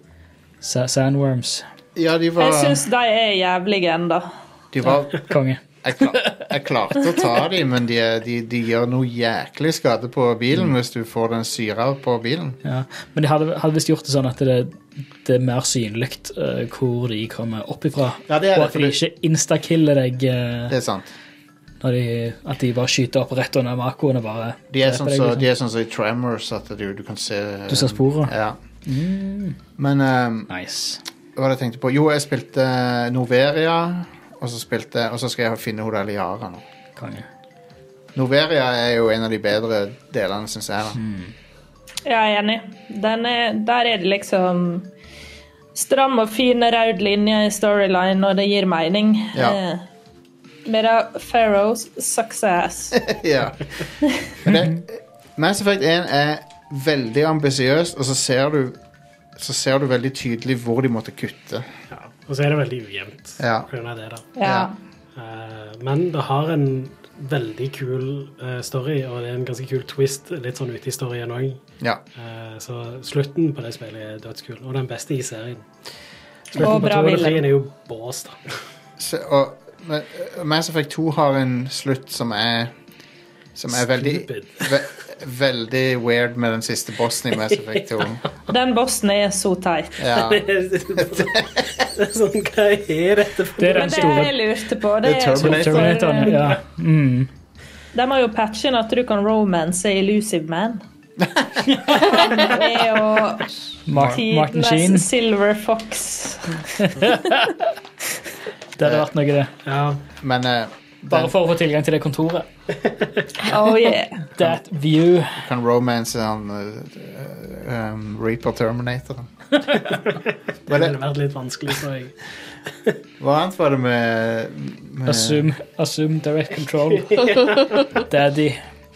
Speaker 3: sa sandworms.
Speaker 1: ja, de var,
Speaker 5: Jeg syns de er jævlige ennå.
Speaker 1: de var
Speaker 3: Konge.
Speaker 1: jeg, klar, jeg klarte å ta dem, men de, er- de, de gjør noe jæklig skade på bilen hvis du får den syra på bilen.
Speaker 3: Mm. Ja. Men de hadde, hadde visst gjort det sånn at det, det er mer synlig eh, hvor de kommer opp ifra.
Speaker 1: Ja, det er
Speaker 3: og
Speaker 1: det,
Speaker 3: at
Speaker 1: for
Speaker 3: de
Speaker 1: det-
Speaker 3: ikke instakiller deg eh,
Speaker 1: Det er sant.
Speaker 3: når de, At de bare skyter opp rett under makoen og bare
Speaker 1: De er
Speaker 3: dreper
Speaker 1: sånn
Speaker 3: deg,
Speaker 1: som
Speaker 3: liksom.
Speaker 1: de er sånn som i Tremors, at du, du kan se
Speaker 3: Du ser Mm. sporene.
Speaker 1: Ja. Men ehm,
Speaker 3: Nice.
Speaker 1: hva var det jeg tenkte på? Jo, jeg spilte Noveria, og så, spilte, og så skal jeg finne hun der Liara nå.
Speaker 3: Konge.
Speaker 1: Noveria er jo en av de bedre delene, syns jeg. da.
Speaker 5: Jeg er enig. Den er, der er det liksom stram og fin rød linje i storyline, og det gir mening.
Speaker 1: Ja.
Speaker 5: Eh, Medan Pharaohs success.
Speaker 1: ja. Men det, Mass Effect 1 er veldig ambisiøs, og så ser du så ser du veldig tydelig hvor de måtte kutte.
Speaker 2: Ja. Og så er det veldig ujevnt
Speaker 1: Ja.
Speaker 2: på grunn av det, da.
Speaker 5: Ja.
Speaker 2: Eh, men det har en veldig kul eh, story, og det er en ganske kul twist litt sånn ute i storyen òg.
Speaker 1: Ja.
Speaker 2: så slutten på det spillet er dødskul, og den beste i serien.
Speaker 5: Og bra
Speaker 2: Torgeir
Speaker 5: ville.
Speaker 2: er jo bås, da.
Speaker 1: Så, og men, uh, Mass Effect 2 har en slutt som er som er veldig
Speaker 2: Stupid.
Speaker 1: ve, Veldig weird med den siste bossen i Mass Effect 2.
Speaker 5: Den bossen er så teit.
Speaker 1: Ja.
Speaker 2: Det er sånn, hva er dette for
Speaker 3: Det er den
Speaker 5: Men det er det jeg
Speaker 3: store
Speaker 5: lurte på.
Speaker 1: Det
Speaker 5: Det
Speaker 1: er
Speaker 5: er
Speaker 1: Terminator.
Speaker 3: Terminatoren.
Speaker 5: For, eh,
Speaker 3: Ja. Mm.
Speaker 5: De har jo patchen at du kan romance i Elusive Man. Det er jo
Speaker 3: Mar Martin Sheen.
Speaker 5: tidenes Silver Fox.
Speaker 3: Det hadde vært noe, det.
Speaker 2: Ja,
Speaker 1: Men eh, den
Speaker 3: Bare for å få tilgang til det kontoret.
Speaker 5: Oh yeah.
Speaker 3: That view.
Speaker 1: kan romance han eh, um, Reaper Terminator.
Speaker 2: det
Speaker 1: Var det,
Speaker 2: ville vært litt vanskelig, tror jeg.
Speaker 1: hva annet var det med, med
Speaker 3: Assume, assume direct control. Daddy.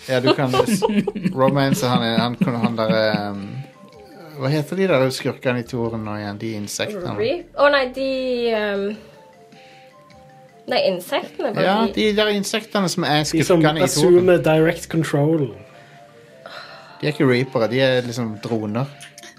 Speaker 1: Ja, du kan s- romance han, er- han, kunne- han der um, Hva heter de der skurkene i toren nå igjen? De insektene?
Speaker 4: Reap? Å nei, de ehm, Nei, insektene var
Speaker 1: Ja,
Speaker 4: de
Speaker 1: de der insektene som er
Speaker 2: De som
Speaker 1: skurkene i toren.
Speaker 2: assumer direct control.
Speaker 1: De er ikke reapere, de er liksom droner.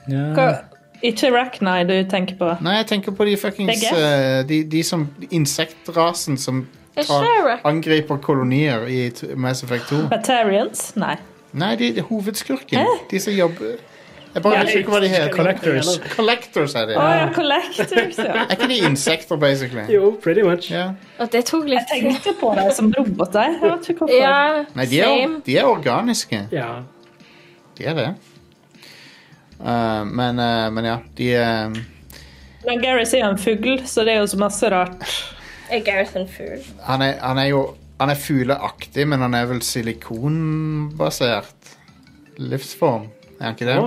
Speaker 3: Ja.
Speaker 5: Hva- Ikke Rachni du tenker på.
Speaker 1: Nei, jeg tenker på de fuckings
Speaker 5: Begge?
Speaker 1: eh, de, de som Insektrasen som
Speaker 4: Er
Speaker 1: tar,
Speaker 4: Shrek?
Speaker 1: angriper kolonier i t- Mass Effect 2.
Speaker 5: Batarians? Nei.
Speaker 1: Nei, de, de hovedskurken. De som jobber Jeg bare
Speaker 5: Ja,
Speaker 1: husker ikke hva de heter.
Speaker 3: Collectors.
Speaker 1: Collectors er de.
Speaker 5: Å ja, liksom. Collectors, ja.
Speaker 1: Er ikke de insekter, basically?
Speaker 2: Jo, pretty much.
Speaker 1: Ja.
Speaker 4: Og det tok litt
Speaker 5: Jeg tenkte på dem som roboter. Jeg vet ikke hvorfor.
Speaker 4: Ja,
Speaker 1: Nei, de er,
Speaker 4: same.
Speaker 1: de er organiske.
Speaker 2: Ja.
Speaker 1: De er det. Eh, men, eh, men ja, de eh,
Speaker 5: Men Gareth er jo en fugl, så det er jo så masse rart.
Speaker 4: Er Gareth en fugl?
Speaker 1: han, er, han er jo Han er fugleaktig, men han er vel silikonbasert livsform. Er han ikke det?
Speaker 2: Å,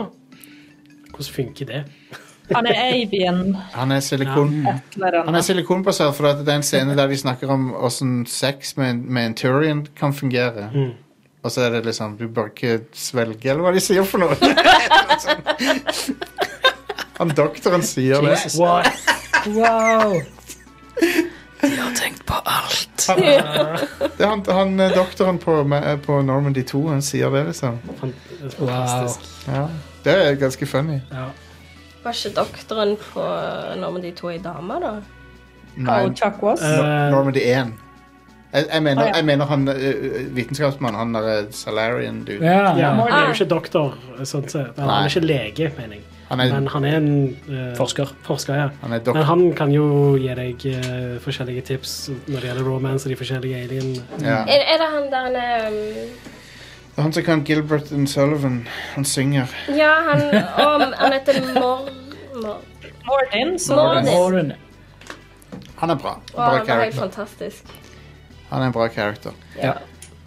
Speaker 2: Hvordan funker det?
Speaker 5: Han er avian
Speaker 1: Han er silikon...
Speaker 5: et eller
Speaker 1: Han er
Speaker 5: annet.
Speaker 1: silikonbasert fordi at det er en scene der de snakker om hvordan sex med en, med en Turian kan fungere. Og så er det liksom Du bør ikke svelge, eller hva de sier for noe. Han doktoren sier det.
Speaker 3: Jesus. Wow. wow.
Speaker 1: det er han, han eh, doktoren på, med- på Normandy 2 han sier det, liksom.
Speaker 2: Fan- det er Fantastisk.
Speaker 1: Ja. Det er ganske funny.
Speaker 4: Var ikke doktoren på Normandy 2 ei dame, da?
Speaker 1: Nei,
Speaker 5: Og Chuck Wass.
Speaker 2: Eh,
Speaker 1: Normandy 1. Jeg, jeg,
Speaker 5: Å,
Speaker 1: mener,
Speaker 5: ja.
Speaker 1: jeg mener han eh, vitenskapsmannen, han derre Salarian dude.
Speaker 3: Ja.
Speaker 2: ja, han er
Speaker 4: Ah.
Speaker 2: jo ikke doktor, sånn sett. Han
Speaker 1: Nei.
Speaker 2: er ikke lege, mener jeg.
Speaker 1: Han er,
Speaker 2: Men han er en eh,
Speaker 3: Forsker.
Speaker 2: forsker ja.
Speaker 1: han er
Speaker 2: Men
Speaker 1: doktor.
Speaker 2: han kan jo gi deg eh, forskjellige tips når det gjelder romance og de forskjellige alienene.
Speaker 1: Ja.
Speaker 4: Er, er det han der han er um,
Speaker 1: Det er Han som kan Gilbert and Sullivan. Han synger.
Speaker 4: Ja, han om, Han heter Mor... Mor.
Speaker 5: Mordin, så
Speaker 4: Mordin.
Speaker 3: Warren.
Speaker 1: Han er bra.
Speaker 4: Å, han
Speaker 1: Bra
Speaker 4: var helt
Speaker 1: character.
Speaker 4: fantastisk.
Speaker 1: Han er en bra character.
Speaker 3: Ja.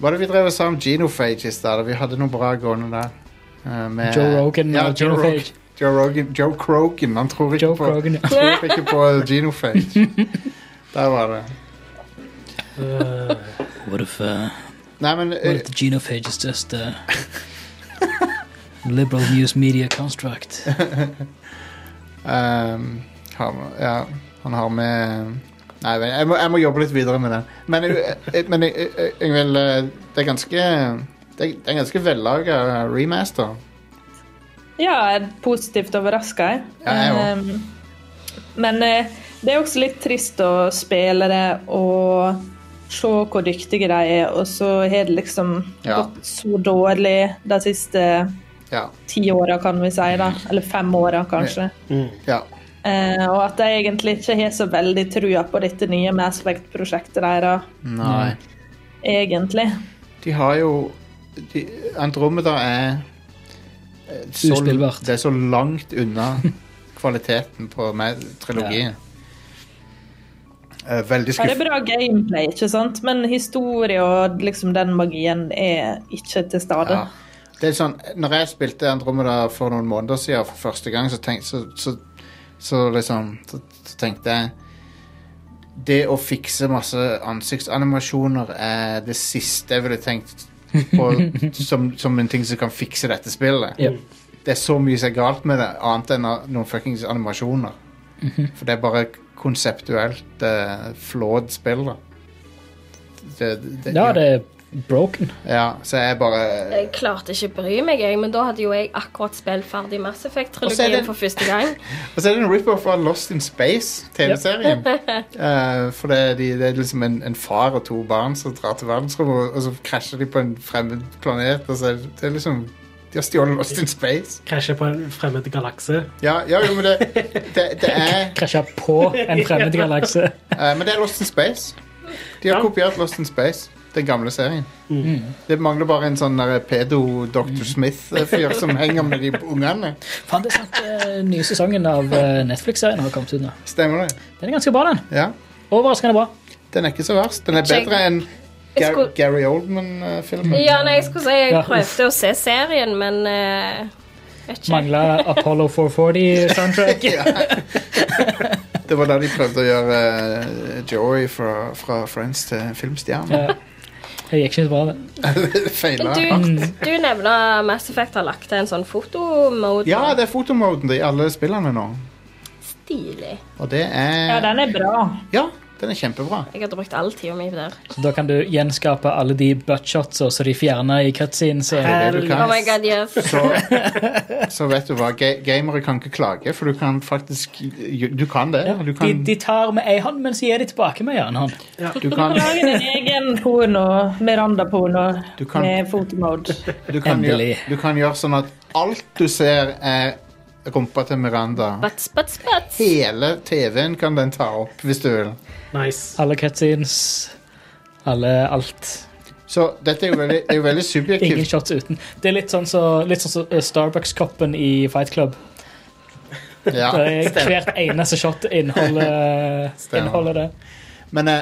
Speaker 1: Hva er det vi drev og sa om Genofage i stad? Vi hadde noe bra gående der. Eh, med-
Speaker 3: Joe Rogan
Speaker 1: Ja,
Speaker 3: og
Speaker 1: Joe
Speaker 3: Genophage.
Speaker 1: Rogan. Joe Rogan. Joe Krogan. Han tror ikke
Speaker 3: Joe
Speaker 1: på,
Speaker 3: Krogan. ja.
Speaker 1: tror ikke på Genofage. Der var det.
Speaker 2: Eh,
Speaker 8: What if, uh,
Speaker 1: Nei, men
Speaker 8: what
Speaker 1: eh,
Speaker 8: if the genophage is just a liberal news media construct?
Speaker 1: ehm, han, ja, han har med Nei, men jeg må, jeg må jobbe litt videre med den. Men, eh, eh, men eh, eh, Yngvild, eh, det er ganske Det er det er en ganske vellaga remaster.
Speaker 5: Ja, jeg er positivt overraska, jeg.
Speaker 1: Ja, jeg også.
Speaker 5: Ehm, men eh, det er også litt trist å spille det og se hvor dyktige de er, og så har det liksom
Speaker 1: Ja.
Speaker 5: gått så dårlig de siste
Speaker 1: Ja.
Speaker 5: ti åra, kan vi si, da. Eller fem åra, kanskje.
Speaker 1: ja.
Speaker 5: Eh, og at jeg egentlig ikke har så veldig trua på dette nye Mass Effect-prosjektet deres,
Speaker 1: Nei.
Speaker 5: egentlig.
Speaker 1: Mm. De har jo de, Andromeda er eh, så,
Speaker 3: Uspillbart.
Speaker 1: Det er så langt unna kvaliteten på med, trilogien. Eh, Veldig
Speaker 5: Ja, det
Speaker 1: skuff...
Speaker 5: er bra gameplay, ikke sant? men historie og liksom den magien er ikke til stede.
Speaker 1: Ja. Det er sånn, når jeg spilte Andromeda for noen måneder siden for første gang, så, tenk, så, så, så liksom så, så tenkte jeg det å fikse masse ansiktsanimasjoner er det siste jeg ville tenkt på som, som en ting som kan fikse dette spillet.
Speaker 3: Yep.
Speaker 1: Det er så mye som er galt med det, annet enn a- noen fuckings animasjoner.
Speaker 3: Mhm.
Speaker 1: For det er bare konseptuelt uh, flawed spill, da. Det, det,
Speaker 3: Ja, det er broken.
Speaker 1: Ja, så jeg bare
Speaker 4: Jeg klarte ikke å bry meg, jeg, men da hadde jo jeg akkurat spilt ferdig Mass
Speaker 1: Og så er
Speaker 4: Effect-trilogien
Speaker 1: det-
Speaker 4: for første gang.
Speaker 1: Og så er det en rip-off av Lost in Space-TV-serien. Eh, for det, er de, det er liksom en, en far og to barn som drar til verdensrommet, og, og så krasjer de på en fremmed planet. Og så er det, det er liksom De har stjålet Lost in Space.
Speaker 2: Krasjer på en fremmed galakse.
Speaker 1: Ja, ja jo, men det, det, det er
Speaker 3: Krasja på en fremmed galakse.
Speaker 1: eh, Men det er Lost in Space. De har
Speaker 2: Ja.
Speaker 1: kopiert Lost in Space, den gamle serien. Det mangler bare en sånn der pedo-Dr. Smith-fyr som henger med de ungene.
Speaker 3: Faen, det er sant. eh, nye sesongen av eh, Netflix-serien har kommet ut nå.
Speaker 1: Stemmer det?
Speaker 3: Den er ganske bra, den.
Speaker 1: Ja.
Speaker 3: Overraskende bra.
Speaker 1: Den er ikke så verst. Den er bedre enn
Speaker 4: Jeg
Speaker 1: Gar
Speaker 4: skulle-
Speaker 1: Gary eh, Oldman-filmen.
Speaker 4: Ja, nei, jeg skulle si
Speaker 3: Ja,
Speaker 4: jeg
Speaker 3: uff.
Speaker 4: prøvde å se serien, men eh, vet ikke.
Speaker 3: Mangla Apollo 440-soundtrack.
Speaker 1: Det var da de prøvde å gjøre eh, Joey fra, fra Friends til en filmstjerne.
Speaker 3: Det gikk ikke så bra, det.
Speaker 1: Feila.
Speaker 4: Men du, du nevner Mass Effect har lagt til en sånn fotomode.
Speaker 1: Ja, det er fotomoden i alle spillene nå.
Speaker 4: Stilig.
Speaker 1: Og det
Speaker 5: Ja,
Speaker 1: er
Speaker 5: den er bra.
Speaker 1: Ja, den er kjempebra.
Speaker 4: Jeg hadde brukt all tida mi på det.
Speaker 3: Så da kan du gjenskape alle de buttshotsa som de fjerna i cutscenes. og-
Speaker 1: Det er det du
Speaker 4: Oh my
Speaker 1: kan.
Speaker 4: god, yes.
Speaker 1: Så, så vet du hva, ga gamere kan ikke klage, for du kan faktisk Du kan det.
Speaker 3: Ja,
Speaker 1: Du
Speaker 3: de,
Speaker 1: kan,
Speaker 3: de tar med ei hånd, men så gir de tilbake med en annen hånd.
Speaker 1: du kan,
Speaker 5: Lag din egen porno, Miranda-porno,
Speaker 1: Du kan-
Speaker 5: med fotomode.
Speaker 1: du kan, gjøre,
Speaker 3: Endelig.
Speaker 1: du kan gjøre sånn at alt du ser, er rumpa til Miranda.
Speaker 4: Butts, butts, butts.
Speaker 1: Hele TV-en kan den ta opp, hvis du vil.
Speaker 2: Nice.
Speaker 3: Alle cutscenes, alle alt.
Speaker 1: Så dette er jo veldig, det er jo veldig subjektivt.
Speaker 3: Ingen shots uten. Det er litt sånn som så, sånn så Starbucks-koppen i Fight Club.
Speaker 1: Ja.
Speaker 3: Der er Eh, hvert eneste shot inneholder,
Speaker 1: Stemmer.
Speaker 3: inneholder det.
Speaker 1: Men eh,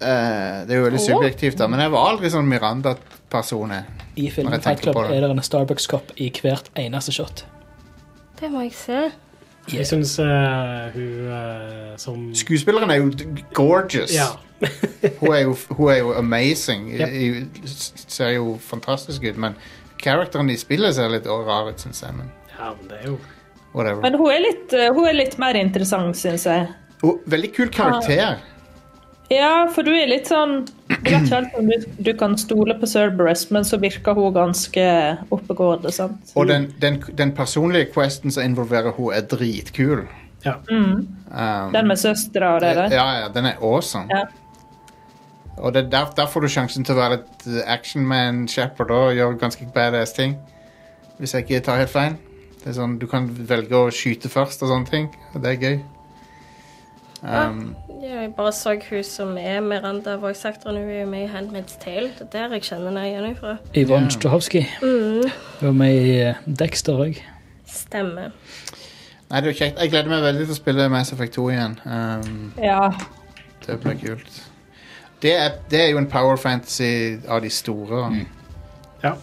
Speaker 1: eh, det er jo veldig subjektivt, da. Men jeg var aldri sånn Miranda-person. jeg.
Speaker 3: I
Speaker 1: Når
Speaker 3: filmen
Speaker 1: jeg
Speaker 3: Fight
Speaker 1: tenker
Speaker 3: Club
Speaker 1: på det.
Speaker 3: er det en Starbucks-kopp i hvert eneste shot. Liksom
Speaker 4: Det må jeg se.
Speaker 2: Jeg syns eh, hun eh, som
Speaker 1: Skuespilleren er jo d- gorgeous.
Speaker 2: Ja.
Speaker 1: Hun, er jo, hun er jo amazing.
Speaker 2: Yep.
Speaker 1: I- i- s- Ser jo fantastisk ut. Men characteren i spillet ser litt rar ut, syns jeg. Men
Speaker 2: ja, men det er jo
Speaker 1: whatever.
Speaker 5: Men hun er litt, eh, hun er litt mer interessant, syns jeg.
Speaker 1: Hun- veldig kul karakter.
Speaker 2: Ah.
Speaker 5: Ja, for du er litt sånn Jeg vet ikke helt om du, du kan stole på Cerberus, men så virker hun ganske oppegående. sant?
Speaker 1: Og den, den, den personlige questen som involverer hun er dritkul.
Speaker 2: Ja.
Speaker 1: Um,
Speaker 5: Den med søstera og det der.
Speaker 1: Eh, Ja, ja, den er awesome.
Speaker 5: Ja.
Speaker 1: Og det, er der, der får du sjansen til å være litt eh, action man shepherd og gjøre ganske badass ting. Hvis jeg ikke tar helt feil. Det er sånn, Du kan velge å skyte først og sånne ting. Og det er gøy. Um,
Speaker 4: Ja, Jeg bare så hun som er Miranda voice actor, hun er jo med i Handmaid's Tale. Det er der jeg kjenner henne igjen ifra.
Speaker 3: Yvonne Strahovski.
Speaker 5: Mm.
Speaker 3: Hun var med i eh, Dexter òg.
Speaker 4: Stemmer.
Speaker 1: Nei, det er jo kjekt. Jeg gleder meg veldig til å spille Mass Effect 2 igjen. Um,
Speaker 5: Ja.
Speaker 1: det blir kult. Det er, det er jo en power fantasy av de store. da.
Speaker 2: Ja.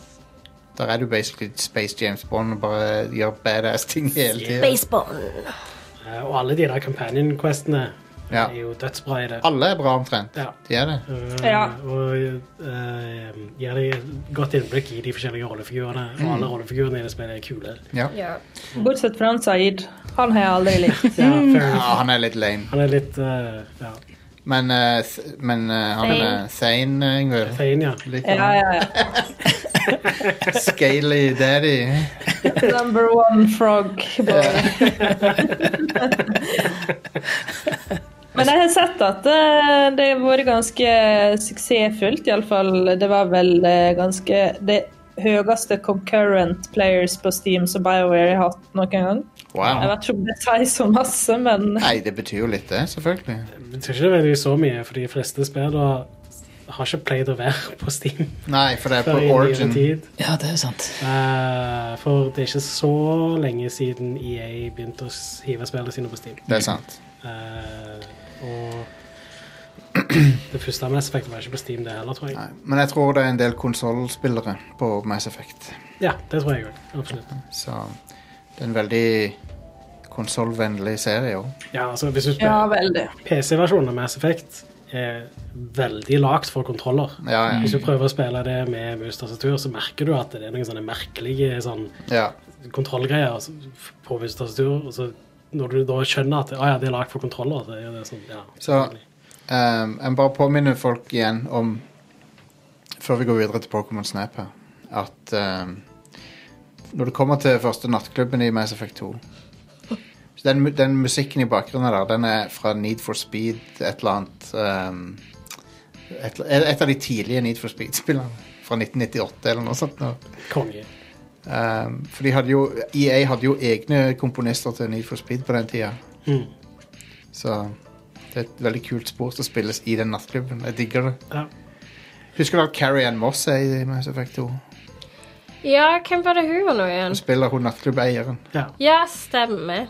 Speaker 1: Der er du basically Space James Bond og bare gjør badass ting hele tida.
Speaker 4: Baseball.
Speaker 2: Eh, Og alle de der companion questene
Speaker 1: Ja. Ah.
Speaker 2: er jo dødsbra i det.
Speaker 1: Alle er bra omtrent.
Speaker 2: Ja.
Speaker 1: De er det.
Speaker 2: Eh,
Speaker 5: Ja.
Speaker 2: Og eh, gir deg godt innblikk i de forskjellige rollefigurene. Og
Speaker 1: Mm.
Speaker 2: alle rollefigurene i det spillet er kule.
Speaker 1: Ja.
Speaker 4: Ja.
Speaker 5: Bortsett fra han Saeed. Han har jeg aldri likt.
Speaker 2: Ja, fair
Speaker 1: ja,
Speaker 2: enough.
Speaker 1: han er litt lame.
Speaker 2: Mm. Han er litt eh, ja,
Speaker 1: Men, eh, th- men eh, han er Thane, Yngvild.
Speaker 2: fein, ja.
Speaker 1: Liker
Speaker 5: Ja,
Speaker 1: han.
Speaker 5: ja, ja.
Speaker 1: Scaly daddy.
Speaker 5: Number one frog boy. Men jeg har sett at eh, det har vært ganske suksessfullt, iallfall. Det var vel eh, ganske Det høyeste concurrent players på Steam som BioWare har hatt noen gang. Jeg
Speaker 1: Wow.
Speaker 5: vet ikke om det sier så masse, men
Speaker 1: Nei, det betyr jo litt, det, selvfølgelig.
Speaker 2: Jeg tror ikke det er veldig så mye, for de fleste spillene har ikke pleid å være på Steam.
Speaker 1: Nei, for det er
Speaker 2: før i
Speaker 1: på
Speaker 2: nyere
Speaker 1: Origin.
Speaker 2: tid.
Speaker 3: Ja, det er sant.
Speaker 2: Eh, for det er ikke så lenge siden EA begynte å s- hive spillene sine på Steam.
Speaker 1: Det er sant.
Speaker 2: Eh, og det første av Mass Effect var ikke på Steam, det heller, tror jeg.
Speaker 1: Nei. Men jeg tror det er en del konsollspillere på Mass Effect.
Speaker 2: Ja, det tror jeg òg. Absolutt.
Speaker 1: Så det er en veldig konsollvennlig serie òg.
Speaker 2: Ja, altså hvis du spiller
Speaker 5: Ja, veldig.
Speaker 2: PC-versjonen av Mass Effect er veldig lagt for kontroller.
Speaker 1: Ja,
Speaker 2: Hvis
Speaker 1: ja.
Speaker 2: du prøver å spille det med mus-tastatur, så merker du at det er noen sånne merkelige sånn,
Speaker 1: ja.
Speaker 2: kontrollgreier altså, f- på mus-tastatur. og så Når du da skjønner at ah, ja, det er lagt for kontroller, så er det sånn ja.
Speaker 1: Så um, jeg bare påminner folk igjen om, før vi går videre til Pokémon Snap her, at um, når det kommer til første nattklubben i Mass Effect 2 så den, mu- den musikken i bakgrunnen der, den er fra Need for Speed, et eller annet um, et, et av de tidlige Need for Speed-spillene. Fra 1998 eller noe sånt. nå.
Speaker 2: Konge.
Speaker 1: Um, for de hadde jo, EA hadde jo egne komponister til Need for Speed på den tida.
Speaker 2: Mm.
Speaker 1: Så det er et veldig kult spor som spilles i den nattklubben. Jeg digger det.
Speaker 2: Ja.
Speaker 1: Husker du at Carrie Ann Moss er i Mass Effect 2?
Speaker 4: Ja, hvem var det hun var nå igjen?
Speaker 1: Hun spiller hun nattklubbeieren.
Speaker 2: Ja.
Speaker 4: Ja, stemmer.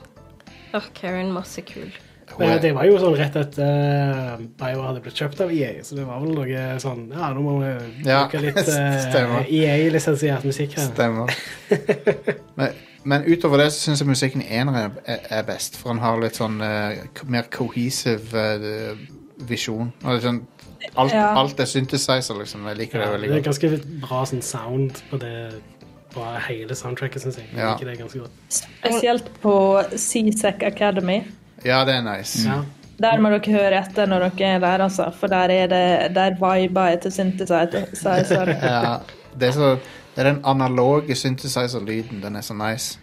Speaker 4: Åh, Karen Moss er kul.
Speaker 1: Hun
Speaker 2: Men det
Speaker 1: er-
Speaker 2: var jo sånn rett etter uh, Bio hadde blitt kjøpt av EA, så det var vel noe sånn Ja, nå må vi
Speaker 1: Ja,
Speaker 2: bruke litt
Speaker 1: stemmer.
Speaker 2: EA-lisensiert musikk her.
Speaker 1: Stemmer. Men, men utover det så syns jeg musikken i eneren er, er best, for han har litt sånn eh, k- mer cohesive eh, visjon. Og det er sånn, alt,
Speaker 5: Ja.
Speaker 1: alt er synthesizer, liksom. Jeg liker det
Speaker 2: Ja,
Speaker 1: veldig
Speaker 2: det er
Speaker 1: godt.
Speaker 2: ganske bra sånn sound på det på hele soundtracket, syns jeg. Jeg
Speaker 1: Ja.
Speaker 2: liker det ganske godt.
Speaker 5: Spesielt på CSEC Academy.
Speaker 1: Ja, det er nice.
Speaker 2: Ja.
Speaker 5: Der må dere høre etter når dere er der, altså. For der er det Der viber jeg til synthesizer.
Speaker 1: Ja, det, er så, det er den analoge synthesizer-lyden. Den er så nice.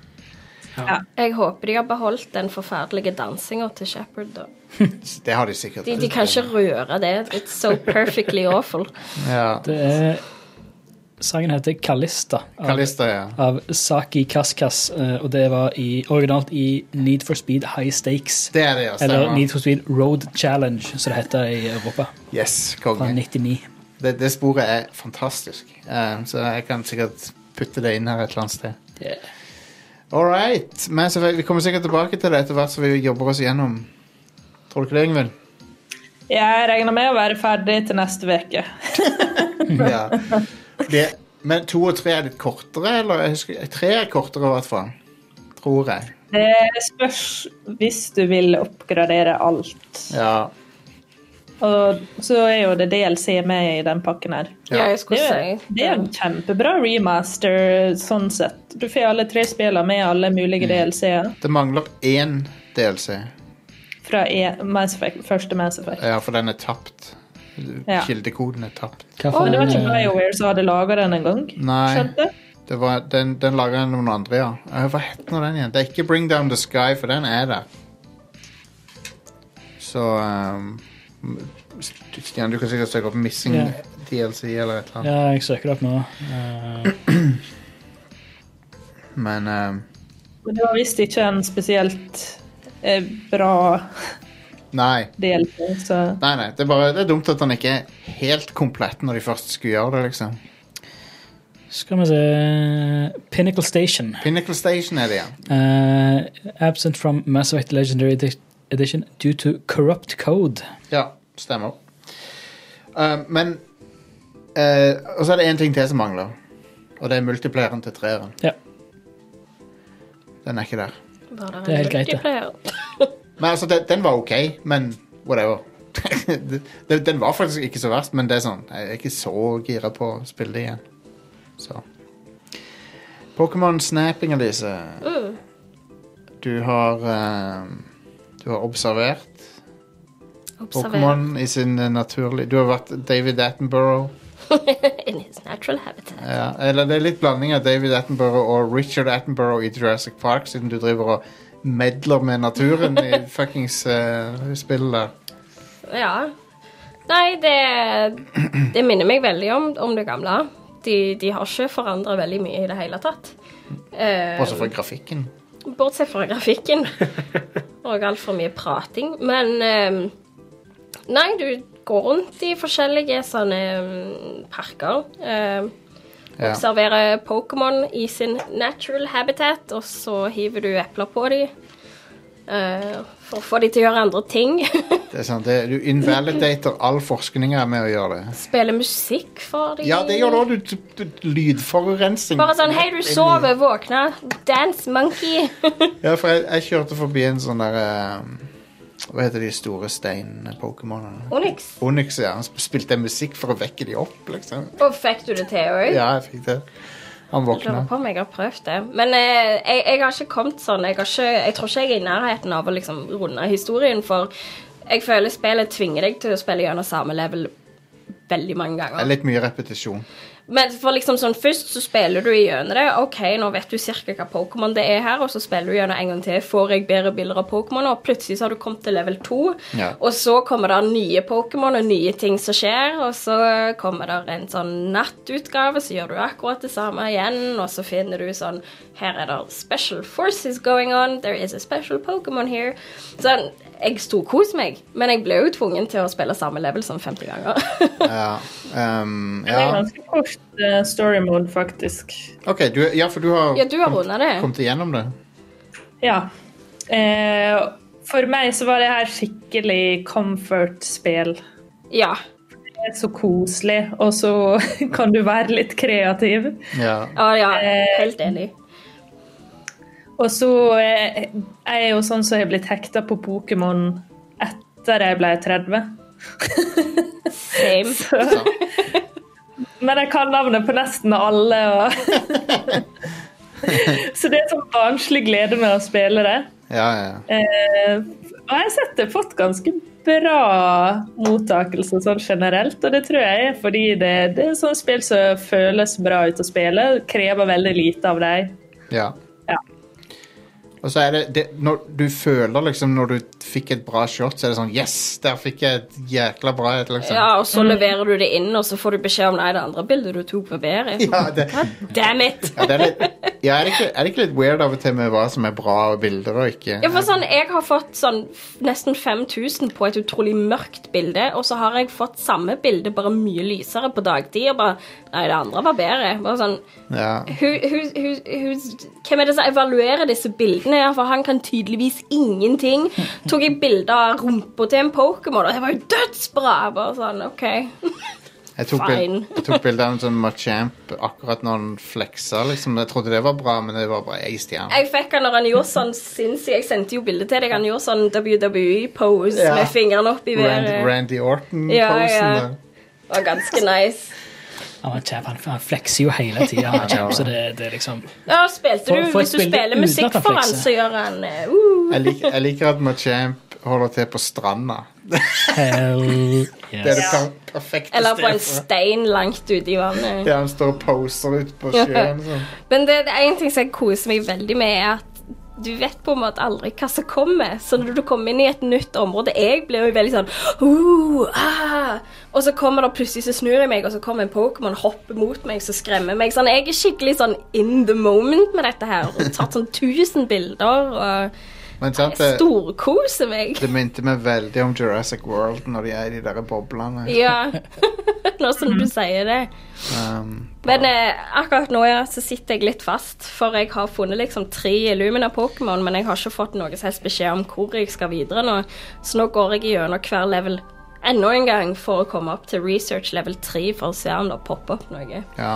Speaker 4: Jeg håper de har beholdt den forferdelige dansinga til Shepherd, da.
Speaker 1: Det har de sikkert.
Speaker 4: De, de kan ikke røre det. It's so perfectly awful.
Speaker 1: Ja.
Speaker 3: Det er Sangen heter Kalista av,
Speaker 1: Kalista, ja.
Speaker 3: av Saki Kaskas, eh, og det var i, originalt i Need for Speed High Stakes.
Speaker 1: Det er det, ja.
Speaker 3: Eller
Speaker 1: Stemmer.
Speaker 3: Need for Speed Road Challenge, som det heter i Europa.
Speaker 1: Yes,
Speaker 3: Fra
Speaker 1: konge.
Speaker 3: 99.
Speaker 1: Det, det sporet er fantastisk. Eh, så jeg kan sikkert putte det inn her et eller annet sted.
Speaker 3: Yeah.
Speaker 1: All right. Men så, vi kommer sikkert tilbake til det etter hvert som vi jobber oss gjennom. Tror du ikke det, Ingvild?
Speaker 5: Jeg regner med å være ferdig til neste uke.
Speaker 3: Mm.
Speaker 1: Ja. Det, men to og tre er litt kortere, eller? Jeg husker, tre er kortere, i hvert fall. Tror jeg.
Speaker 5: Det Eh, spørs hvis du vil oppgradere alt.
Speaker 1: Ja.
Speaker 5: Og så er jo det DLC med i den pakken her.
Speaker 1: Ja.
Speaker 4: Ja, jeg
Speaker 5: Det
Speaker 4: skulle
Speaker 5: er,
Speaker 4: si
Speaker 5: det er en kjempebra remaster sånn sett. Du får alle tre spillene med alle mulige DLC-er
Speaker 1: Det mangler én DLC.
Speaker 5: fra e Mass Effect, første Mass Effect.
Speaker 1: Ja, for den er tapt.
Speaker 5: Ja.
Speaker 1: Kildekoden er tapt.
Speaker 3: Hva
Speaker 5: Og
Speaker 3: for
Speaker 5: det var ikke
Speaker 3: en, eh,
Speaker 5: BioWare som hadde laga den engang.
Speaker 1: Nei.
Speaker 5: Skjønte?
Speaker 1: Det var, den den laga noen andre, ja. Eh, Hva het nå den igjen? Det er ikke Bring Down The Sky, for den er der. Så um, Stian, du kan sikkert søke opp Missing
Speaker 3: Ja.
Speaker 1: DLC eller et eller annet.
Speaker 3: ja, jeg søker det opp nå. Eh,
Speaker 1: Men um,
Speaker 5: Men det var visst ikke en spesielt eh, bra
Speaker 1: nei.
Speaker 5: DLC, så
Speaker 1: Nei, nei. Det er, bare, det er dumt at den ikke er helt komplett når de først skulle gjøre det, liksom.
Speaker 3: skal vi se Pinnacle Station.
Speaker 1: Pinnacle Station er det, ja.
Speaker 3: Eh, absent from Mass Effect Legendary Edi- Edition due to corrupt code.
Speaker 1: Ja, stemmer. Eh, men eh, Og så er det én ting til som mangler. Og det er multipleren til treeren.
Speaker 3: Ja.
Speaker 1: Den er ikke der.
Speaker 4: det.
Speaker 3: Det er helt greit, det.
Speaker 4: det.
Speaker 1: Men altså, den, den var ok, men whatever. den, den var faktisk ikke så verst, men det er sånn, jeg er ikke så gira på å spille det igjen. Så. Pokémon Snapping, Elise. Du har eh, Du har observert
Speaker 4: Observer.
Speaker 1: Pokémon i sin eh, naturlige Du har vært David Attenborough.
Speaker 4: In his natural habitat.
Speaker 1: Ja, eller det er litt blanding av David Attenborough og Richard Attenborough i Jurassic Park, siden du driver og medler med naturen i fuckings eh, spillet der.
Speaker 4: Ja. Nei, det, det minner meg veldig om, om det gamle. De, de har ikke forandra veldig mye i det hele tatt. Eh,
Speaker 1: Også for grafikken.
Speaker 4: Bortsett fra grafikken og altfor mye prating. Men ehm, Nei, du går rundt i forskjellige sånne ehm, parker. ehm,
Speaker 1: Ja.
Speaker 4: Observerer Pokémon i sin natural habitat, og så hiver du epler på dem. eh, for å få de til å gjøre andre ting.
Speaker 1: Det er sant, det, du invalidater all forskning her med å gjøre det.
Speaker 4: Spille musikk for de.
Speaker 1: Ja, det gjør du òg. Du, du, du, lydforurensning.
Speaker 4: Bare sånn Hei, du sover, våkna. Dance monkey.
Speaker 1: Ja, for jeg, jeg kjørte forbi en sånn der eh, Hva heter de store stein-pokémonene?
Speaker 4: Onyx.
Speaker 1: Onyx, ja. Han sp- spilte musikk for å vekke de opp, liksom.
Speaker 4: Og fikk du det til òg?
Speaker 1: Ja, jeg fikk det. Han
Speaker 4: Jeg lurer
Speaker 1: våkna.
Speaker 4: på om jeg har prøvd det. Men eh, jeg, jeg har ikke kommet sånn. Jeg, har ikke, jeg tror ikke jeg er i nærheten av å liksom runde historien, for jeg føler spillet tvinger deg til å spille gjennom samme level veldig mange
Speaker 1: Det er
Speaker 4: ganger.
Speaker 1: litt mye repetisjon.
Speaker 4: Men for liksom sånn, først så spiller du gjennom det. OK, nå vet du cirka hva Pokémon det er her, og så spiller du gjennom en gang til. Får jeg bedre bilder av Pokémon, og plutselig så har du kommet til level 2.
Speaker 1: Ja.
Speaker 4: Og så kommer det nye Pokémon og nye ting som skjer, og så kommer det en sånn nattutgave, så gjør du akkurat det samme igjen, og så finner du sånn Her er det special forces going on, there is a special Pokémon here. Sånn, jeg storkoser meg, men jeg ble jo tvungen til å spille samme level som 50 ganger.
Speaker 1: Ja. Um,
Speaker 5: Det er
Speaker 1: ja.
Speaker 5: ganske kort eh, story mode, faktisk.
Speaker 1: OK, du, ja, for du har
Speaker 4: ja, du har
Speaker 1: kom-
Speaker 4: runda det.
Speaker 1: kommet igjennom det.
Speaker 5: Ja. Eh, for meg så var det her skikkelig comfort-spill.
Speaker 4: Ja.
Speaker 5: Det er så koselig, og så kan du være litt kreativ.
Speaker 1: Ja.
Speaker 4: Ja, ja, helt enig.
Speaker 5: Og så eh, jeg er jo sånn som jeg er blitt hekta på Pokémon etter jeg ble 30.
Speaker 4: Same.
Speaker 5: Men jeg kan navnet på nesten alle. Og så det er sånn barnslig glede med å spille det.
Speaker 1: Ja, ja.
Speaker 5: Eh, og jeg har sett det fått ganske bra mottakelse sånn generelt, og det tror jeg er fordi det, det er sånn spill som føles bra ut å spille, krever veldig lite av deg.
Speaker 1: ja.
Speaker 5: Ja.
Speaker 1: Og så er det, det når Du føler liksom når du fikk et bra shot, så er det sånn Yes, der fikk jeg et jækla bra et, liksom.
Speaker 4: Ja, og så leverer du det inn, og så får du beskjed om nei, det andre bildet du tok var bedre.
Speaker 1: Ja, det,
Speaker 4: Damn it!
Speaker 1: ja, det er, litt, ja er, det ikke, er det ikke litt weird av og til med hva som er bra bilder og ikke?
Speaker 4: Ja, for sånn, Jeg har fått sånn f- nesten 5000 på et utrolig mørkt bilde, og så har jeg fått samme bilde, bare mye lysere på dagtid. Og bare Nei, det andre var bedre. Bare sånn,
Speaker 1: Ja.
Speaker 4: who, who, who, who, Hvem er det som evaluerer disse bildene? her? For han kan tydeligvis ingenting. Tok jeg bilde av rumpa til en Pokémon, og det var jo dødsbra! Bare sånn, OK.
Speaker 1: Jeg tok, bild,
Speaker 4: Fine.
Speaker 1: jeg tok bilde av en sånn Machamp akkurat når han fleksa. Liksom. Jeg trodde det var bra, men det var bare ei stjerne.
Speaker 4: Jeg fikk han når han gjorde sånn sinnssykt Jeg sendte jo bilde til deg. Han gjorde sånn WWE-pose
Speaker 1: Ja.
Speaker 4: med fingrene opp i
Speaker 1: Rand,
Speaker 4: været.
Speaker 1: Randy Orton-posen.
Speaker 4: Ja, ja.
Speaker 1: der.
Speaker 4: Det var ganske nice.
Speaker 3: Ja, men Jab, han, han flekser jo hele tida,
Speaker 1: ja.
Speaker 3: så det, det er liksom
Speaker 4: Ja, spilte
Speaker 3: For-
Speaker 4: du,
Speaker 3: for
Speaker 4: Hvis du
Speaker 3: et bilde
Speaker 4: spiller
Speaker 3: uten
Speaker 4: musikk
Speaker 3: at han
Speaker 4: for han,
Speaker 3: flekser.
Speaker 4: så gjør han eh, uh.
Speaker 1: Jeg, lik, jeg liker at Machamp holder til på stranda.
Speaker 3: hell
Speaker 1: Det er det
Speaker 3: yes.
Speaker 1: per perfekte
Speaker 4: Eller på en
Speaker 1: stedet.
Speaker 4: stein langt ute i vannet.
Speaker 1: Ja, han står og poser ute på sjøen. Sånn.
Speaker 4: Men det, det er en ting som jeg koser meg veldig med, er at du vet på en måte aldri hva som kommer. Så når du kommer inn i et nytt område Jeg blir jo veldig sånn uh, ah. Og så kommer det plutselig så snur jeg meg, og så kommer en Pokémon hopper mot meg som skremmer meg. Sånn, jeg er skikkelig sånn in the moment med dette her. Og tatt sånn 1000 bilder og
Speaker 1: Men sant, det,
Speaker 4: jeg storkoser meg.
Speaker 1: det minte meg veldig om Jurassic World når de er i de der boblene.
Speaker 4: Ja, nå som du sier det.
Speaker 1: Um,
Speaker 4: Men eh, akkurat nå ja, så sitter jeg litt fast, for jeg har funnet liksom tre Illumina Pokémon, men jeg har ikke fått noe som helst beskjed om hvor jeg skal videre nå, så nå går jeg gjennom hver level enda en gang for å komme opp til research level 3 for å se om det popper opp noe.
Speaker 1: ja.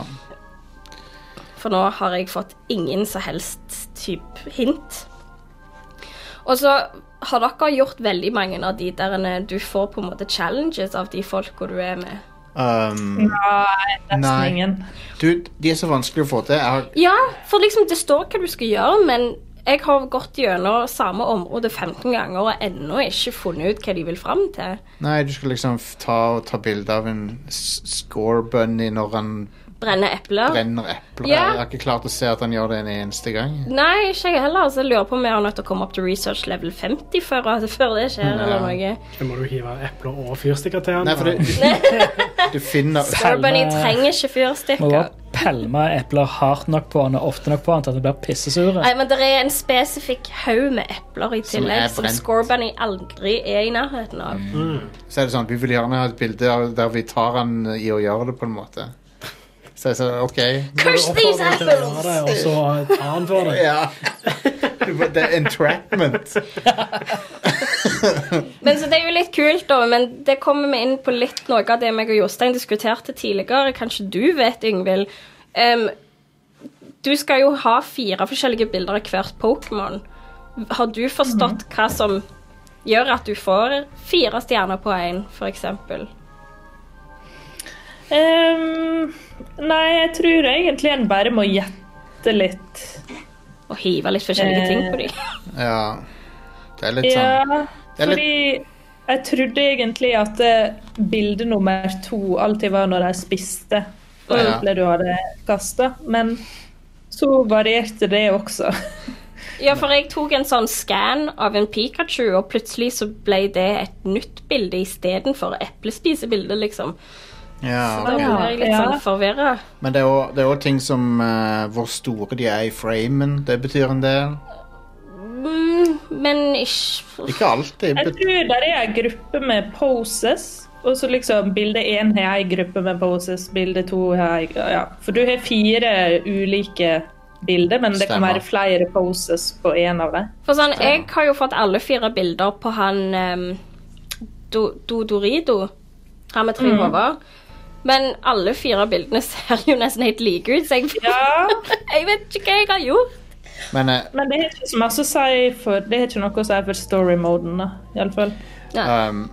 Speaker 4: For nå har jeg fått ingen som helst typ hint. Og så har dere gjort veldig mange av de der eh, du får på en måte challenges av de folka du er med.
Speaker 1: Um,
Speaker 5: Ja, jeg er nesten
Speaker 1: Nei.
Speaker 5: ingen.
Speaker 1: du, de er så vanskelig å få til. Jeg har
Speaker 4: Ja, for liksom det står hva du skal gjøre, men jeg har gått gjennom samme område 15 ganger og ennå ikke funnet ut hva de vil fram til.
Speaker 1: Nei, du skal liksom f- ta, og ta bilde av en s- score bunny når han
Speaker 4: Brenne epler.
Speaker 1: brenner epler.
Speaker 4: Ja.
Speaker 1: Jeg har ikke klart å se at han gjør det en eneste gang.
Speaker 4: Nei, ikke jeg heller. Så jeg lurer på om jeg er nødt til å komme opp til research level 50 før, altså, før det skjer, eller noe.
Speaker 2: Da må du hive epler og fyrstikker til han.
Speaker 1: Nei, for
Speaker 2: og-
Speaker 1: du, du finner
Speaker 4: Star Bunny
Speaker 3: Pælme-
Speaker 4: trenger ikke
Speaker 3: Må bare
Speaker 4: fyrstikker.
Speaker 3: pælme epler hardt nok på han og ofte nok på han til at han blir pissesure.
Speaker 4: Nei, men det er en spesifikk haug med epler
Speaker 1: Som
Speaker 4: i
Speaker 1: er
Speaker 4: tillegg som
Speaker 1: brent.
Speaker 4: Score Bunny aldri er i nærheten av.
Speaker 1: Så er det sånn, vi vil gjerne ha et bilde av- der vi tar han i å gjøre det, på en måte. Så jeg sa OK.
Speaker 4: Curse these
Speaker 2: Ja, det,
Speaker 4: apples!
Speaker 2: og så tar han for det.
Speaker 1: Ja. Du Det er entrapment.
Speaker 4: Men så Det er jo litt kult, da, men det kommer vi inn på litt noe av det meg og Jostein diskuterte tidligere. Kanskje du vet, Yngvild. Em, du skal jo ha fire forskjellige bilder av hvert Pokémon. Har du forstått hva som gjør at du får fire stjerner på én, f.eks.?
Speaker 5: Ehm, nei, jeg tror egentlig en bare må gjette litt.
Speaker 4: Og hive litt forskjellige ting på dem?
Speaker 1: Ja. Det er litt sånn
Speaker 5: Ja,
Speaker 1: Det er litt-
Speaker 5: fordi jeg trodde egentlig at eh, bilde nummer to alltid var når de spiste. Og
Speaker 1: Ja.
Speaker 5: ble du hadde kasta. Men så varierte det også.
Speaker 4: Ja, for jeg tok en sånn scan av en Pikachu, og plutselig så ble det et nytt bilde istedenfor eplespisebildet, liksom.
Speaker 1: ja,
Speaker 4: Da
Speaker 1: ok.
Speaker 4: ble jeg litt
Speaker 5: Ja.
Speaker 4: sånn forvirra.
Speaker 1: Men det er også- det er òg ting som eh, hvor store de er i framen. Det betyr en del.
Speaker 4: Mm, men ikke
Speaker 1: Ikke alltid.
Speaker 5: Jeg
Speaker 1: bet-
Speaker 5: tror der er ei gruppe med poses. Og så liksom bilde én har ei gruppe med poses, bilde to har ei ja. For du har fire ulike bilder, men det kan
Speaker 1: Stemmer.
Speaker 5: være flere poses på én av dem.
Speaker 4: For sånn, jeg har jo fått alle fire bilder på han um, Dodorido. Han med tre hoder. Men alle fire bildene ser jo nesten helt like ut, så jeg,
Speaker 5: Ja.
Speaker 4: jeg vet ikke hva jeg har gjort.
Speaker 1: Men eh,
Speaker 5: Men det har ikke så masse å si for Det har ikke noe å si for story-moden, da, iallfall.
Speaker 1: um,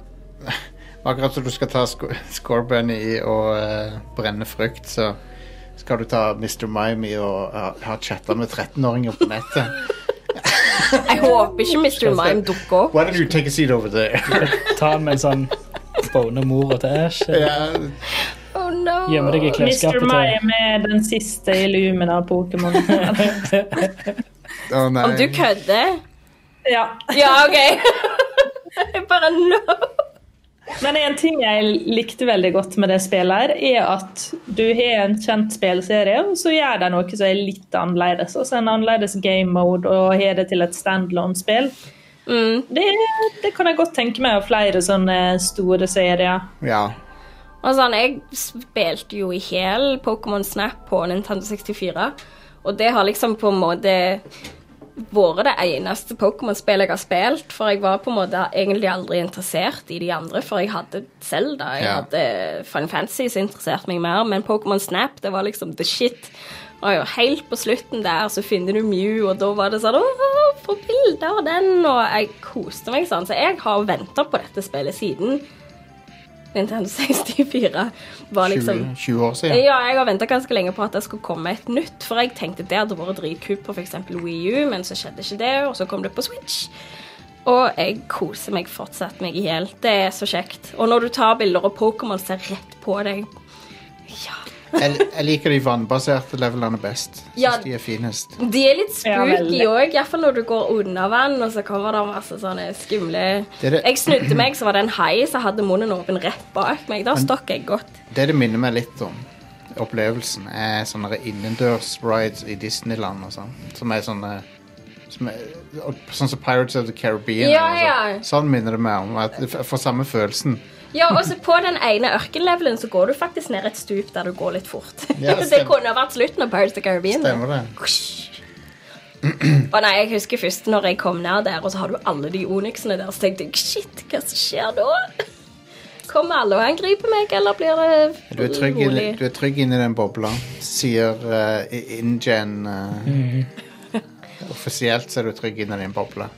Speaker 1: akkurat som du skal ta sk Scorbunny i og eh, brenne frukt, så skal du ta Mr. Mime i og ha- ha chatta med 13-åringer på nettet.
Speaker 4: Jeg håper ikke Mr. Mime dukker opp.
Speaker 1: Why don't you take a seat over there?
Speaker 3: Ta den med en sånn bone mora til Æsj.
Speaker 1: ja,
Speaker 4: Oh no.
Speaker 3: Gjemme deg i
Speaker 5: Mr.
Speaker 3: klesskapet til
Speaker 5: Mime er den siste illumen av Pokémon.
Speaker 1: å nei.
Speaker 4: Om du kødder?
Speaker 5: ja.
Speaker 4: Ja, OK. Jeg Bare no.
Speaker 5: Men en ting jeg likte veldig godt med det spillet, her, er at du har en kjent spillserie, og så gjør de noe som er litt annerledes. Altså en annerledes game mode, og har det til et standalone-spill.
Speaker 4: Mm.
Speaker 5: Det, det kan jeg godt tenke meg av flere sånne store serier.
Speaker 1: Ja.
Speaker 4: Og sånn, jeg spilte jo i hel Pokémon Snap på Nintendo 64, og det har liksom på en måte vært det eneste Pokémon-spillet jeg har spilt, for jeg var på en måte egentlig aldri interessert i de andre, for jeg hadde Zelda, jeg
Speaker 1: Ja.
Speaker 4: hadde Fun Fantasy som interesserte meg mer, men Pokémon Snap, det var liksom the shit. Og jo, helt på slutten der så finner du Mew, og da var det sånn Åh, få bilder av den! Og jeg koste meg sånn. Så jeg har venta på dette spillet siden Nintendo 64 var
Speaker 1: 20,
Speaker 4: liksom
Speaker 1: 20 år siden.
Speaker 4: ja, jeg har venta ganske lenge på at det skulle komme et nytt, for jeg tenkte det hadde vært dritkult på f.eks. Wii U, men så skjedde ikke det, og så kom det på Switch. Og jeg koser meg fortsatt meg i hjel. Det er så kjekt. Og når du tar bilder, og Pokémon ser rett på deg Ja.
Speaker 1: Jeg, jeg liker de vannbaserte levelene best. Syns
Speaker 4: Ja.
Speaker 1: de er finest.
Speaker 4: De er litt
Speaker 5: Ja,
Speaker 4: spooky
Speaker 5: veldig.
Speaker 4: òg, iallfall når du går under vann, og så kommer det masse sånne skumle
Speaker 1: Det er det-
Speaker 4: Jeg snudde meg, så var det en hai som hadde munnen åpen rett bak meg. Da stokk jeg godt.
Speaker 1: Det det minner meg litt om, opplevelsen, er sånne innendørs rides i Disneyland og sånn. Som er sånne som er, og Sånn som Pirates of the Caribbean.
Speaker 4: Ja,
Speaker 1: og sånn.
Speaker 4: ja.
Speaker 1: Sånn minner det meg om. At jeg får samme følelsen.
Speaker 4: Ja, og så på den ene ørkenlevelen så går du faktisk ned et stup der du går litt fort.
Speaker 1: Ja,
Speaker 4: det
Speaker 1: stemmer.
Speaker 4: kunne vært slutten av Pirates of the Caribbean. det.
Speaker 1: Stemmer det?
Speaker 4: Husj. Å nei, jeg husker først når jeg kom ned der, og så har du alle de onyxene der, så tenkte jeg shit, hva som skjer da? Kommer alle og angriper meg, eller blir det
Speaker 1: Du er trygg, inni,
Speaker 4: rolig?
Speaker 1: du er trygg inni den bobla, sier eh, I- InGen. eh.
Speaker 4: Mm.
Speaker 1: Offisielt så er du trygg inni din boble.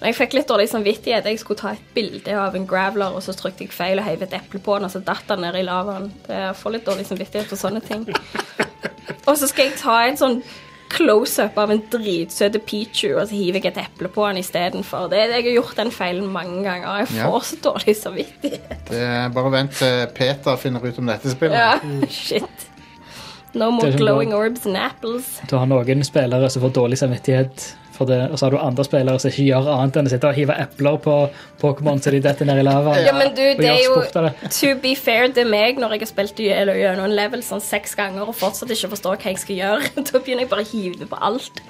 Speaker 4: Og Jeg fikk litt dårlig samvittighet. Jeg skulle ta et bilde av en graveler, og så trykte jeg feil og heiv et eple på den, og så datt han ned i lavaen. Det- Jeg får litt dårlig samvittighet for sånne ting. Og så skal jeg ta en sånn close-up av en dritsøt Pichu, og så hiver jeg et eple på den istedenfor. Det- Jeg har gjort den feilen mange ganger. Jeg
Speaker 1: Ja.
Speaker 4: får så dårlig samvittighet.
Speaker 1: Det er bare vent til Peter finner ut om dette spillet.
Speaker 4: Ja, shit. No more
Speaker 3: Det er sånn
Speaker 4: glowing
Speaker 3: bra.
Speaker 4: orbs and apples.
Speaker 3: Du har noen spillere som får dårlig samvittighet for det, og så har du andre spillere som ikke gjør annet enn å sitte og hive epler på Pokémon så de detter ned i lavaen.
Speaker 4: Ja, men du,
Speaker 3: og
Speaker 4: det er
Speaker 3: gjør
Speaker 4: jo
Speaker 3: sport av det.
Speaker 4: To be fair, det er meg når jeg har spilt gjennom gjennom en level sånn seks ganger og fortsatt ikke forstår hva jeg skal gjøre. Da begynner jeg bare å hive det på alt.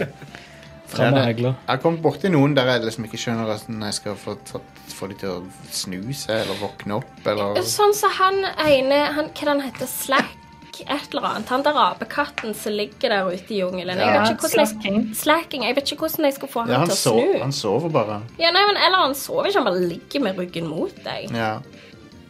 Speaker 3: Fram med
Speaker 1: Ja, det-
Speaker 3: hagla.
Speaker 1: Jeg har kommet borti noen der jeg liksom ikke skjønner hvordan jeg skal få, ta- få de til å snu seg eller våkne opp eller
Speaker 4: Sånn som han ene han, Hva er det han heter? Slack? slack et eller annet. Han der apekatten som ligger der ute i jungelen. Jeg vet ikke hvordan jeg,
Speaker 5: Slacking.
Speaker 4: slacking. Jeg vet ikke hvordan jeg skal få
Speaker 1: Ja,
Speaker 4: han
Speaker 1: han,
Speaker 4: til å
Speaker 1: so
Speaker 4: snu.
Speaker 1: han sover bare.
Speaker 4: Ja, nei, men Eller han sover ikke, han bare ligger med ryggen mot deg.
Speaker 1: Ja.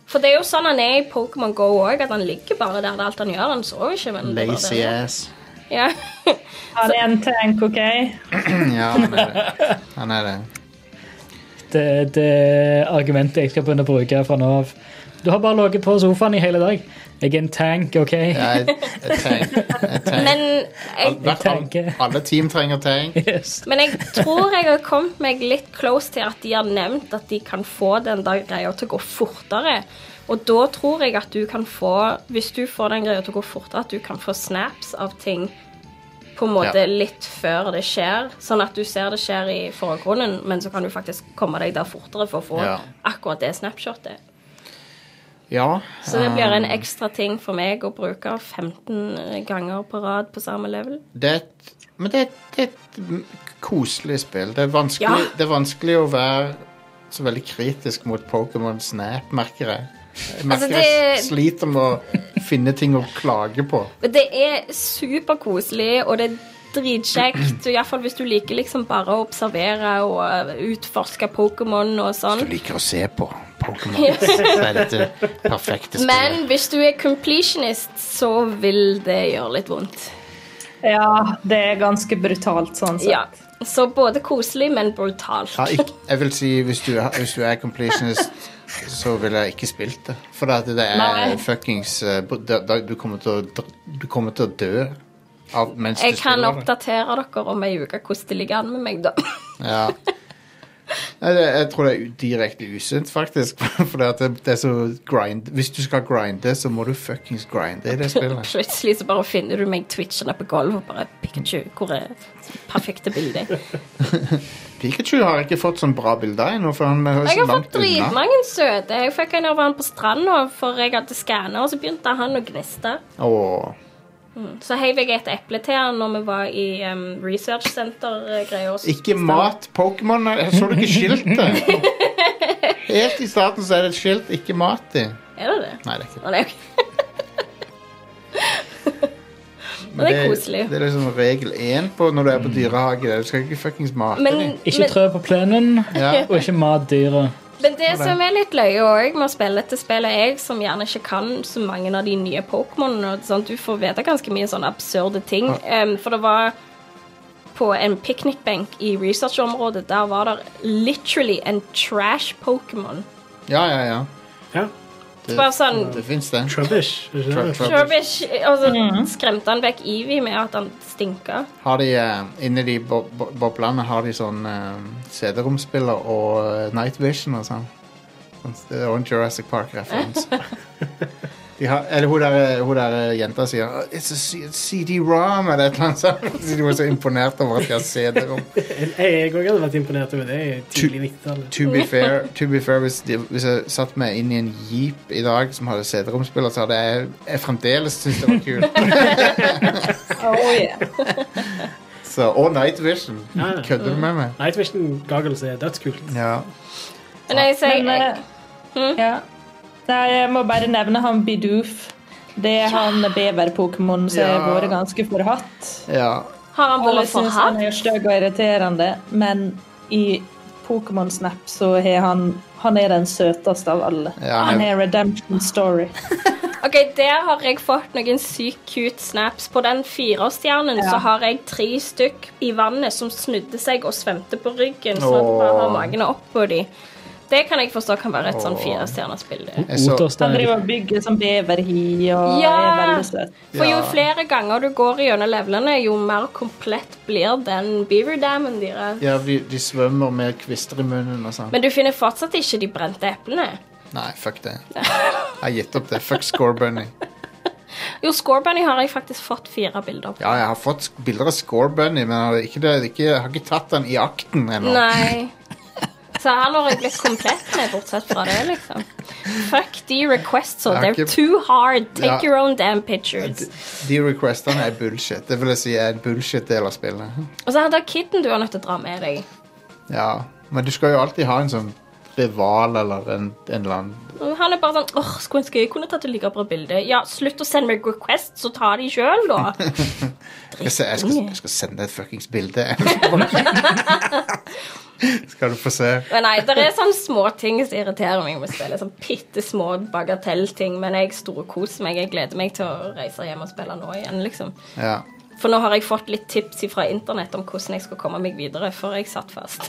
Speaker 4: For det er jo sånn han er i Pokémon GO òg, at han ligger bare der. Det er alt han gjør. Han sover ikke. Men det er bare
Speaker 1: Lazy
Speaker 4: det.
Speaker 1: ass.
Speaker 4: Ja.
Speaker 5: Han er en tank, OK?
Speaker 1: Ja, han er det. Han er det.
Speaker 3: Det, det er argumentet jeg skal begynne å bruke fra nå av. Du har bare ligget på sofaen i hele dag. Jeg er en tank, OK?
Speaker 1: Ja, jeg, jeg tenker, jeg tenker.
Speaker 4: Men jeg,
Speaker 1: Hvert-
Speaker 3: tenker.
Speaker 1: alle team trenger tank.
Speaker 3: Yes.
Speaker 4: men jeg tror jeg har kommet meg litt close til at de har nevnt at de kan få den der greia til å gå fortere. Og da tror jeg at du kan få Hvis du får den greia til å gå fortere, at du kan få snaps av ting på en måte
Speaker 1: Ja.
Speaker 4: litt før det skjer. Sånn at du ser det skjer i forgrunnen, men så kan du faktisk komme deg der fortere for å få
Speaker 1: Ja.
Speaker 4: akkurat det snapshotet.
Speaker 1: Ja.
Speaker 4: Så det blir en ekstra ting for meg å bruke 15 ganger på rad på samme level.
Speaker 1: Det er et, men det, er- det er et koselig spill. Det er vanskelig,
Speaker 4: Ja.
Speaker 1: det er vanskelig å være så veldig kritisk mot Pokémon Snap, merker jeg. Jeg merker
Speaker 4: Altså, det-
Speaker 1: jeg sliter med å finne ting å klage på.
Speaker 4: Men Det er superkoselig, og det er dritkjekt. Iallfall hvis du liker liksom bare å observere og utforske Pokémon og sånn.
Speaker 1: liker å se på Pokémon. Så er dette perfekte spillet.
Speaker 4: Men hvis du er completionist, så vil det gjøre litt vondt.
Speaker 5: Ja, det er ganske brutalt, sånn sett.
Speaker 4: Ja. Så både koselig, men brutalt.
Speaker 1: Ja, ikk- jeg vil si, hvis du, er- hvis du er completionist, så ville jeg ikke spilt det. For at det er
Speaker 5: Nei.
Speaker 1: fuckings eh, br- da- da- du kommer, til å, dr- du kommer til å dø av, mens
Speaker 4: Jeg
Speaker 1: du
Speaker 4: kan
Speaker 1: spiller det.
Speaker 4: oppdatere dere om ei uke hvordan det ligger an med meg, da.
Speaker 1: Ja. Nei, det, jeg tror det er u- direkte usunt, faktisk. For det, at det, det er så grind Hvis du skal grinde, så må du fuckings grinde i det spillet.
Speaker 4: Plutselig så bare finner du meg twitchende på gulvet og bare Pikachu, hvor er det perfekte bildet?
Speaker 1: Pikachu har ikke fått sånn bra bilder ennå, for han er
Speaker 4: Jeg
Speaker 1: så
Speaker 4: har fått
Speaker 1: langt unna.
Speaker 4: dritmange søte. Jeg fikk en av han på stranda, for jeg hadde skanner, og så begynte han å gniste.
Speaker 1: Åh.
Speaker 4: Så heiv jeg et eple til han når vi var i um, research eh, center-greier.
Speaker 1: Ikke mat Pokémon. er- Så du ikke skiltet? Helt i starten så er det et skilt 'ikke mat' i.
Speaker 4: Er det det?
Speaker 1: Nei, det er ikke
Speaker 4: Å, nei, ok. Men det er koselig. Mm.
Speaker 1: Det er liksom regel én på når du er på dyrehage. det er Du skal ikke fuckings mate
Speaker 4: Men,
Speaker 1: dem.
Speaker 3: Ikke
Speaker 4: men,
Speaker 3: trø på plenen,
Speaker 1: Ja.
Speaker 3: og ikke mat dyret.
Speaker 4: men det som er litt løye òg med å spille dette spillet, er jeg som gjerne ikke kan så mange av de nye Pokémonene, og sånt, du får vite ganske mye sånne absurde ting. Um, for det var på en piknikbenk i researchområdet, der var det literally en trash Pokémon.
Speaker 1: Ja, ja, ja.
Speaker 2: Ja.
Speaker 1: Det,
Speaker 4: Bare sånn
Speaker 1: det fins, det.
Speaker 2: Trubbish. er ikke
Speaker 1: Tru-
Speaker 2: det?
Speaker 1: tru-
Speaker 4: Trubbish, og så
Speaker 5: Mm.
Speaker 4: skremte han vekk Evie med at han stinka.
Speaker 1: Har de, eh, Inni de bo- bo- boblene har de sånn eh, CD-romspiller og eh, Night Vision og sånn. Sånn- Det er også en Jurassic Park-referanse. De har, eller hun der, eh, hun der eh, jenta sier "Oh, It's a C- CD-rom eller et eller annet sånt. Så De var så imponert over at de har CD-rom.
Speaker 2: Jeg E jeg òg hadde vært imponert over det i tidlig 90-tallet.
Speaker 1: To be fair, to be fair hvis, de, hvis jeg satt meg inn i en jeep i dag som hadde CD-romspiller, så hadde jeg, jeg fremdeles syntes det var kult.
Speaker 5: Oh, yeah.
Speaker 1: Så, og Night Vision.
Speaker 2: Ja, ja.
Speaker 1: Kødder du med meg?
Speaker 2: Night Vision Goggles er dødskult.
Speaker 1: Ja.
Speaker 4: Men jeg sier
Speaker 5: Men eh, ja. Nei, jeg må bare nevne han Bidoof. Det er han bever-pokémonen som har
Speaker 1: Ja.
Speaker 5: vært ganske forhatt.
Speaker 1: ja.
Speaker 4: har han
Speaker 5: Alle
Speaker 4: bare
Speaker 5: syns han
Speaker 4: forhatt?
Speaker 5: er stygg og irriterende, men i Pokémon Snap så er han han er den søteste av alle.
Speaker 1: Ja, han
Speaker 5: han
Speaker 1: er-
Speaker 5: er redemption story.
Speaker 4: Ok, Der har jeg fått noen sykt cute snaps. På den fireårsstjernen så har jeg tre stykk i vannet som snudde seg og svømte på ryggen, så at
Speaker 1: Åh.
Speaker 4: bare har magen oppå de. Det kan jeg forstå kan være et sånn firestjerners bilde.
Speaker 1: Jeg så-
Speaker 5: Han
Speaker 3: Oterstein.
Speaker 5: driver og bygger som beverhi og er
Speaker 4: Ja.
Speaker 5: veldig søt.
Speaker 4: For jo
Speaker 1: Ja.
Speaker 4: flere ganger du går gjennom levelene, jo mer komplett blir den beaver dammen deres.
Speaker 1: ja de, de svømmer med kvister i munnen og sånn.
Speaker 4: Men du finner fortsatt ikke de brente eplene.
Speaker 1: Nei, fuck det. Jeg har gitt opp det. Fuck Scorebunny.
Speaker 4: Jo, Scorebunny har jeg faktisk fått fire bilder på.
Speaker 1: Ja, jeg har fått sk- bilder av Scorebunny, men jeg har ikke, det, ikke, jeg har ikke tatt den i akten ennå.
Speaker 4: Nei. Så han har jeg blitt komplett med, bortsett fra det, liksom. Fuck de requests,
Speaker 1: Jeg har
Speaker 4: they're
Speaker 1: ikke-
Speaker 4: too hard. Take
Speaker 1: Ja.
Speaker 4: your own damn pictures.
Speaker 1: De requestene er bullshit. Det vil jeg si er en bullshit-del av spillet.
Speaker 4: Og så hadde jeg kitten du er nødt til å dra med deg.
Speaker 1: Ja, men du skal jo alltid ha en sånn rival eller en, en eller annen
Speaker 4: Og Han er bare sånn åh, skulle ønske jeg kunne tatt et like bra bilde. Ja, slutt å sende meg request, så ta de sjøl, da.
Speaker 1: jeg skal, se- jeg, skal, jeg skal sende deg et fuckings bilde. skal du få se.
Speaker 4: Men nei, det er sånne små ting som irriterer meg med spillet. Sånn bitte små bagatellting. Men jeg storkoser meg. Jeg gleder meg til å reise hjem og spille nå igjen, liksom.
Speaker 1: Ja.
Speaker 4: For nå har jeg fått litt tips fra internett om hvordan jeg skal komme meg videre, før jeg satt fast.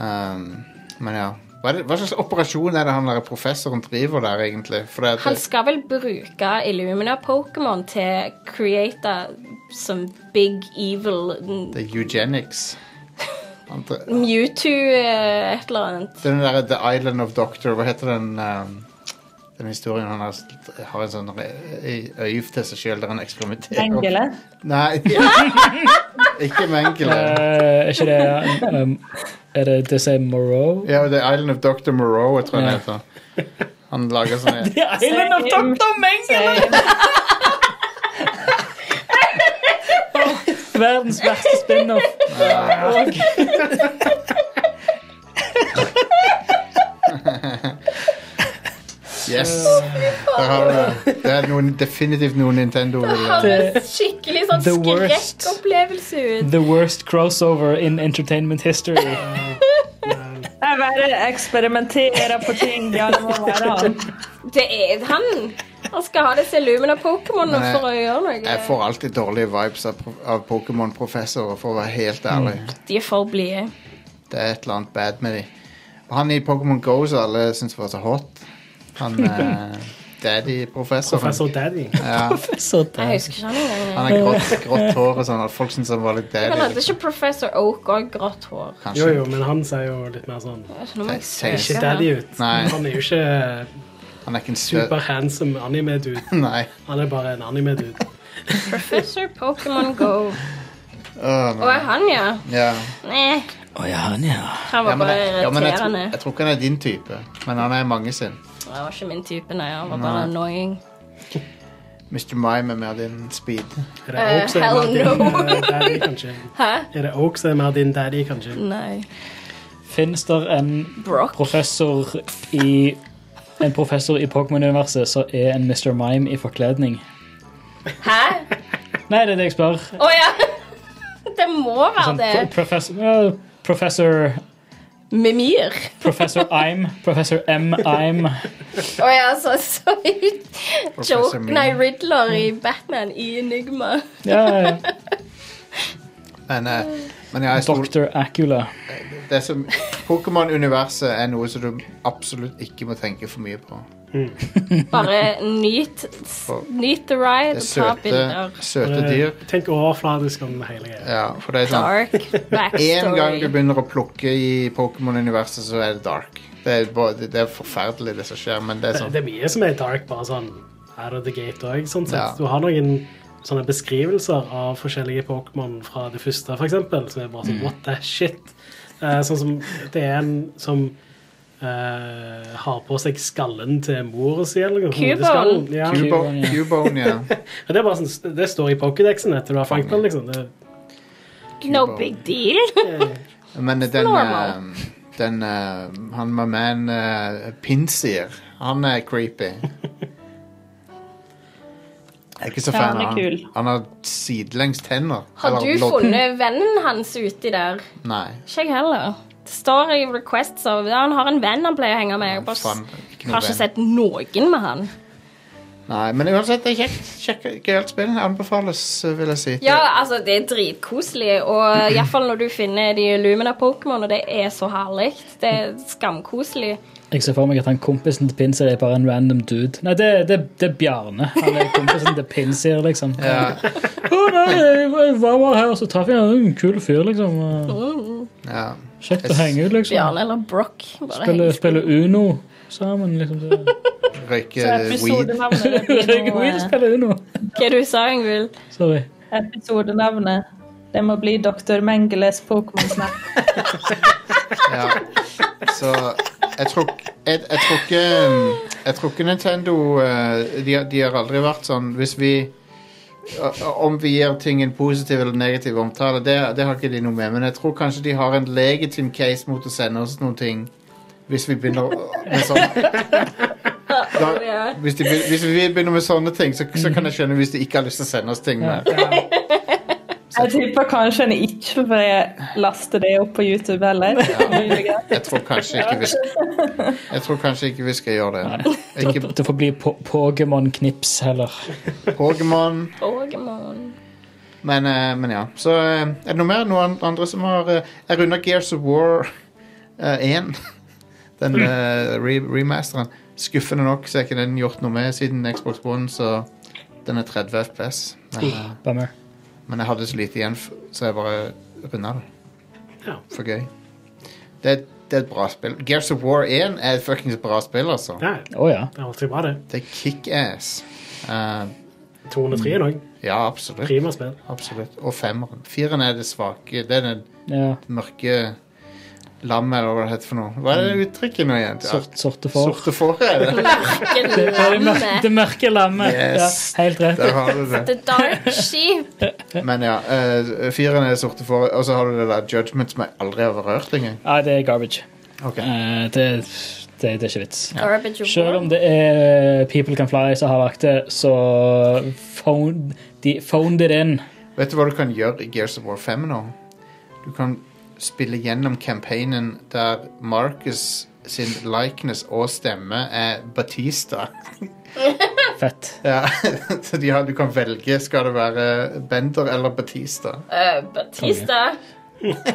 Speaker 1: Um, men ja. Hva, er det, hva slags operasjon er det han der professoren driver der, egentlig? For det,
Speaker 4: Han
Speaker 1: det,
Speaker 4: skal vel bruke Illumina-Pokémon til å create som big evil n-
Speaker 1: det er eugenics. Han, dr-
Speaker 4: Mewtwo eh, et eller annet.
Speaker 1: Den der The Island of Doctor, hva heter den um, Den historien han har, har en sånn re- i- øyv til seg sjøl der han eksperimenterer.
Speaker 5: Engele.
Speaker 1: Nei. ikke Mengele.
Speaker 3: Eh, er ikke det um, Er det det som er Moreau?
Speaker 1: Ja, The Island of Dr. Moreau, jeg tror han heter. Han lager sånne
Speaker 3: Island of Dr. Mengele! Verdens verste spin-off.
Speaker 1: Yes! Der har du det. Det er noen, definitivt noe Nintendo vil ha.
Speaker 4: Høres skikkelig sånn
Speaker 3: The worst.
Speaker 4: skrekkopplevelse ut.
Speaker 3: The worst crossover in entertainment history.
Speaker 5: Jeg bare eksperimenterer på ting. Ja, det må være han.
Speaker 4: Det er han. Han skal ha disse Illumina-Pokémon
Speaker 1: Men jeg-
Speaker 4: for å gjøre noe.
Speaker 1: Jeg får alltid dårlige vibes av, pro- av Pokémon-professorer, for å være helt
Speaker 2: Mm.
Speaker 1: ærlig.
Speaker 4: De er for blide.
Speaker 1: Det er et eller annet bad med de. Og han i Pokémon Go som alle syns var så hot. Han eh, daddy-professoren.
Speaker 2: Professor Daddy.
Speaker 1: Ja,
Speaker 3: Så
Speaker 4: Jeg husker ikke han engang.
Speaker 1: han har grått, grått hår og sånn, og folk syns han var litt
Speaker 4: Men
Speaker 1: daddy.
Speaker 4: hadde ikke Professor Oak òg grått hår?
Speaker 2: Jo,
Speaker 1: Kanskje.
Speaker 2: jo, men han ser jo litt mer sånn
Speaker 4: Jeg skjønner meg
Speaker 1: Sier
Speaker 4: søker.
Speaker 2: ikke daddy ut.
Speaker 1: Nei.
Speaker 2: Han er jo ikke
Speaker 1: Han er ikke en søt
Speaker 2: super handsome anime-dude.
Speaker 1: Nei.
Speaker 2: Han er bare en anime-dude.
Speaker 4: Professor Pokémon Go.
Speaker 1: Åh,
Speaker 4: Og
Speaker 1: nei.
Speaker 4: er han, ja?
Speaker 1: Ja.
Speaker 4: Nei,
Speaker 8: Å ja, han, ja.
Speaker 4: han
Speaker 1: Ja,
Speaker 4: var
Speaker 1: men,
Speaker 4: bare
Speaker 1: jeg, ja, men jeg, tror,
Speaker 4: irriterende.
Speaker 1: jeg tror ikke han er din type, men han er mange sin.
Speaker 4: Det var ikke min type, nei. Han var bare
Speaker 1: Nei.
Speaker 4: annoying.
Speaker 1: Mr. Mime er mer din speed.
Speaker 2: Er det Oak som er mer
Speaker 4: Eh, hell
Speaker 2: din
Speaker 4: no.
Speaker 2: eh, daddy, kanskje?
Speaker 4: Hæ?
Speaker 2: Er det Oak som er mer din daddy, kanskje?
Speaker 4: Nei.
Speaker 3: Fins det en
Speaker 4: Brock.
Speaker 3: professor i en professor i Pokémon-universet som er en Mr. Mime i forkledning?
Speaker 4: Hæ?
Speaker 3: Nei, det er det jeg spør.
Speaker 4: Å ja! Det må være
Speaker 3: Sånn,
Speaker 4: det.
Speaker 3: pro- professor, ja, professor
Speaker 4: Mimir.
Speaker 3: Professor I'm. Professor M. I'm.
Speaker 4: Å ja, så, så Joke,
Speaker 1: Mimir. Mm.
Speaker 4: nei, Riddler i Batman i Enigma.
Speaker 3: Ja, ja, ja.
Speaker 1: Men, eh, men ja, jeg stol,
Speaker 3: Dr. Acula.
Speaker 1: det som Pokémon-universet er noe som du absolutt ikke må tenke for mye på.
Speaker 4: Bare nyt, s- nyt the
Speaker 1: Det
Speaker 4: ride
Speaker 1: er
Speaker 4: og ta
Speaker 1: søte,
Speaker 4: bilder.
Speaker 1: søte dyr.
Speaker 2: Eh, Tenk overfladisk om hele greia.
Speaker 1: Ja, for det er sånn En gang
Speaker 4: Dark
Speaker 1: du
Speaker 4: backstory.
Speaker 1: begynner å plukke i Pokémon-universet, så er det dark. Det er, bare- det er forferdelig, det som skjer, men det er
Speaker 2: Det,
Speaker 1: sånn
Speaker 2: det er mye som er dark, bare sånn out of the gate òg, sånn sett.
Speaker 1: Ja.
Speaker 2: Du har noen sånne beskrivelser av forskjellige Pokémon fra det første, for eksempel, som er bare
Speaker 1: Mm.
Speaker 2: sånn what the shit. Eh, sånn som det er en som eh, har på seg skallen til mora si, eller noe.
Speaker 4: Cubone.
Speaker 2: hodeskallen. Ja.
Speaker 1: Cubone, Cubone, ja.
Speaker 2: Og Det, er bare sånn, det står i Pokédexen etter du har fanget den, liksom. Det,
Speaker 4: No big deal.
Speaker 1: Men den,
Speaker 4: Normal.
Speaker 1: eh, den eh, Han med man eh, Pinsier, han er creepy. Jeg er ikke så
Speaker 5: Ja,
Speaker 1: fan
Speaker 5: han er
Speaker 1: av han.
Speaker 5: kul.
Speaker 1: Han har sidelengs tenner.
Speaker 4: Har
Speaker 1: Eller
Speaker 4: du
Speaker 1: lodd.
Speaker 4: funnet vennen hans uti der?
Speaker 1: Nei.
Speaker 4: Ikke jeg heller. Det står i requests av ja, Han har en venn han pleier å henge med. Jeg bare,
Speaker 1: Faen, ikke noe
Speaker 4: har ikke
Speaker 1: venn.
Speaker 4: sett noen med han.
Speaker 1: Nei, men uansett, det er kjekt. Kjekk- Gøyalt spill. Anbefales, vil jeg si. til-
Speaker 4: Ja, altså, det er dritkoselig, og iallfall når du finner de Lumina Pokémon, og det er så herlig. Det er skamkoselig.
Speaker 3: Jeg ser for meg at han kompisen til Pinsir er bare en random dude. Nei, det, det, det er Bjarne. Han er kompisen til Pinsir, liksom.
Speaker 1: Ja,
Speaker 3: Å nei, jeg var bare her, og så traff jeg en kul fyr, liksom. og
Speaker 1: ja.
Speaker 3: Kjekt å henge ut, liksom.
Speaker 4: Bjarne eller Brock. Bare
Speaker 3: Spille,
Speaker 4: henger-
Speaker 3: spille Uno sammen, liksom. så-
Speaker 1: Røyke
Speaker 5: Så
Speaker 1: Eh, weed.
Speaker 5: episodenavnet det blir
Speaker 3: Jeg vil
Speaker 5: noe-
Speaker 3: spille Uno.
Speaker 4: Hva du sa Yngvild?
Speaker 3: Sorry.
Speaker 5: Episodenavnet det må bli Dr. Mengeles Pokémon Snap.
Speaker 1: Ja. Så jeg tror, jeg, jeg tror ikke mm, Jeg tror ikke Nintendo eh, de, har- de har aldri vært sånn Hvis vi o- Om vi gir ting en positiv eller negativ omtale, det, det har ikke de noe med. Men jeg tror kanskje de har en legitim case mot å sende oss noen ting Hvis vi begynner med sånne da,
Speaker 4: Ja.
Speaker 1: hvis, de, begyn- hvis vi begynner med sånne ting, så, så kan jeg skjønne hvis de ikke har lyst til å sende oss ting. Men,
Speaker 5: Jeg tipper kanskje en ikke får laste det opp på YouTube heller. Muligens.
Speaker 1: jeg tror kanskje ikke vi skal, jeg tror kanskje ikke vi skal gjøre det.
Speaker 3: Det,
Speaker 1: Ikke
Speaker 3: det får bli po Pokémon-knips heller.
Speaker 1: Pokémon,
Speaker 4: Pokémon.
Speaker 1: men, eh, men ja. Så eh, er det noe mer? Noen andre som har eh, Jeg runder Gears of War eh, 1. Den
Speaker 2: Mm.
Speaker 1: eh, re remasteren. Skuffende nok så er ikke den gjort noe med siden Xbox One, så den er 30 FPS.
Speaker 2: Mm.
Speaker 3: Ah.
Speaker 1: Men, eh,
Speaker 3: Bummer.
Speaker 1: Men jeg hadde så lite igjen, f- så jeg bare runda det.
Speaker 2: Ja.
Speaker 1: For gøy. Det, er- det er et bra spill. Gears of War 1 er et fuckings bra spill, altså.
Speaker 2: Ja,
Speaker 3: Å ja.
Speaker 2: det er alltid bra, det.
Speaker 1: Det er kickass. Uh,
Speaker 2: 203 er òg.
Speaker 1: ja, absolutt.
Speaker 2: Prima spill.
Speaker 1: Absolutt. Og femmeren. Fireren er det svake. Det er den
Speaker 3: ja.
Speaker 1: mørke lammet, eller hva det heter for noe. Hva er det uttrykket nå igjen? Ja,
Speaker 3: Sort, Mm. sorte får.
Speaker 1: Sorte får er det.
Speaker 4: Ikke
Speaker 3: Det mør-
Speaker 4: lammet.
Speaker 3: Det mørke lammet.
Speaker 1: Yes.
Speaker 3: Ja, helt rett.
Speaker 1: Der har du det.
Speaker 4: The Dark Sheep.
Speaker 1: Men ja, eh, fireren er det sorte får, og så har du det der judgment som jeg aldri har rørt engang.
Speaker 3: Nei, det er garbage.
Speaker 1: Ok.
Speaker 3: Eh, det, det, det er ikke vits.
Speaker 4: Garbage of
Speaker 3: Selv
Speaker 4: War.
Speaker 3: om det er eh, People Can Fly som har lagt det, så phone, de phoned it in.
Speaker 1: Vet du hva du kan gjøre i Gears of War 5 nå? Du kan spille gjennom campaignen der Marcus sin likeness og stemme er Batista.
Speaker 3: Fett.
Speaker 1: Ja, så de har, du kan velge skal det være Bender eller Batista.
Speaker 4: Eh, Batista.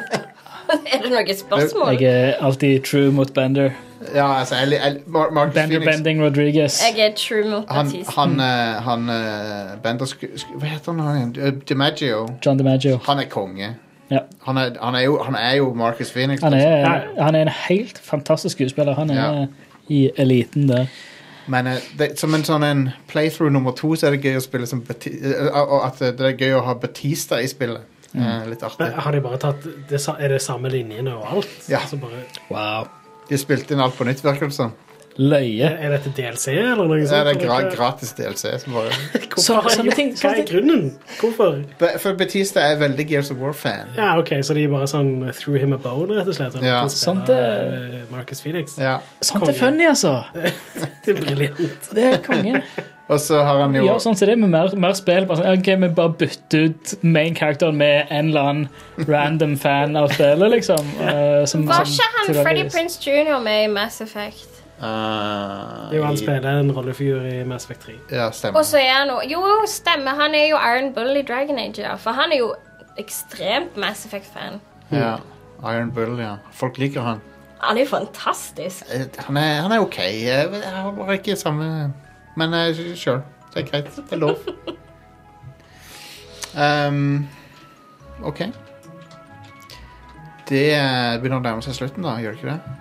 Speaker 4: Er det noe spørsmål?
Speaker 3: Jeg er alltid true mot Bender.
Speaker 1: Ja, altså jeg, jeg, Mar Marcus
Speaker 3: Bender
Speaker 1: Phoenix
Speaker 3: Bending Rodriguez.
Speaker 4: Jeg er true mot
Speaker 1: han,
Speaker 4: Batista.
Speaker 1: han, eh, han eh, Bender sku, sku, Hva heter han igjen? Eh, DiMaggio.
Speaker 3: John DiMaggio.
Speaker 1: Han er konge.
Speaker 3: Ja.
Speaker 1: Han, er, han, er jo, han er jo Marcus Phoenix. altså.
Speaker 3: Han er,
Speaker 2: Nei.
Speaker 3: han er en helt fantastisk skuespiller. Han er
Speaker 1: Ja.
Speaker 3: i eliten der.
Speaker 1: Men eh, det, som en sånn en playthrough nummer to, så er det gøy å spille som Bati eh, Og at det er gøy å ha Batista i spillet. Eh, litt artig.
Speaker 2: Men har de bare tatt det, sa- Er det samme linjene og alt?
Speaker 1: Ja.
Speaker 2: Så bare,
Speaker 3: Wow.
Speaker 1: De spilte inn alt på nytt, virker det som.
Speaker 3: Løye.
Speaker 2: er dette DLC, eller noe
Speaker 1: Det
Speaker 2: sånt?
Speaker 1: er det gra
Speaker 2: Eller hva-
Speaker 1: gratis DLC. Som bare...
Speaker 2: Hvorfor
Speaker 3: Så-
Speaker 2: har de
Speaker 3: sånne
Speaker 2: gjort- Hva
Speaker 3: ting-
Speaker 2: er
Speaker 3: sånne ting-
Speaker 2: grunnen? Hvorfor?
Speaker 1: Ba- For Batista er veldig Gears of War-fan.
Speaker 2: Ja, ok, Så de bare sånn threw him a bone, rett og slett?
Speaker 1: Ja.
Speaker 3: Sånt,
Speaker 2: Sånt,
Speaker 3: eh,
Speaker 2: Marcus Phoenix.
Speaker 1: Ja.
Speaker 3: Sånt er funny, altså.
Speaker 2: Det er briljant.
Speaker 3: Det er konge.
Speaker 1: Og så har han jo
Speaker 3: Ja, sånn som det er med mer, mer spill. Bare sånn, ok, Vi bare bytter ut main-characteren med en eller annen random fan av spillet, liksom. eh, som-
Speaker 4: Var
Speaker 3: som
Speaker 4: ikke han
Speaker 3: tilfeldigvis-
Speaker 4: Freddy Prince Jr. med i Mass Effect?
Speaker 1: Eh,
Speaker 2: Det er jo Han spiller en rollefigur i Mass Effect 3.
Speaker 1: Ja, stemmer.
Speaker 4: Og så er han jo Jo, stemmer. Han er jo Iron Bull i Dragon Age, ja. For han er jo ekstremt Mass Effect-fan.
Speaker 1: Ja. Iron Bull, ja. Folk liker han.
Speaker 4: Han er jo fantastisk.
Speaker 1: Eh, Han er, han er OK. Jeg vet- jeg har bare ikke samme Men eh, sure. Det er greit. Det er lov. Ehm, OK. Det eh, begynner å nærme seg slutten, da. Gjør det ikke det?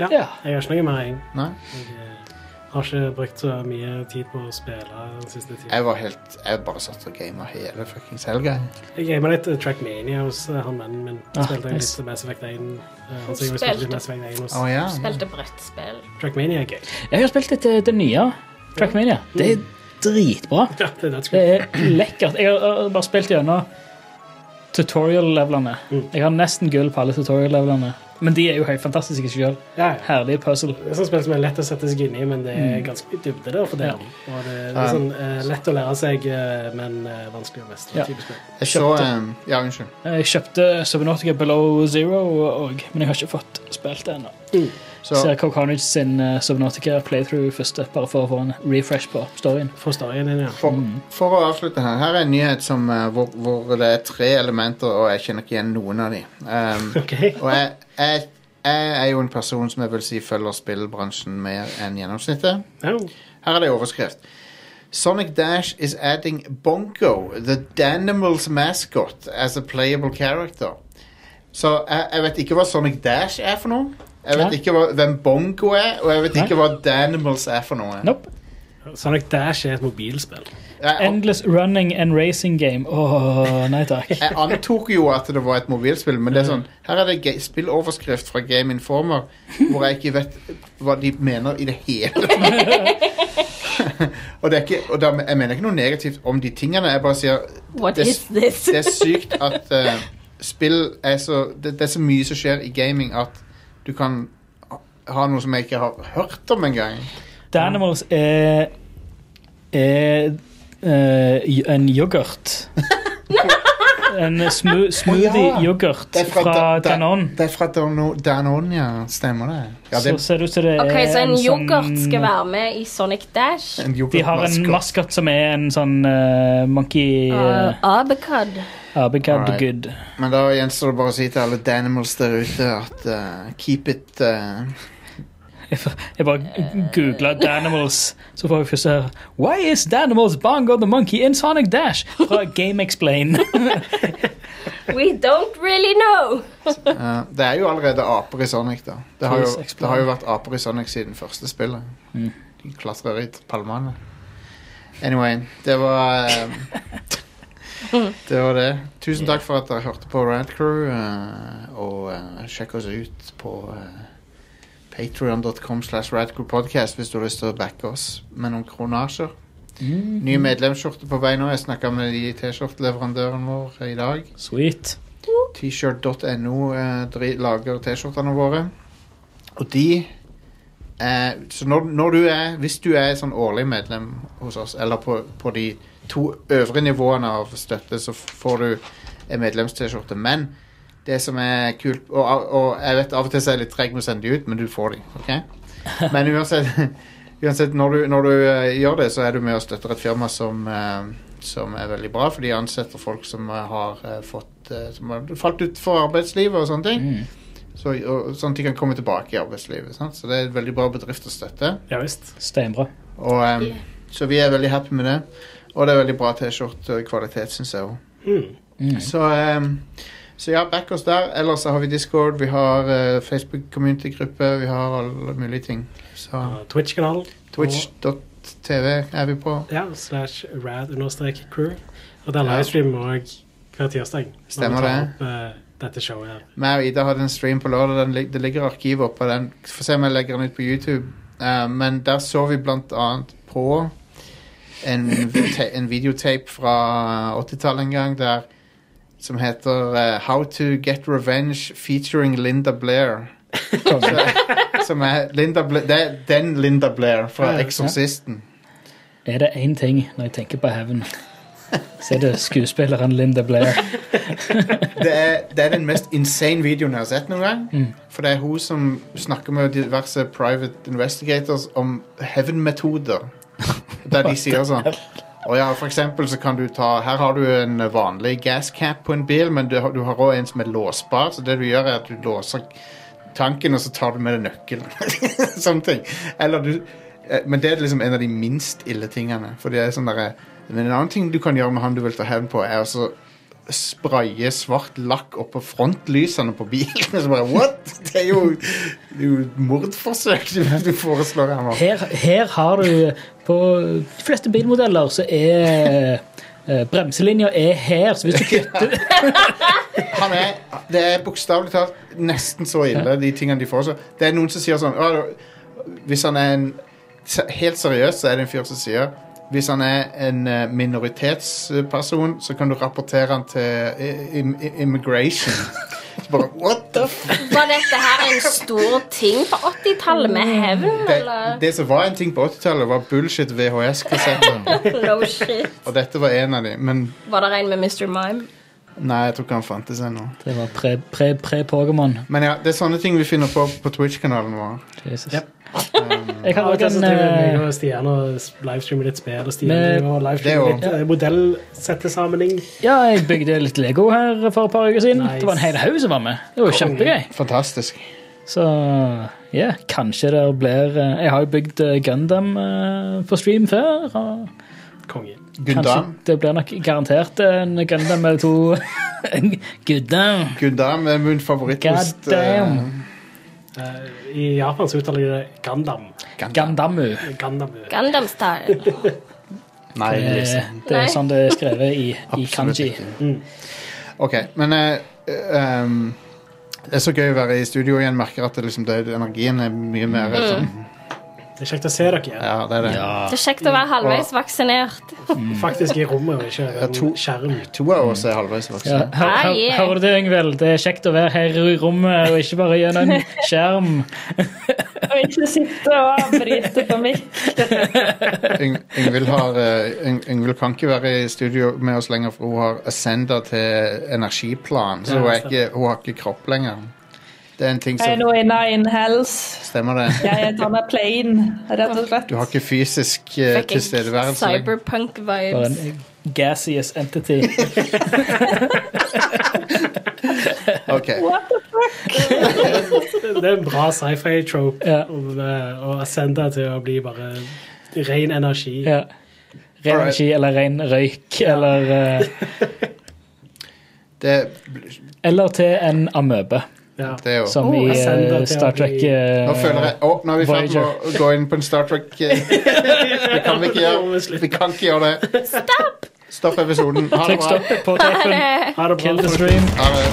Speaker 2: Ja.
Speaker 3: Ja.
Speaker 2: Jeg gjør ikke noe mer, jeg. eh,
Speaker 1: Nei?
Speaker 2: Har ikke brukt så mye tid på å spille den siste tiden.
Speaker 1: Jeg var helt Jeg bare satt og gama hele fuckings helga. jeg.
Speaker 2: Jeg gama litt eh, Trackmania hos eh, han vennen min.
Speaker 3: Ah,
Speaker 2: Spilte jeg
Speaker 3: nice.
Speaker 2: litt Mass Effect 1. eh, Han som jeg spilte litt Mass Effect 1 hos.
Speaker 1: Å ja.
Speaker 4: Spilte brettspill.
Speaker 2: Trackmania er gøy.
Speaker 3: Jeg har spilt litt eh, det nye Trackmania. Det er dritbra.
Speaker 2: Ja, det er
Speaker 3: Det
Speaker 2: dødskult.
Speaker 3: er lekkert. Jeg har eh, bare spilt gjennom tutorial-levelene. Jeg har nesten gull på alle tutorial-levelene. Men de er jo helt fantastiske i seg selv.
Speaker 2: Ja, ja.
Speaker 3: Herlig puzzle.
Speaker 2: Det er sånn spill som er lett å sette seg inn i, men det er ganske mye dybde der. For det,
Speaker 3: Ja.
Speaker 2: og det, det er sånn eh, lett å lære seg, eh, men eh, vanskelig å mestre.
Speaker 3: Ja.
Speaker 2: Typisk spill.
Speaker 1: Jeg så ehm, Ja, unnskyld.
Speaker 3: Jeg kjøpte Subnautica Below Zero òg, men jeg har ikke fått spilt det ennå. Ser
Speaker 1: Så
Speaker 3: Coke Carnage sin eh, Subnautica playthrough først, eh, bare for å få en refresh på storyen.
Speaker 2: Få storyen din, ja.
Speaker 1: for, for å avslutte her Her er en nyhet som, eh, hvor, hvor det er tre elementer, og jeg kjenner ikke igjen noen av de. Um,
Speaker 2: Ok.
Speaker 1: Og jeg, jeg, jeg er jo en person som jeg vil si følger spillbransjen mer enn gjennomsnittet.
Speaker 2: Ja.
Speaker 1: Her er det overskrift. Sonic Dash is adding Bongo, the Danimals mascot, as a playable character. Så jeg, jeg vet ikke hva Sonic Dash er for noe. Jeg vet
Speaker 3: Nei.
Speaker 1: ikke hva, hvem Bongo er, og jeg vet
Speaker 3: Nei.
Speaker 1: ikke hva Danimals er for noe.
Speaker 3: Nope.
Speaker 2: Sonic Dash er et mobilspill.
Speaker 1: Jeg,
Speaker 3: Endless running and racing game. Åh, nei takk.
Speaker 1: jeg antok jo at det var et mobilspill, men det er sånn, her er det ga- spilloverskrift fra Game Informer, hvor jeg ikke vet hva de mener i det hele tatt. og det er ikke, og da, jeg mener ikke noe negativt om de tingene, jeg bare sier
Speaker 4: What
Speaker 1: det,
Speaker 4: is this?
Speaker 1: det er sykt at eh, spill er så det, det er så mye som skjer i gaming at du kan har noe som jeg ikke har hørt om engang.
Speaker 3: Danimals er, er eh, y- en yoghurt. En smu, smoothie
Speaker 1: Å, ja.
Speaker 3: yoghurt fra,
Speaker 1: Da- Da-
Speaker 3: Danone.
Speaker 1: Det er fra Dano- Danone, ja. Stemmer det? Ja, det
Speaker 3: så ser det ut som det
Speaker 4: OK,
Speaker 3: er
Speaker 4: så en
Speaker 3: sånn-
Speaker 4: yoghurt skal være med i Sonic Dash.
Speaker 1: en
Speaker 3: De har en
Speaker 1: yoghurtmaskot.
Speaker 3: maskot som er en sånn eh, monkey
Speaker 4: Uh,
Speaker 3: uh,
Speaker 4: Abacad.
Speaker 3: Abacad
Speaker 1: Alright.
Speaker 3: good.
Speaker 1: Men da gjenstår det bare å si til alle Danimals der ute at eh, keep it eh,
Speaker 3: Jeg bare
Speaker 4: Eh.
Speaker 3: googla Danimals, så får jeg først høre Why is Danimals Bongo the Monkey in Sonic Dash? fra Game Explain.
Speaker 4: We don't really know.
Speaker 1: eh, Det er jo allerede aper i Sonic, da. Det har, jo,
Speaker 3: Please
Speaker 1: det har jo vært aper i Sonic siden første spillet. De klatrer i palmene. Anyway, det var eh, Det var det. Tusen takk for at dere hørte på Rad Crew, eh, og eh, sjekk oss ut på uh, Patreon.com slash radcrewpodcast hvis du har lyst til å backe oss med noen kronasjer. Ny medlemsskjorte på vei nå. Jeg snakka med de T-skjorteleverandøren vår i dag.
Speaker 3: Sweet.
Speaker 1: T-shirt.no eh, dri- lager T-skjortene våre. Og de eh, Så når, når du er Hvis du er sånn årlig medlem hos oss, eller på, på de to øvre nivåene av støtte, så f- får du en medlems-T-skjorte. Men det som er kult og, av- og jeg vet av og til så er jeg litt treg med å sende de ut, men du får de. ok? Men uansett, uansett når du, når du eh, gjør det, så er du med og støtter et firma som eh, som er veldig bra, for de ansetter folk som eh, har eh, fått eh, Som har falt utenfor arbeidslivet og sånne
Speaker 3: Mm.
Speaker 1: ting. Så, og, sånn at de kan komme tilbake i arbeidslivet. Sant? Så det er en veldig bra bedrift å støtte.
Speaker 2: Ja visst.
Speaker 3: Steinbra.
Speaker 1: Og, em,
Speaker 4: Yeah.
Speaker 1: Så vi er veldig happy med det. Og det er veldig bra T-skjorte-kvalitet, syns jeg òg.
Speaker 2: Mm.
Speaker 1: Så, em, så ja, back oss der. Ellers så har vi Discord, vi har eh, Facebook-community-gruppe, vi har alle mulige ting. Så
Speaker 2: Og Twitch-kanalen.
Speaker 1: Twitch.tv er vi på.
Speaker 2: Ja, slash rad-crew. Og det er
Speaker 1: Ja.
Speaker 2: livestream òg hver tirsdag. når vi
Speaker 1: Stemmer
Speaker 2: tar
Speaker 1: det.
Speaker 2: Opp, eh, dette showet her.
Speaker 1: meg og Ida hadde en stream på lørdag. Den, lig- det ligger arkiv oppe. Den, får se om jeg legger den ut på YouTube. Eh, men der så vi blant annet på en, te- en videotape fra 80-tallet en gang der, som heter eh, How to get revenge featuring Linda Blair. Så- som er Linda Bla det er den Linda Blair fra Eksorsisten.
Speaker 3: Er det én ting når jeg tenker på Heaven, så er det skuespilleren Linda Blair.
Speaker 1: det, er, det er den mest insane videoen jeg har sett noen gang. For det er hun som snakker med diverse private investigators om hevnmetoder. Der de sier sånn og ja, for eksempel så kan du ta Her har du en vanlig gascap på en bil, men du, har- du har òg en som er låsbar, så det du gjør, er at du låser tanken, og så tar du med deg nøkkelen. Sånne ting. Eller du eh, Men det er liksom en av de minst ille tingene. For det er sånn derre Men en annen ting du kan gjøre med han du vil ta hevn på, er altså spraye svart lakk oppå frontlysene på bilen. Så bare what?! Det er jo, det er jo mordforsøk du- du foreslår her nå.
Speaker 3: Her, her har du På de fleste bilmodeller så er eh, bremselinja er her, så hvis du kutter
Speaker 1: han er, det er bokstavelig talt nesten så ille, de tingene de foreslår. Det er noen som sier sånn «Å, Hvis han er en se- Helt seriøst så er det en fyr som sier Hvis han er en eh, minoritetsperson, så kan du rapportere han til i- im- i- immigration. Så bare, What the f...
Speaker 4: Var dette her en stor ting på 80-tallet med hevn,
Speaker 1: Det,
Speaker 4: eller?
Speaker 1: det som var en ting på 80-tallet, var bullshit VHS-kassetter.
Speaker 4: No shit.
Speaker 1: Og dette var en av de, men
Speaker 4: Var det en med Mr. Mime?
Speaker 1: nei, jeg tror ikke han fantes ennå.
Speaker 3: Det var pre-Pokémon. Pre, pre Pokémon.
Speaker 1: Men ja, det er sånne ting vi finner på på Twitch-kanalen vår.
Speaker 3: Jesus.
Speaker 2: Yep.
Speaker 3: Jeg har
Speaker 2: Ja,
Speaker 3: også
Speaker 2: det
Speaker 3: en
Speaker 2: er
Speaker 3: eh,
Speaker 2: og Stian og s- livestreamer litt spill, og Stian
Speaker 3: Med-
Speaker 2: driver og livestreamer
Speaker 1: Det
Speaker 2: litt eh, modellsettesammenheng.
Speaker 3: eh, Ja, jeg bygde litt Lego her for et par uker siden.
Speaker 2: Nice.
Speaker 3: Det var en hel haug som var med. Det var jo kjempegøy.
Speaker 1: Fantastisk.
Speaker 3: Så ja, kanskje det blir eh, Jeg har jo bygd eh, Gundam eh, på stream før. og
Speaker 2: Konge.
Speaker 1: Gundam.
Speaker 3: Kanskje det blir nok garantert en Gundam eller to. En Gundam.
Speaker 1: Gundam er min favorittost.
Speaker 3: God damn.
Speaker 1: eh,
Speaker 2: Eh, I Japan så uttaler de det Gandam.
Speaker 3: Gandamu.
Speaker 2: Gandam.
Speaker 4: Gundam Style.
Speaker 1: Nei,
Speaker 3: Det,
Speaker 1: liksom.
Speaker 3: det
Speaker 4: Nei.
Speaker 3: er sånn det er skrevet Eh, i, i
Speaker 1: Absolutt
Speaker 3: kanji. Mm.
Speaker 1: ikke. OK, men eh, um, det er så gøy å være i studio igjen. Merker at det liksom, det, energien er mye
Speaker 3: Mm.
Speaker 1: mer sånn.
Speaker 2: Det er kjekt å se dere igjen.
Speaker 1: Ja, det er det.
Speaker 4: Det er kjekt å være halvveis vaksinert.
Speaker 2: Faktisk i rommet, og ikke
Speaker 1: Ja,
Speaker 2: over
Speaker 1: to-
Speaker 2: en skjerm.
Speaker 1: To av oss er halvveis
Speaker 3: Ja,
Speaker 1: voksne.
Speaker 3: hør,
Speaker 2: Ah,
Speaker 3: hør,
Speaker 4: Nei.
Speaker 3: hører du det, Yngvild? Det er kjekt å være her i rommet og ikke bare gjennom en skjerm.
Speaker 5: Og ikke sitte og avbryte på mic.
Speaker 1: Yng- Yngvild har, eh, Yng- Yngvild kan ikke være i studio med oss lenger, for hun har Ascenda til energiplan, så
Speaker 2: Ja,
Speaker 1: hun, er
Speaker 2: stemmer.
Speaker 1: ikke, hun har ikke kropp lenger. Det er en ting
Speaker 5: Jeg er
Speaker 1: som
Speaker 5: nå i Nine Hells.
Speaker 1: stemmer det.
Speaker 5: Jeg er et annet plane, rett og slett.
Speaker 1: Du har ikke fysisk eh, tilstedeværelse lenger.
Speaker 3: Bare
Speaker 4: Cyberpunk-vibes.
Speaker 3: en gaseous entity.
Speaker 1: Ok,
Speaker 5: What the fuck?
Speaker 2: Det er en bra sci-fi-trope
Speaker 3: Ja.
Speaker 2: om eh, å ascende til å bli bare ren energi.
Speaker 3: Ja. Ren
Speaker 1: Alright.
Speaker 3: energi eller ren røyk eller eh,
Speaker 1: det,
Speaker 3: Eller til en amøbe,
Speaker 2: Ja.
Speaker 1: det er jo
Speaker 3: som
Speaker 2: Oh,
Speaker 3: i
Speaker 2: jeg sender til
Speaker 3: eh, Star
Speaker 2: å bli-
Speaker 3: Trek eh,
Speaker 1: Nå føler jeg Å, nå er vi ferdig med å
Speaker 3: Voyager.
Speaker 1: gå inn på en Star Trek eh, Det kan vi ikke gjøre. Vi kan ikke gjøre det. Stopp episoden. Ha det
Speaker 3: Trykk
Speaker 1: bra.
Speaker 3: stopp på tapen.
Speaker 2: Ha det bra.
Speaker 3: Kill the
Speaker 2: folkens.
Speaker 3: stream.
Speaker 1: Ha det.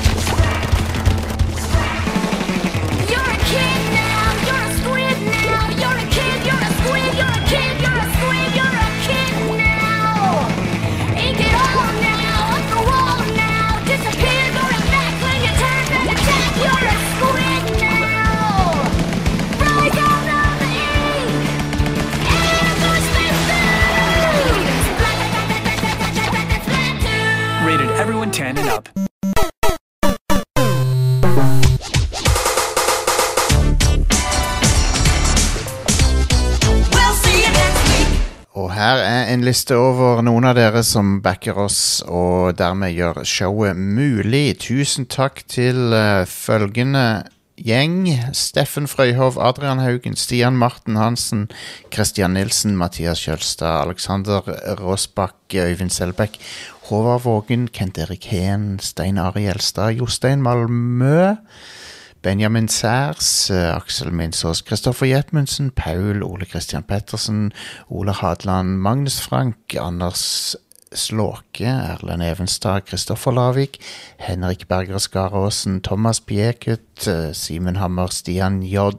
Speaker 9: You're a kid now, you're a squid now, you're a kid, you're a squid, you're a kid, you're a squid, you're a kid now. Ink it all now, up the wall now, disappear, go to back when you turn back attack, you're a squid now. Rise out of the ink and go space through. Splat, splat, splat, splat, splat, splat, splat, splat, splat, splat.
Speaker 10: Rated everyone 10 and up.
Speaker 9: We'll see you next week.
Speaker 1: Og her er en liste over noen av dere som backer oss og dermed gjør showet mulig. Tusen takk til eh, følgende gjeng. Steffen Frøyhov, Adrian Haugen, Stian Marten Hansen, Christian Nilsen, Mathias Kjølstad, Alexander Råsbakk, Øyvind Selbekk, Håvard Vågen, Kent Erik Heen, Stein Ari Gjelstad, Jostein Malmø. Benjamin Særs, eh, Aksel Minsås, Kristoffer Jetmundsen, Paul, Ole Christian Pettersen, Ole Hadeland, Magnus Frank, Anders Slåke, Erlend Evenstad, Kristoffer Lavik, Henrik Berger Skaråsen, Thomas Piekut, eh, Simen Hammer, Stian J,